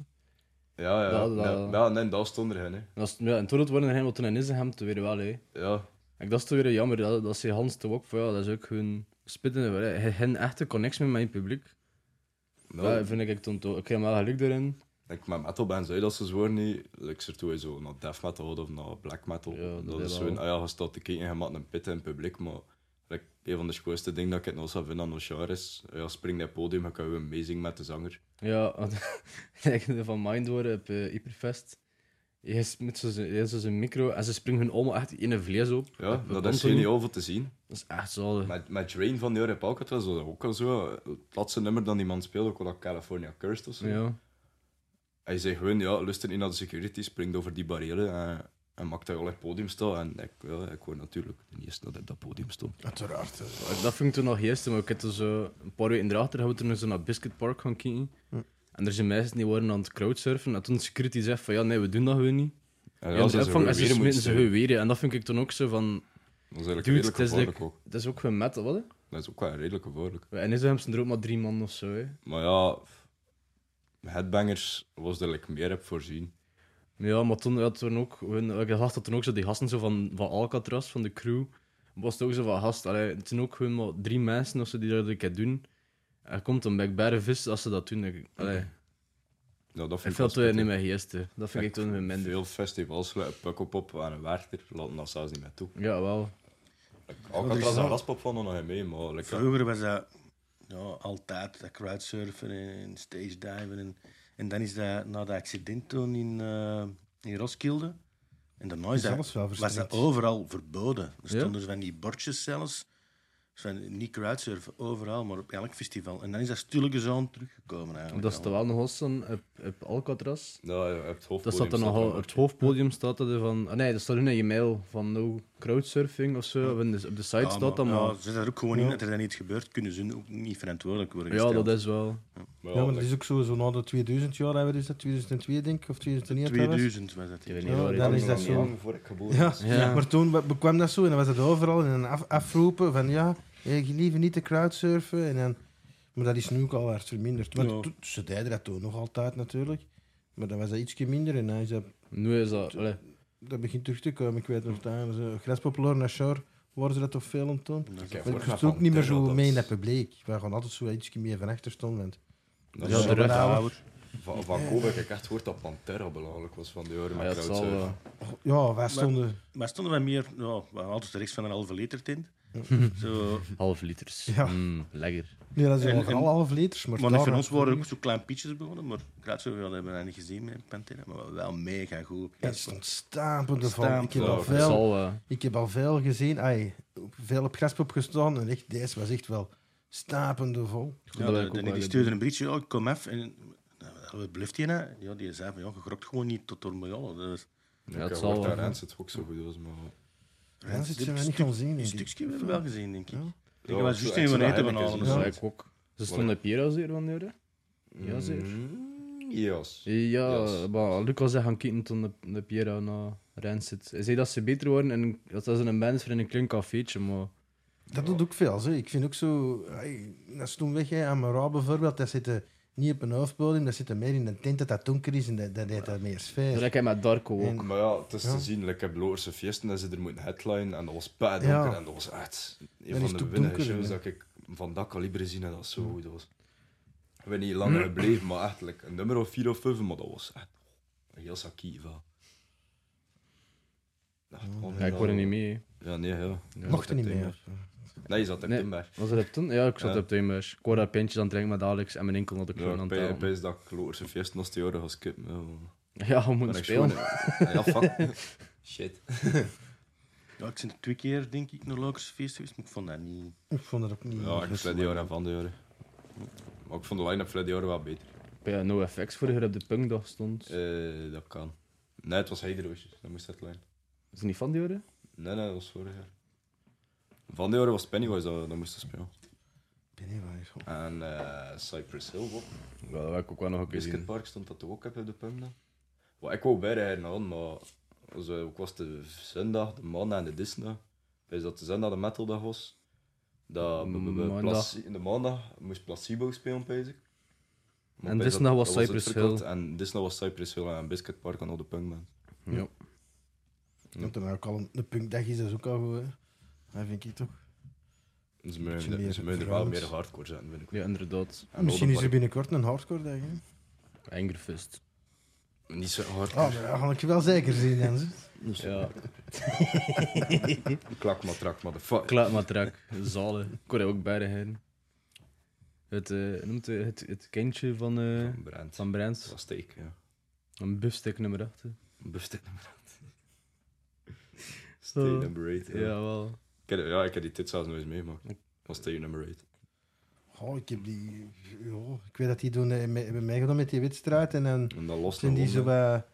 Speaker 4: Ja, ja,
Speaker 3: Dat-
Speaker 4: dat,
Speaker 3: dat-
Speaker 4: ja, nee, dat stond er hè.
Speaker 3: En als het- ja, in Torot worden hij, want toen in Isenham te weer wel. Hè.
Speaker 4: Ja,
Speaker 3: En dat is toch weer jammer. Dat, dat zei Hans toch ook van ja, dat is ook gewoon spitten. Hij geen echte connectie met mijn publiek.
Speaker 4: nou,
Speaker 3: Dat vind ik toen toch. Ik heb wel geluk daarin.
Speaker 4: Like, met metalbands uit als ze zwoer dus niet. Like, ze toe zo naar death metal gaat of naar black metal.
Speaker 3: Ja, dat
Speaker 4: dat,
Speaker 3: is
Speaker 4: is
Speaker 3: wel.
Speaker 4: gewoon, ah ja, je staat te kijken en je maakt een pit in het publiek. Maar like, een van de schoonste dingen dat ik het nog zou vinden aan ons jaar is, ja, spring naar het podium, dan kan je amazing met de zanger.
Speaker 3: Ja, want- (laughs) ik ben van Mind worden op eh, Hyperfest. Je is met zo'n- je is zo'n micro en ze springen hun allemaal echt in een vlees op.
Speaker 4: Ja,
Speaker 3: Op- op
Speaker 4: dat is
Speaker 3: Anthony.
Speaker 4: geniaal voor te zien.
Speaker 3: Dat is echt zalig.
Speaker 4: Met, met Drain van de Europe Alcatraz was dat ook al zo. Het laatste nummer dat die man speelde, ook wel dat California Cursed of zo.
Speaker 3: Ja.
Speaker 4: Hij zei gewoon, ja, luister niet naar de security, springt over die barrière en, en maakt dat je al op het podium staan. En ik, ja, ik hoor natuurlijk de eerste dat ik op dat podium stond.
Speaker 2: uiteraard. eh,
Speaker 3: Dat vond ik toen nog eerst, maar ik had toen zo een paar weken erachter hebben we toen zo naar Biscuit Park gaan kijken. En er zijn mensen die waren aan het crowdsurfen. En toen de security zegt van ja, nee, we doen dat gewoon niet.
Speaker 4: En
Speaker 3: Ja,
Speaker 4: ja,
Speaker 3: en
Speaker 4: ze
Speaker 3: de opvang
Speaker 4: gewoon
Speaker 3: en ze
Speaker 4: weer
Speaker 3: smeten
Speaker 4: moeten
Speaker 3: ze
Speaker 4: staan.
Speaker 3: gewoon weer. in. En dat vind ik toen ook zo van,
Speaker 4: Dat is eigenlijk
Speaker 3: dude,
Speaker 4: redelijk
Speaker 3: het is,
Speaker 4: gevaarlijk
Speaker 3: like-
Speaker 4: ook.
Speaker 3: het is ook gewoon metal, wat hè?
Speaker 4: Dat is ook wel redelijk gevaarlijk.
Speaker 3: En is hem zijn er ook maar drie man of zo, hè?
Speaker 4: Maar ja, headbangers was er like meer heb voorzien.
Speaker 3: Ja, maar toen had toen ook, hun- ik dacht dat toen ook zo die gasten zo van, van Alcatraz, van de crew, was het ook zo van gast. Allee, het zijn ook gewoon maar drie mensen of zo die dat een keer doen. Er komt een bekbare vis als ze dat doen. Ik- Allee,
Speaker 4: Ja, dat
Speaker 3: ik
Speaker 4: vind
Speaker 3: vind dat
Speaker 4: wel
Speaker 3: toen niet
Speaker 4: spittig.
Speaker 3: mijn eerste. Dat vind ik toen weer minder.
Speaker 4: Veel festivals sluiten Pukkelpop aan een werker, laten dat zelfs niet meer toe.
Speaker 3: Ja, wel.
Speaker 4: Alcatraz
Speaker 1: wel-
Speaker 4: en Raspop van nog niet mee, maar like, ja,
Speaker 1: Vroeger was dat ja, altijd dat crowdsurfen en stage diven. En, en dan is dat na dat accident toen in, eh, in Roskilde. En daarna is
Speaker 2: Is alles
Speaker 1: dat,
Speaker 2: wel
Speaker 1: was dat
Speaker 2: verstrikt.
Speaker 1: overal verboden. Er
Speaker 3: Ja?
Speaker 1: stonden dus van die bordjes zelfs. Dus Van, niet crowdsurfen, overal, maar op elk festival. En dan is dat stilletjes aan teruggekomen eigenlijk.
Speaker 3: Dat is er
Speaker 1: allemaal.
Speaker 3: wel nog eens een op, op Alcatraz.
Speaker 4: nou, ja, op het hoofdpodium
Speaker 3: Dat staat er nogal, op het hoofdpodium staat er van... ah nee, dat staat hun in je mail van no crowdsurfing of zo. Of in de- op de site
Speaker 1: Ja,
Speaker 3: staat dat,
Speaker 1: maar,
Speaker 3: maar...
Speaker 1: ja, ze zijn er ook gewoon in dat er dan iets gebeurt, kunnen ze ook niet verantwoordelijk worden
Speaker 3: Ja,
Speaker 1: gesteld.
Speaker 3: dat is wel...
Speaker 4: Maar
Speaker 2: Ja, maar dus
Speaker 4: ja,
Speaker 2: dat
Speaker 4: like,
Speaker 2: is ook zo, zo na de 2000 jaar hebben we dus dat 2002 denk ik, of 2001 dat was.
Speaker 1: 2000 was dat.
Speaker 3: Ik weet
Speaker 1: hier.
Speaker 3: niet waar
Speaker 2: dan
Speaker 3: ik-
Speaker 2: is dat
Speaker 4: lang-
Speaker 2: zo.
Speaker 4: lang voor ik geboren
Speaker 2: Ja,
Speaker 4: was.
Speaker 3: Ja.
Speaker 2: maar toen be- kwam dat zo en dan was het overal in een af, afroepen van ja, eh, liever niet te crowdsurfen. En dan, maar dat is nu ook al hard verminderd. Want
Speaker 1: Ja.
Speaker 2: toen- ze deden dat toen nog altijd natuurlijk, maar dan was dat ietsje minder en dan is dat,
Speaker 3: Nu is dat... allee,
Speaker 2: dat begint terug te komen. Ik weet nog tijdens Graspopulair naar Shore waren ze dat toch veel om toen.
Speaker 1: Dat is
Speaker 4: Oké,
Speaker 1: ook-
Speaker 2: Maar
Speaker 4: vorig
Speaker 2: ik
Speaker 4: jaar
Speaker 2: was ook
Speaker 4: van
Speaker 2: niet meer
Speaker 4: Terra,
Speaker 2: zo
Speaker 4: dat-
Speaker 2: mee in het publiek. We gaan altijd zo ietsje meer van achter stonden. want-
Speaker 4: Dat
Speaker 3: Ja,
Speaker 4: is-
Speaker 3: de rug.
Speaker 4: Van van Kobe heb ik echt gehoord dat Pantera belachelijk was van de jaren
Speaker 3: ah ja,
Speaker 4: met
Speaker 3: het zal...
Speaker 4: crowdsurfen.
Speaker 3: eh,
Speaker 2: Ja, wij stonden...
Speaker 1: Maar stonden wij meer, nou, we hadden altijd rechts van een halve liter tint. Zo,
Speaker 3: eh, Half liters.
Speaker 2: Ja.
Speaker 3: Mm, lekker.
Speaker 2: Nee, dat
Speaker 1: En-
Speaker 2: zijn overal
Speaker 1: en-
Speaker 2: half liters. Maar,
Speaker 1: maar
Speaker 2: daar
Speaker 1: voor
Speaker 2: nog
Speaker 1: ons waren
Speaker 2: niet.
Speaker 1: ook zo klein pietjes begonnen, maar Kruidse, we hebben dat niet gezien met Pantera, maar wel mega goed.
Speaker 2: Het stond stampende van. Ik heb,
Speaker 4: Stampende.
Speaker 2: al
Speaker 3: Het
Speaker 2: veel,
Speaker 3: zal eh,
Speaker 2: ik heb al veel gezien. Ai, op- veel op graspop gestaan. En echt, deze was echt wel stapende vol.
Speaker 3: goed
Speaker 1: Ja,
Speaker 3: dat
Speaker 1: de-
Speaker 3: ik ook
Speaker 1: de-
Speaker 3: wel
Speaker 1: die
Speaker 3: heb.
Speaker 1: stuurde een briefje, ja, ik kom even. En nou, wat bluft hij nou? Ja, die zei van, ja, je grokt gewoon niet tot door miljoenen. Dus,
Speaker 3: Ja, het
Speaker 4: ik
Speaker 3: zal
Speaker 4: hoor dat
Speaker 3: wel.
Speaker 4: Rens het ook zo goed was, maar...
Speaker 2: Ja, dat
Speaker 1: Een
Speaker 2: zijn we niet
Speaker 1: stuk-
Speaker 2: gaan zien.
Speaker 1: Een
Speaker 2: denk ik.
Speaker 1: stukje hebben we wel gezien, denk ik.
Speaker 2: Ja.
Speaker 1: Ik was juist in van eten van
Speaker 3: Dat
Speaker 1: Ja.
Speaker 3: zou ik ook. Ze stonden Piero zeer van deur, hè? Ja, zeer.
Speaker 4: Ja,
Speaker 3: Eh, Ja,
Speaker 4: Yes.
Speaker 3: maar Lucas zei gaan kijken toen de, de Piero naar Rens zit. Hij zei dat ze beter worden en dat ze een band voor in een klein cafeetje, maar...
Speaker 2: Dat doet ook veel. Zo. Ik vind ook zo... ai, dat is toen weg. Hè, aan Mara bijvoorbeeld, dat zitten niet op een hoofdpodium. Dat zitten meer in een tent dat dat donker is. En dat, dat deed dat meer
Speaker 3: Dat
Speaker 2: sfeer.
Speaker 3: heb ik met Darko ook.
Speaker 2: En-
Speaker 4: Maar ja, het is
Speaker 2: Ja.
Speaker 4: te zien. like, Ik heb Loerse Fiesten en ze er moeten headline en dat was pad
Speaker 2: Ja.
Speaker 4: donker en dat was echt
Speaker 2: is het
Speaker 4: een van
Speaker 2: ook
Speaker 4: de winnende
Speaker 2: donkerder,
Speaker 4: shows
Speaker 2: hè.
Speaker 4: dat ik van dat kaliber gezien heb dat zo goed was. Ik ben niet langer gebleven, maar echt like, een nummer of vier of vijf, maar dat was echt een heel sakkie van. Echt
Speaker 3: Ja, ik word er niet mee, hè.
Speaker 4: Ja, nee, ja. Je
Speaker 2: Mocht er
Speaker 4: zat
Speaker 2: niet
Speaker 4: op
Speaker 2: meer.
Speaker 4: Timber. Nee, je zat op
Speaker 3: Nee.
Speaker 4: Timber.
Speaker 3: Was dat op toen? Ja, ik zat
Speaker 4: Ja.
Speaker 3: op Timbers. Ik hoor dat pintje aan het drinken met Alex en mijn enkel naar de
Speaker 4: Ja,
Speaker 3: kroon aan
Speaker 4: ik
Speaker 3: het halen.
Speaker 4: ben- ben dat ik Loerse Fiesten als die jaren ga skippen. ja, maar-
Speaker 3: Ja, we moeten
Speaker 4: Ben ik
Speaker 3: spelen.
Speaker 4: schoon, hè. Ja,
Speaker 3: (laughs)
Speaker 4: fuck. Shit.
Speaker 1: Ja, ik ben twee keer, denk ik, naar Lokers feest geweest, maar ik vond dat niet...
Speaker 2: Ik vond het ook niet...
Speaker 4: Ja, ik Freddy Jaren en Van de Jaren. Maar ik vond de line-up Freddy Jaren wel beter.
Speaker 3: Ja, no FX vorige keer op de punkdag stond.
Speaker 4: Eh, dat kan. Nee, het was Heideroosjes. Dat moest dat lijn.
Speaker 3: Is het niet van die horen?
Speaker 4: Nee, nee, dat was vorig jaar. Van de jaren was Pennywise dat, dat moest dat spelen.
Speaker 2: Pennywise.
Speaker 4: En eh, Cypress Hill, wat?
Speaker 3: Ja, dat heb ik ook wel nog een keer
Speaker 4: Biscuit
Speaker 3: gezien.
Speaker 4: Park stond dat toch ook op de pump dan? Wat ik wou beide heren aan, maar als, eh, ook was de zondag, de maandag en de Disney. Is dat de zondag de metaldag was? Dat we- we- we
Speaker 3: Maandag.
Speaker 4: placi- de maandag moest Placebo spelen, pees ik. Maar
Speaker 3: En
Speaker 4: pees dat-
Speaker 3: Disney was
Speaker 4: dat het
Speaker 3: Cypress
Speaker 4: verkort
Speaker 3: Hill.
Speaker 4: En Disney was Cypress Hill en Biscuit Park en al de punkband.
Speaker 3: Ja.
Speaker 2: Want dan ook al een, een punkdag is, dat is ook al goed. Hè. Dat vind ik toch.
Speaker 4: Ze
Speaker 2: Beetje
Speaker 4: moeten
Speaker 2: meer
Speaker 4: ze moeten er wel
Speaker 2: verhoudings.
Speaker 4: meer hardcore zetten, vind ik.
Speaker 3: ja, inderdaad.
Speaker 4: En
Speaker 2: Misschien is er
Speaker 4: Oldenburg.
Speaker 2: binnenkort een hardcore dag. Hè?
Speaker 3: Angerfist.
Speaker 4: Niet zo hard.
Speaker 2: Ah, maar dat ga ik je wel zeker zien, Jens.
Speaker 3: Ja,
Speaker 4: Klakmatrak, motherfucker.
Speaker 3: klaapmatrak, zalen. Ik hoor dat ook beide heren. Het, eh, noemt het, het, het kindje van, eh
Speaker 4: Brand.
Speaker 3: van
Speaker 4: Dat
Speaker 3: Brands.
Speaker 4: was steek, ja.
Speaker 3: Een bufstek nummer 8.
Speaker 4: Bufstek nummer 8.
Speaker 3: Eh.
Speaker 4: Steek nummer 8, ja.
Speaker 3: Jawel.
Speaker 4: Ik heb, ja, ik heb die tit zelfs nooit meegemaakt. Dat was steek nummer 8.
Speaker 2: Oh, ik heb die... ja, ik weet dat die doen, eh, me- hebben meegedaan met die wedstrijd. En dan
Speaker 4: En dan lost
Speaker 2: zijn die zo
Speaker 4: Londen.
Speaker 2: wat,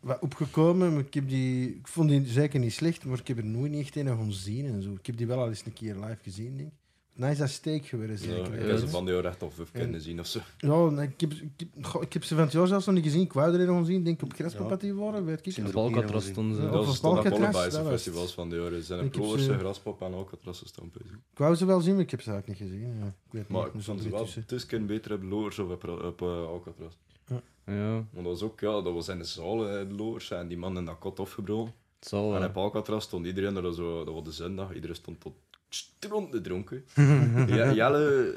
Speaker 2: wat opgekomen. Maar ik, heb die, ik vond die zeker niet slecht, maar ik heb er nooit niet echt een gaan zien. En zo. Ik heb die wel al eens een keer live gezien, denk ik. Nou is dat steek geweest,
Speaker 4: Ja,
Speaker 2: zeker.
Speaker 4: ik
Speaker 2: hè.
Speaker 4: heb ze van die jaar echt al vijf
Speaker 2: En-
Speaker 4: kunnen zien of zo.
Speaker 2: Ja, nee, ik heb, ik, heb, goh, ik heb ze van het jaar zelfs nog niet gezien. Ik wou er een gaan zien, denk ik, op Graspop
Speaker 1: Ja.
Speaker 2: had die waren, weet ik.
Speaker 1: Zijn
Speaker 2: niet.
Speaker 1: er
Speaker 3: Op
Speaker 1: ook niet
Speaker 3: Alcatraz
Speaker 1: gezien.
Speaker 3: stonden ze.
Speaker 2: Ja.
Speaker 4: Dat
Speaker 2: of
Speaker 4: was stond op
Speaker 2: Alcatraz,
Speaker 4: allebei
Speaker 2: dat
Speaker 4: zijn
Speaker 2: was-
Speaker 4: festivals van die jaren. Zijn
Speaker 2: Ik
Speaker 4: een
Speaker 2: heb ze-
Speaker 4: Ploerse, Graspop en Alcatraz staan. pees ik.
Speaker 2: Ik wou ze wel zien, maar ik heb ze eigenlijk niet gezien. Ja. Ik weet
Speaker 4: Maar
Speaker 2: niet,
Speaker 4: ik
Speaker 2: moest er
Speaker 4: vond ze
Speaker 2: weer
Speaker 4: wel
Speaker 2: tussen.
Speaker 4: tussen beter op Loers of op, op eh, Alcatraz.
Speaker 3: Ja,
Speaker 4: Want dat was ook, ja, dat was in de zaal, eh, Loers, en die man in dat kot afgebroken.
Speaker 3: het zal
Speaker 4: En
Speaker 3: wel.
Speaker 4: op Alcatraz stond iedereen er zo, dat was de zondag, iedereen stond tot stront
Speaker 2: (laughs)
Speaker 4: te dronken. ja, Jelle,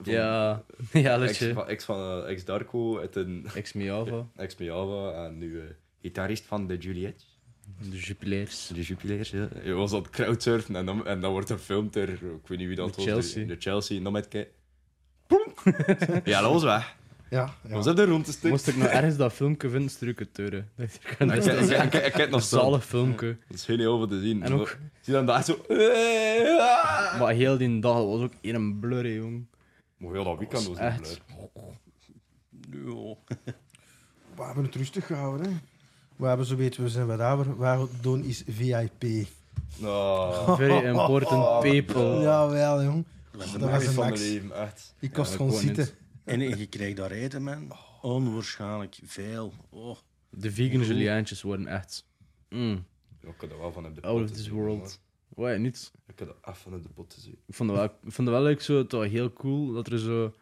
Speaker 4: van-
Speaker 3: Ja, (laughs) ja,
Speaker 4: ex,
Speaker 3: letje.
Speaker 4: van, ex, van, eh, ex Darko, uit een
Speaker 3: Ex-Miava,
Speaker 4: ex Miava en nu eh, gitarist van de Juliet.
Speaker 3: de Jupileers.
Speaker 4: De Jupileers, ja. Je was aan het crowdsurfen en dan, en dan wordt er gefilmd door, ik weet niet wie dat
Speaker 3: De
Speaker 4: was,
Speaker 3: Chelsea.
Speaker 4: De, de Chelsea, nog met kei. Boem. (laughs) ja, dat was weg.
Speaker 2: Ja,
Speaker 4: We
Speaker 2: ja.
Speaker 4: zitten rond te stikken.
Speaker 3: Moest ik nou ergens dat filmpje vinden, stuur ik het door. hè. Dat is echt
Speaker 4: Ik, ik, ik, ik, ik heb nog
Speaker 3: Een
Speaker 4: zo.
Speaker 3: zalig filmpje.
Speaker 4: Dat is heel over te zien.
Speaker 3: En ook-
Speaker 4: Zie dan daar zo. (laughs)
Speaker 3: Maar heel die dag dat was ook in een blur, hè, jong.
Speaker 4: Maar heel dat weekend was een blur.
Speaker 3: Echt.
Speaker 1: Ja.
Speaker 2: We hebben het rustig gehouden, hè. We hebben zo weten, we zijn wat ouder. Wat we doen is VIP.
Speaker 4: (laughs) Nou.
Speaker 3: Very important
Speaker 2: Oh.
Speaker 3: people.
Speaker 1: Oh.
Speaker 2: Jawel, jong. Oh,
Speaker 1: was
Speaker 2: Dat
Speaker 1: een
Speaker 2: was
Speaker 4: Echt
Speaker 2: een
Speaker 4: van mijn
Speaker 2: max.
Speaker 4: leven, echt.
Speaker 2: Ik kost
Speaker 3: dat
Speaker 2: gewoon
Speaker 3: kon niet.
Speaker 2: zitten.
Speaker 1: En je kreeg daar eten, man. Onwaarschijnlijk veel. Oh.
Speaker 3: De vegan Juliaantjes worden echt. Mm,
Speaker 4: Ja, Ik heb dat wel van op de
Speaker 3: out of
Speaker 4: pot te
Speaker 3: Oh, this
Speaker 4: zien,
Speaker 3: world. Wauw, niet.
Speaker 4: hoor. Ik heb dat af van op de pot te zien.
Speaker 3: Ik vond het wel, ik vond het wel leuk, zo, het was heel cool dat er zo.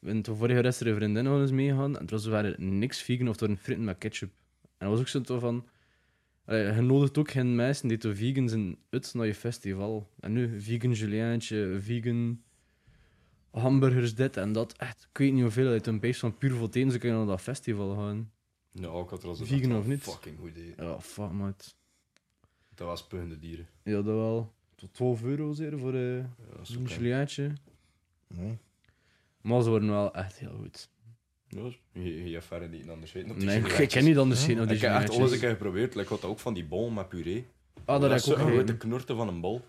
Speaker 3: In het vorige rest er een vriendin van ons meegaan en het was verder niks vegan of door een fritten met ketchup. En dat was ook zo toch van. allee, Je nodigt ook geen mensen die te vegan zijn uit naar je festival. En nu vegan juliaantje, vegan hamburgers, dit en dat. Echt, ik weet niet hoeveel uit een beest van puur voor het eten ze kunnen naar dat festival gaan.
Speaker 4: Ja, Alcatraz is
Speaker 3: Vegan
Speaker 4: echt wel
Speaker 3: of niet?
Speaker 4: Fucking goed idee.
Speaker 3: Ja, fuck, maat.
Speaker 4: Dat was puntende dieren.
Speaker 3: Ja, dat wel. tot 12 euro zeer voor eh,
Speaker 4: Ja, is
Speaker 3: zo'n
Speaker 4: oké.
Speaker 3: Juliaatje.
Speaker 2: Nee.
Speaker 3: Maar ze worden wel echt heel goed.
Speaker 4: Ja, Je, je hebt verder niet anders weten op die
Speaker 3: Nee, ik, ik
Speaker 4: chocolaatjes.
Speaker 3: ken niet anders zien. op die
Speaker 4: Ik heb echt alles een
Speaker 3: Juliaatjes.
Speaker 4: keer geprobeerd. Like, ik had ook van die bol met puree.
Speaker 3: Ah, dat heb ik
Speaker 4: is
Speaker 3: ook
Speaker 4: zo'n grote
Speaker 3: gegeten.
Speaker 4: knorten van een bol.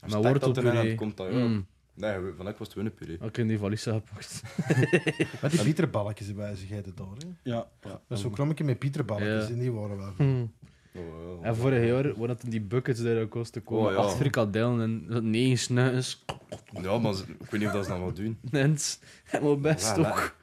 Speaker 3: Met
Speaker 4: Stek dat erin En
Speaker 3: wortelpuree.
Speaker 4: het komt dat, ja.
Speaker 3: Mm,
Speaker 4: Nee, van ik was het winnenpuree.
Speaker 3: had ik in die valise gepakt.
Speaker 2: Met die pieterballetjes erbij, ze geven het door. Hè?
Speaker 1: Ja.
Speaker 2: Dat is zo'n krommetje met pieterballetjes
Speaker 3: Ja.
Speaker 2: en die waren wel.
Speaker 4: Oh, ja.
Speaker 3: En vorig jaar, waar dat in die buckets daar ook kosten komen,
Speaker 4: Oh, ja.
Speaker 3: acht frikadellen en dat negen snuiters.
Speaker 4: ja, maar ze- ik weet niet of dat ze dat wel doen.
Speaker 3: En het- helemaal best
Speaker 4: Ja,
Speaker 3: ook.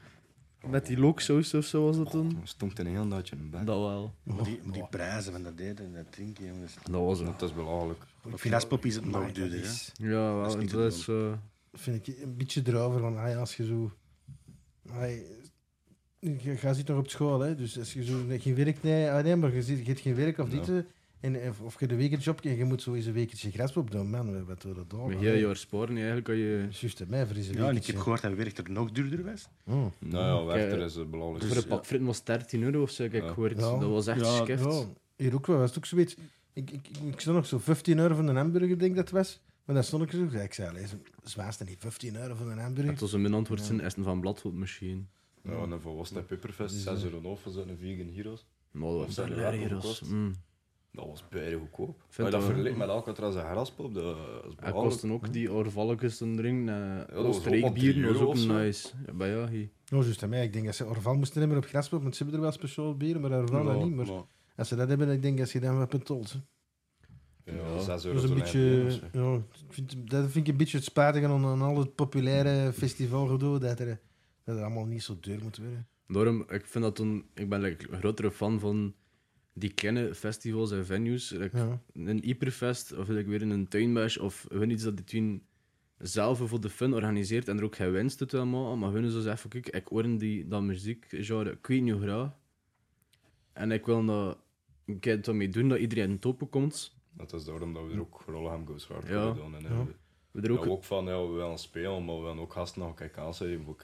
Speaker 3: Met die looksaus of zo was dat dan.
Speaker 4: Dat stond in een heel naadje in bed.
Speaker 3: Dat wel.
Speaker 1: Maar die, maar die prijzen van dat eten en dat drinken, jongens.
Speaker 3: Dat was het.
Speaker 4: Dat is belachelijk.
Speaker 1: Op graspop is het nog
Speaker 2: Maar dat
Speaker 1: duurder, hè.
Speaker 2: is-
Speaker 3: Ja, wel,
Speaker 1: is
Speaker 3: dat
Speaker 1: niet
Speaker 3: is,
Speaker 1: te
Speaker 3: eh,
Speaker 2: vind ik een beetje erover. Want ah ja, als je zo. ah, je- je, je zit nog op school, hè? dus als je zo net geen werk. Nee, ah, nee maar je, zit, je hebt geen werk of
Speaker 4: Ja.
Speaker 2: dit. eh, En, of, of je de weekendjob en je moet zo eens een weekendje graspop doen. Man, wat doen we dat doen?
Speaker 3: met heel jaar sporen eigenlijk kan je...
Speaker 2: Juist, hè, mij voor eens een
Speaker 1: Ja, en ik
Speaker 2: weekendje.
Speaker 1: heb gehoord dat werkt er nog duurder was.
Speaker 2: Oh.
Speaker 4: Nou ja, Werchter
Speaker 3: Kijk,
Speaker 4: is het belachelijk.
Speaker 3: Mm. Voor een pak frit was 13 euro of zo, heb ik
Speaker 4: Dus, Ja.
Speaker 3: gehoord.
Speaker 2: Ja.
Speaker 3: Dat was echt
Speaker 1: Ja,
Speaker 3: skift.
Speaker 2: Ja, hier ook wel. Dat is ook zoiets. Ik, ik, ik, ik stond nog zo 15 euro van een hamburger, denk ik dat het was. Maar dan stond ik zo. Ik zei, allee, zo- zwaarste niet, 15 euro van een
Speaker 3: Het
Speaker 2: hamburger.
Speaker 3: was een mijn antwoord zijn, is het van bladgoed misschien.
Speaker 4: Ja, en dan voor was dat Pepperfest,
Speaker 3: Mm.
Speaker 4: 6 euro en half, was dat een vegan heroes.
Speaker 3: Maar dat was
Speaker 4: zou
Speaker 3: daar
Speaker 4: dat
Speaker 3: leer
Speaker 4: ook
Speaker 3: was.
Speaker 4: kosten?
Speaker 3: Mm.
Speaker 4: Dat was bijna goedkoop.
Speaker 3: Vind
Speaker 4: Maar dat
Speaker 3: wel.
Speaker 4: vergelijkt met Alcatraz en Graspop, dat is
Speaker 3: Hij
Speaker 4: belachelijk.
Speaker 3: kostte ook die oorvalletjes te drinken. eh
Speaker 4: was ook maar
Speaker 3: Oostenrijk
Speaker 4: €3
Speaker 3: dat was ook
Speaker 4: of zo.
Speaker 3: nice. Ja, bij jou, hier.
Speaker 2: Oh, juist, hè, mij. Ik denk dat ze Orval moesten hebben op graspop, want ze hebben er wel speciaal bier, maar Orval dat niet. Maar Als ze dat hebben, ik denk dat ze dan wat pentolt.
Speaker 4: Ja, 6 euro
Speaker 2: Dat, is een
Speaker 4: zo'n eind bier of
Speaker 2: beetje,
Speaker 4: zo.
Speaker 2: ja, ik vind- dat vind ik een beetje het spijtige aan, aan al het populaire festivalgedoe, dat er, dat het allemaal niet zo duur moet worden.
Speaker 3: Daarom, ik vind dat toen... Ik ben like, een grotere fan van die kleine festivals en venues. Like,
Speaker 2: Ja.
Speaker 3: Een hyperfest, of like, weer in een tuinbash, of hun iets dat die toen zelf voor de fun organiseert en er ook geen winst uit wil maken. Maar hun is dus even, kijk, ik hoor die, dat muziekgenre, ik weet niet hoe graag. En ik wil dat... Ik kan het ermee doen dat iedereen toppen komt.
Speaker 4: Dat is daarom dat we er ook Rollham Goes Hard
Speaker 3: Ja.
Speaker 4: ja. doen. En, eh,
Speaker 2: Ja.
Speaker 4: we-
Speaker 3: We er
Speaker 4: ja,
Speaker 3: ook...
Speaker 4: ook van, ja, we willen spelen, maar we willen ook gasten nog kijken aanzetten. Ik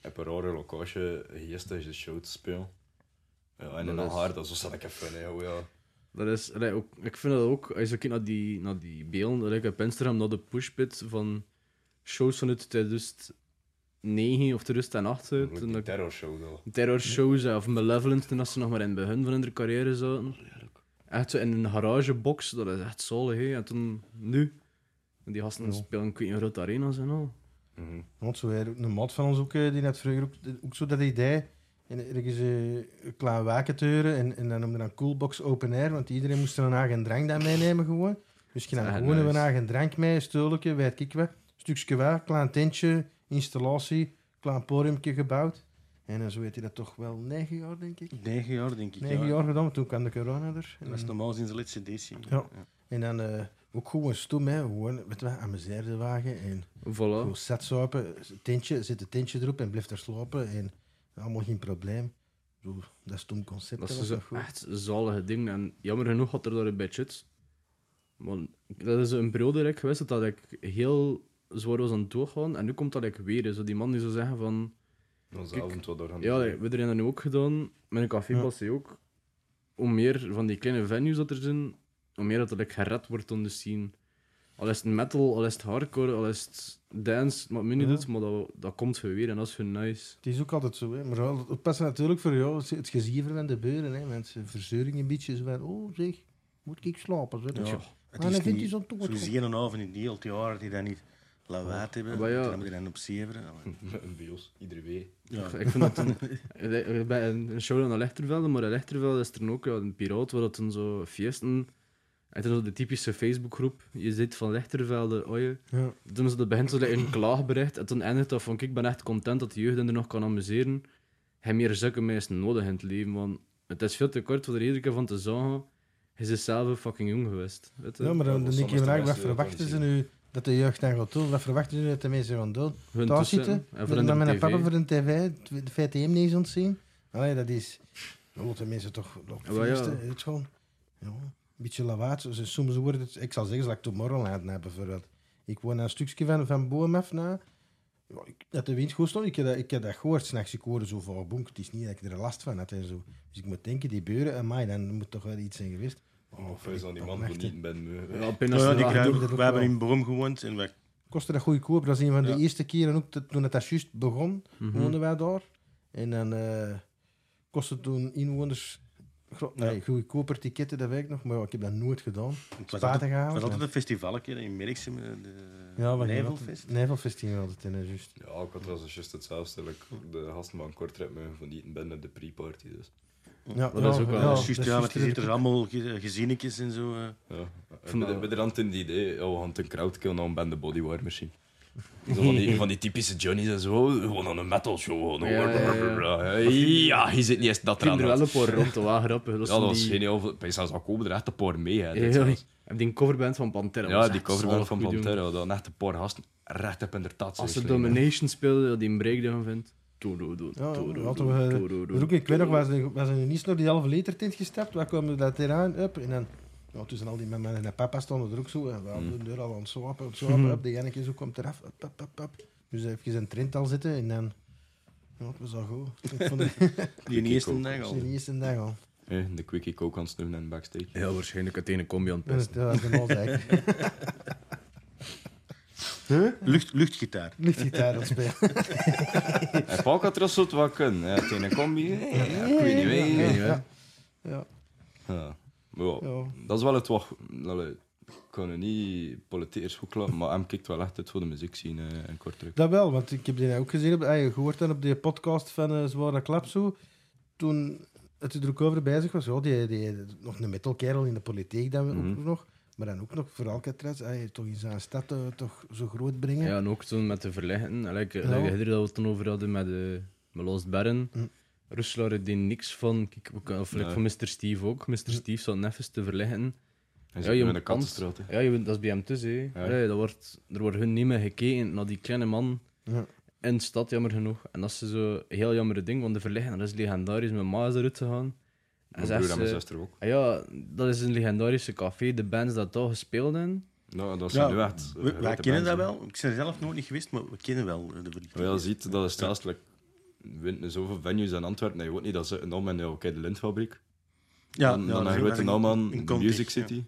Speaker 4: heb eh, een rare lokage gisteren is de show te spelen. Ja, en
Speaker 3: Dat
Speaker 4: in haar
Speaker 3: is-
Speaker 4: haar, dat is dat ik even hè, hoe, ja.
Speaker 3: Dat is, allee, ook, ik vind dat ook, als je kijkt naar die, naar die beelden, allee, ik heb op Instagram naar de pushpit van shows vanuit 2009 of 2008, hè,
Speaker 4: Like
Speaker 3: toen
Speaker 4: die
Speaker 3: dat
Speaker 4: terror show. Dat.
Speaker 3: terror shows hè, of Malevolent, toen dat ze nog maar in het begin van hun carrière zaten. Echt zo in een garagebox, dat is echt zalig. hè. En toen, nu, die gasten spelen, ik weet niet, in grote arena's en al.
Speaker 4: Mhm.
Speaker 2: Want zo had ook een mat van ons ook, eh, die net vroeger ook, ook zo dat idee. En ergens eh, een klein waken te huren en, en dan noemde dan Coolbox Open Air, want iedereen moest er een eigen drank dan meenemen gewoon. Dus je nam
Speaker 3: Ah,
Speaker 2: gewoon
Speaker 3: nice.
Speaker 2: een eigen drank mee, een stoeltje, weet ik wat. Stukje waar, klein tentje, installatie, klein podiumje gebouwd. En eh, zo weet hij dat toch wel negen jaar, denk ik.
Speaker 1: Negen jaar, denk ik.
Speaker 2: Negen
Speaker 1: ja.
Speaker 2: jaar gedaan, want toen kwam de corona er. En,
Speaker 1: Dat is normaal sinds de laatste editie.
Speaker 2: Ja. en dan eh, ook gewoon stom, hè. Gewoon, weet je wat, amuseerde wagen en...
Speaker 3: Voilà.
Speaker 2: Gewoon zet zuipen, tintje, zit een tintje erop en blijft er slapen. En allemaal geen probleem. Zo, dat is dom concept.
Speaker 3: Dat
Speaker 2: Dat
Speaker 3: is
Speaker 2: was
Speaker 3: zo
Speaker 2: nog goed.
Speaker 3: echt zalige ding. En jammer genoeg had er daar een budget. Want dat is een periode dat ik geweest heb dat ik heel zwaar was aan het doorgaan. En nu komt dat ik weer. Zo die man die zou zeggen van...
Speaker 4: Dat is
Speaker 3: Kijk,
Speaker 4: avond wat door
Speaker 3: Ja, we hebben er dat nu ook gedaan. Met een café Passé ook. Hoe meer van die kleine venues dat er zijn, hoe meer dat er like, gered wordt onder de scene. Al is het metal, al is het hardcore, al is het dance, het maakt me niet
Speaker 2: Ja.
Speaker 3: uit, maar dat, dat komt weer en dat is gewoon nice.
Speaker 2: Het is ook altijd zo. Hè. Maar wel, het past natuurlijk voor jou, het- het geziever van de beuren. Hè. Mensen verzeuring een beetje. Zo van, oh zeg, moet ik slapen? Zo.
Speaker 1: Ja.
Speaker 2: Ja.
Speaker 1: Het
Speaker 2: Ah, dan
Speaker 1: is
Speaker 2: vindt hij
Speaker 1: niet,
Speaker 2: zo'n toer.
Speaker 1: zo zie je een avond in die heel het jaar die dan niet lawaai hebben.
Speaker 3: Maar ja.
Speaker 1: Dan moet je dan op zeven.
Speaker 4: Een bios, iedere week.
Speaker 1: Ja.
Speaker 3: Ik vind
Speaker 2: (laughs)
Speaker 3: dat een, eh, bij een een show aan Lechtervelde, maar in Lechtervelde is er dan ook ja, een piraat waar dat dan zo feesten. En dan zo de typische Facebookgroep. Je zit van Lechtervelde, oh je.
Speaker 2: Ja.
Speaker 3: Toen ze dat begint zo like, een klaagbericht. En toen eindigt dat van: kijk, ik ben echt content dat de jeugd er nog kan amuseren. Heb meer zulke mensen nodig in het leven, want het is veel te kort voor er iedere keer van te zeggen. Hij is zelf fucking jong geweest. Weet je?
Speaker 2: Ja, maar dan, dan
Speaker 4: Soms
Speaker 2: denk je,
Speaker 4: de
Speaker 2: maar,
Speaker 4: mensen
Speaker 2: wat
Speaker 4: die dat
Speaker 2: verwachten
Speaker 4: dan
Speaker 2: ze nu dat de jeugd dan gaat doen? Wat verwachten ze nu dat de mensen gaan doen?
Speaker 3: Hun
Speaker 2: Daar
Speaker 3: toestemming
Speaker 2: zitten,
Speaker 3: en voor
Speaker 2: dan
Speaker 3: hun
Speaker 2: met een
Speaker 3: TV.
Speaker 2: papa voor een tv, de VTM niet eens ontzien. Allee, dat is... Dan moeten mensen toch nog
Speaker 3: Ja, wel, ja.
Speaker 2: feesten, het is gewoon... Ja, een beetje lawaai. Zo- zo- Soms wordt het... Ik zal zeggen, zoals ik Tomorrowland heb bijvoorbeeld. Ik woon een stukje van, van Boom af na. Ja, ik- dat de wind goed stond, ik heb dat, ik heb dat gehoord. S'nachts, ik hoorde zo van bonk. Het is niet dat ik er last van had en zo. Dus ik moet denken, die beuren, amai, dan moet toch wel iets zijn geweest. Oh,
Speaker 4: Vuist aan die man
Speaker 2: echt, hè.
Speaker 4: genieten ben. me.
Speaker 3: Ja,
Speaker 1: Nou
Speaker 3: pindas
Speaker 1: ja,
Speaker 3: ja,
Speaker 1: die kruipen-
Speaker 5: doe ik ook
Speaker 1: we hebben
Speaker 5: wel.
Speaker 1: in Boom gewoond en wij
Speaker 2: kostte dat goedkoop. Dat is een van de
Speaker 1: Ja.
Speaker 2: eerste keren ook, te- toen het dat juist begon,
Speaker 3: Mhm.
Speaker 2: woonden wij daar. En dan eh, kostte toen inwoners gro-
Speaker 1: Ja.
Speaker 2: nee, goedkoper ticketten, dat weet ik nog. Maar ja, ik heb dat nooit gedaan.
Speaker 1: het was altijd,
Speaker 2: Spaten
Speaker 1: het was
Speaker 2: gehaald.
Speaker 1: altijd
Speaker 2: en-
Speaker 1: een festivalje in Merksem, eh, de
Speaker 2: Ja, wat-
Speaker 1: Nijvelfest.
Speaker 2: Nijvelfest ging altijd in, hè, juist.
Speaker 4: Ja, ik had wel eens juist hetzelfde. like, De gasten van Kortrijk me genieten ben met de pre-party. Dus.
Speaker 2: Ja,
Speaker 3: dat is ook wel-
Speaker 1: Dat is juist, ja, want je ziet
Speaker 2: inderdaad.
Speaker 1: er allemaal ge- gezinnetjes en zo. eh.
Speaker 4: Ja.
Speaker 3: vond
Speaker 4: Bij de-
Speaker 3: dat-
Speaker 4: bij de rand in het idee, ja, we gaan het een crowdkill naar een band de
Speaker 3: (laughs)
Speaker 4: bodywear machine. Zo van, die, van die typische Johnny's en zo, gewoon aan een metal show. Ja,
Speaker 3: Ja, ja, ja.
Speaker 4: ja, je zit niet eens dat
Speaker 3: er
Speaker 4: eraan.
Speaker 3: wel
Speaker 4: had.
Speaker 3: een paar rond, dat was grappig.
Speaker 4: Ja,
Speaker 3: Dat
Speaker 4: dat
Speaker 3: zijn
Speaker 4: was
Speaker 3: die-
Speaker 4: geniaal. Bij zelfs al komen er echt een paar mee. Hè,
Speaker 3: Ja,
Speaker 4: dit zelfs.
Speaker 3: Heb die een coverband van Pantera?
Speaker 4: ja
Speaker 3: was
Speaker 4: die
Speaker 3: echt
Speaker 4: coverband
Speaker 3: zalig
Speaker 4: van
Speaker 3: goed, jongen.
Speaker 4: Pantera, dat echt een paar gasten recht op in de tat zijn
Speaker 3: Als ze
Speaker 4: geslingerd.
Speaker 3: Domination speelden, dat die een breakdown vindt. Doe, doe, doe,
Speaker 2: Ja,
Speaker 3: doe, doe,
Speaker 2: hadden
Speaker 3: doe,
Speaker 2: we-
Speaker 3: doe, doe, doe.
Speaker 2: Maar ook, ik weet nog, wij zijn, wij zijn in Nice door die halve liter tent gestapt. Wij kwamen dat terrein op en dan... Ja, tussen al die mannen en de papa stonden er ook zo. En we hadden de deur al aan het zwapen, aan het zwapen. op. De Janneke zo komt eraf. Up, up, up, up. Dus even een trend al zitten en dan... Ja, het was al goed. Ik vond het
Speaker 1: Die in
Speaker 4: ik
Speaker 1: eerste
Speaker 4: ook.
Speaker 1: dag
Speaker 2: was
Speaker 1: al.
Speaker 2: de eerste dag al.
Speaker 4: Eh, de quickie coke aan het snoeven en backstage. (laughs)
Speaker 3: Ja, waarschijnlijk het ene combi aan het
Speaker 2: Dat is
Speaker 3: pesten.
Speaker 2: het, ja, de mol, zei ik.
Speaker 1: Lucht, luchtgitaar.
Speaker 2: Luchtgitaar aan het spelen.
Speaker 4: En Palcatraz zou het wel kunnen. hè, Het ene combi, eh, ja, ik weet niet meer. ik weet niet meer.
Speaker 2: Ja, ja,
Speaker 4: Ja. Maar ja,
Speaker 2: ja.
Speaker 4: Dat is wel het wat. Allee, ik kan het niet politiekers goed klappen, maar hem kijkt wel echt uit voor de muziek zien eh, en kort terug.
Speaker 2: Dat wel, want ik heb die ook gezien, op, eh, gehoord dan op die podcast van eh, Zware Klapsoe. Toen het er ook over bezig was, ja, die, die, nog een metalkerel in de politiek dan ook
Speaker 4: Mhm.
Speaker 2: nog. Maar dan ook nog voor Alcatraz, eh, toch in zijn stad eh, toch zo groot brengen.
Speaker 3: Ja, en ook toen met de verleggen. Like,
Speaker 2: Ja.
Speaker 3: like, Hidder dat we het toen over hadden met, eh met Lost Barren.
Speaker 2: Hm.
Speaker 3: Ruslaar deed niks van. Kijk, we kunnen- of like,
Speaker 4: Nee.
Speaker 3: van Mr. Steve ook. Mr.
Speaker 2: Hm.
Speaker 3: Steve zat neffens te verleggen.
Speaker 4: Hij
Speaker 3: Ja,
Speaker 4: zit
Speaker 3: je
Speaker 4: nu in
Speaker 3: moet
Speaker 4: de
Speaker 3: kans-
Speaker 4: kantenstraat. hè.
Speaker 3: Ja, je bent, dat is bij hem tussen. hè.
Speaker 4: Ja.
Speaker 3: Allee, dat wordt, er wordt hun niet meer gekeken naar die kleine man
Speaker 2: Ja.
Speaker 3: in de stad, jammer genoeg. En dat is dus zo een heel jammer ding, want de verleggen dat is legendarisch. Mijn ma is eruit gegaan.
Speaker 4: Mijn
Speaker 3: zegt
Speaker 4: broer en mijn
Speaker 3: ze-
Speaker 4: zuster ook.
Speaker 3: Ah ja, dat is een legendarische café. De bands dat daar gespeeld hebben.
Speaker 4: Nou, dat
Speaker 1: Ja,
Speaker 4: zijn nu echt. eh,
Speaker 1: We,
Speaker 4: grote
Speaker 1: wij kennen dat
Speaker 4: bands, hè.
Speaker 1: wel. Ik ben zelf nooit niet geweest, maar we kennen wel eh, de verlichting.
Speaker 4: Maar ja, ziet, dat is zelfs. like, je wint nu zoveel venues in Antwerpen. Nee, je weet niet dat ze een naam hebben. Ja, oké, de Lintfabriek.
Speaker 1: Ja,
Speaker 4: dan
Speaker 1: ja, dat
Speaker 4: dan een
Speaker 1: is
Speaker 4: grote
Speaker 1: ook-
Speaker 4: naam aan
Speaker 1: in
Speaker 4: de
Speaker 1: context,
Speaker 4: Music
Speaker 1: ja.
Speaker 4: City.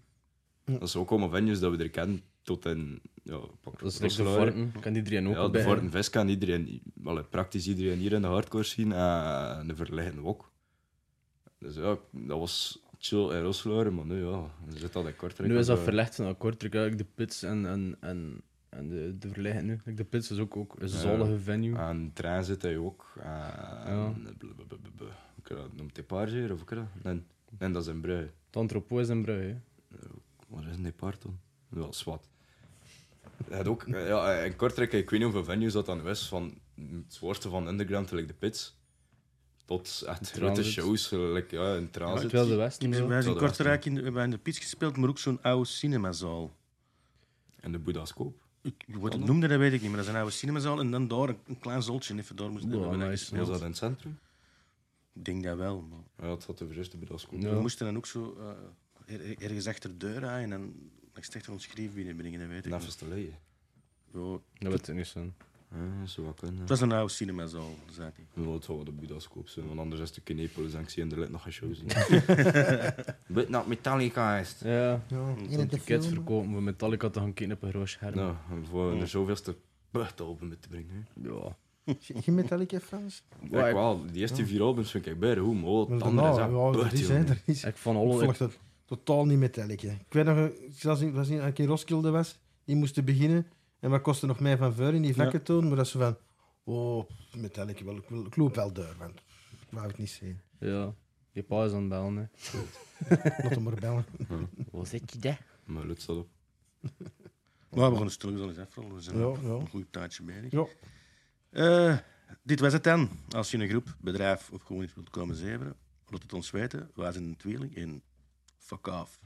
Speaker 2: Ja.
Speaker 4: Dat is ook allemaal venues dat we er kennen. Tot in. Ja, pak
Speaker 3: Dat is like de
Speaker 4: Rosselaar.
Speaker 3: Vorten. Ik kan die drie ook
Speaker 4: Ja, de
Speaker 3: bij.
Speaker 4: Vorten Vis kan iedereen, allee, praktisch iedereen hier in de hardcore zien eh, en de verleggen ook. Dus ja, dat was chill in Rosselaar, maar nu ja, dan zit dat in Kortrijk.
Speaker 3: Nu is dat
Speaker 4: Eh,
Speaker 3: verlegd van akkoord. Ik de pits en, en, en, en de, de verleggen nu. Like, De pits is ook, ook een zalige venue.
Speaker 4: Aan de trein zit hij ook. eh, En, eh, blablabla. Hoe kan dat? Noemt hij Pargeer of hoe kan dat? Nee, nee, dat is in Brugge.
Speaker 3: Het antropo is in Brugge. hè.
Speaker 4: Waar is een depart dan? Wel, zwart. Hij had ook, eh, ja, eh, in Kortrijk, ik weet niet hoeveel venues dat dan was, van het zwaarste van underground, gelijk de pits, tot echt grote
Speaker 3: Transit.
Speaker 4: shows, gelijk ja, in transit.
Speaker 3: Terwijl de Westen.
Speaker 1: Wij
Speaker 3: ja.
Speaker 1: hebben in
Speaker 4: dat was
Speaker 1: Kortrijk in, we hebben in de pits gespeeld, maar ook zo'n oude cinemazaal.
Speaker 4: En de Boeddha's Koop.
Speaker 1: Ik, wat het noemde, dat weet ik niet, maar dat is een oude cinemazaal. En dan daar een, een klein zoltje, even daar moest
Speaker 3: Wow,
Speaker 1: hebben we dan
Speaker 3: nice.
Speaker 4: Was
Speaker 1: gespeeld.
Speaker 4: dat in het centrum?
Speaker 1: Ik denk dat wel. Maar
Speaker 4: Ja, het zat de eerste Boeddha's Koop.
Speaker 3: Ja.
Speaker 1: We moesten dan ook zo eh, er- er- ergens achter de deur rijden en dan echt achter ons schreef binnenbrengen, dat weet ik.
Speaker 4: En
Speaker 1: niet.
Speaker 4: even te leien.
Speaker 1: Ja,
Speaker 3: Dat weet ik niet zo.
Speaker 4: Ja, zo wat kunnen.
Speaker 1: het was een oude cinemazaal, dat zei hij.
Speaker 4: Ja, het zou wel de Boeddha's Koop zijn, want anders is de Kinepolis en ik zie in de lid nog geen shows. Bit not Metallica is.
Speaker 3: Ja.
Speaker 2: Ja, in
Speaker 3: Om
Speaker 2: het
Speaker 3: Mm, tickets
Speaker 2: film.
Speaker 3: verkopen voor Metallica te gaan kijken op een groot scherm.
Speaker 4: Nou, en voor de zoveelste bucht album mee te brengen. hè.
Speaker 3: Ja.
Speaker 2: Geen Metallica fans?
Speaker 4: Ja, ik wel. Die eerste vier albums vind ik bij hoe mooi.
Speaker 2: Maar
Speaker 4: oh, Het
Speaker 2: daarna,
Speaker 4: andere is echt
Speaker 2: ja, dat
Speaker 4: bucht,
Speaker 2: is, hè,
Speaker 4: jongen.
Speaker 2: dat is.
Speaker 3: Ik van
Speaker 2: Ik
Speaker 3: alle...
Speaker 2: volg dat totaal niet Metallica. Ik weet nog, eh, zelfs in, was in, als ik in Roskilde was, die moesten beginnen. En wat kostte nog mij van vuur in die vakken toen? Maar dat ze van, oh, Metallica, wel, ik, wil- ik loop wel deur, want ik wou het niet zien.
Speaker 3: Ja. Je pa is aan het bellen, hè.
Speaker 2: Laat hem maar bellen.
Speaker 6: Hoe zit je daar?
Speaker 4: Maar lukt dat op.
Speaker 1: Maar we gaan het stil eens afrollen. We zijn
Speaker 2: Ja,
Speaker 1: al
Speaker 2: ja.
Speaker 1: een goed tijdje bezig.
Speaker 2: Ja.
Speaker 1: Eh, dit was het dan. Als je in een groep, bedrijf of gewoon iets wilt komen zeveren, laat het ons weten. Wij zijn een tweeling en fuck off.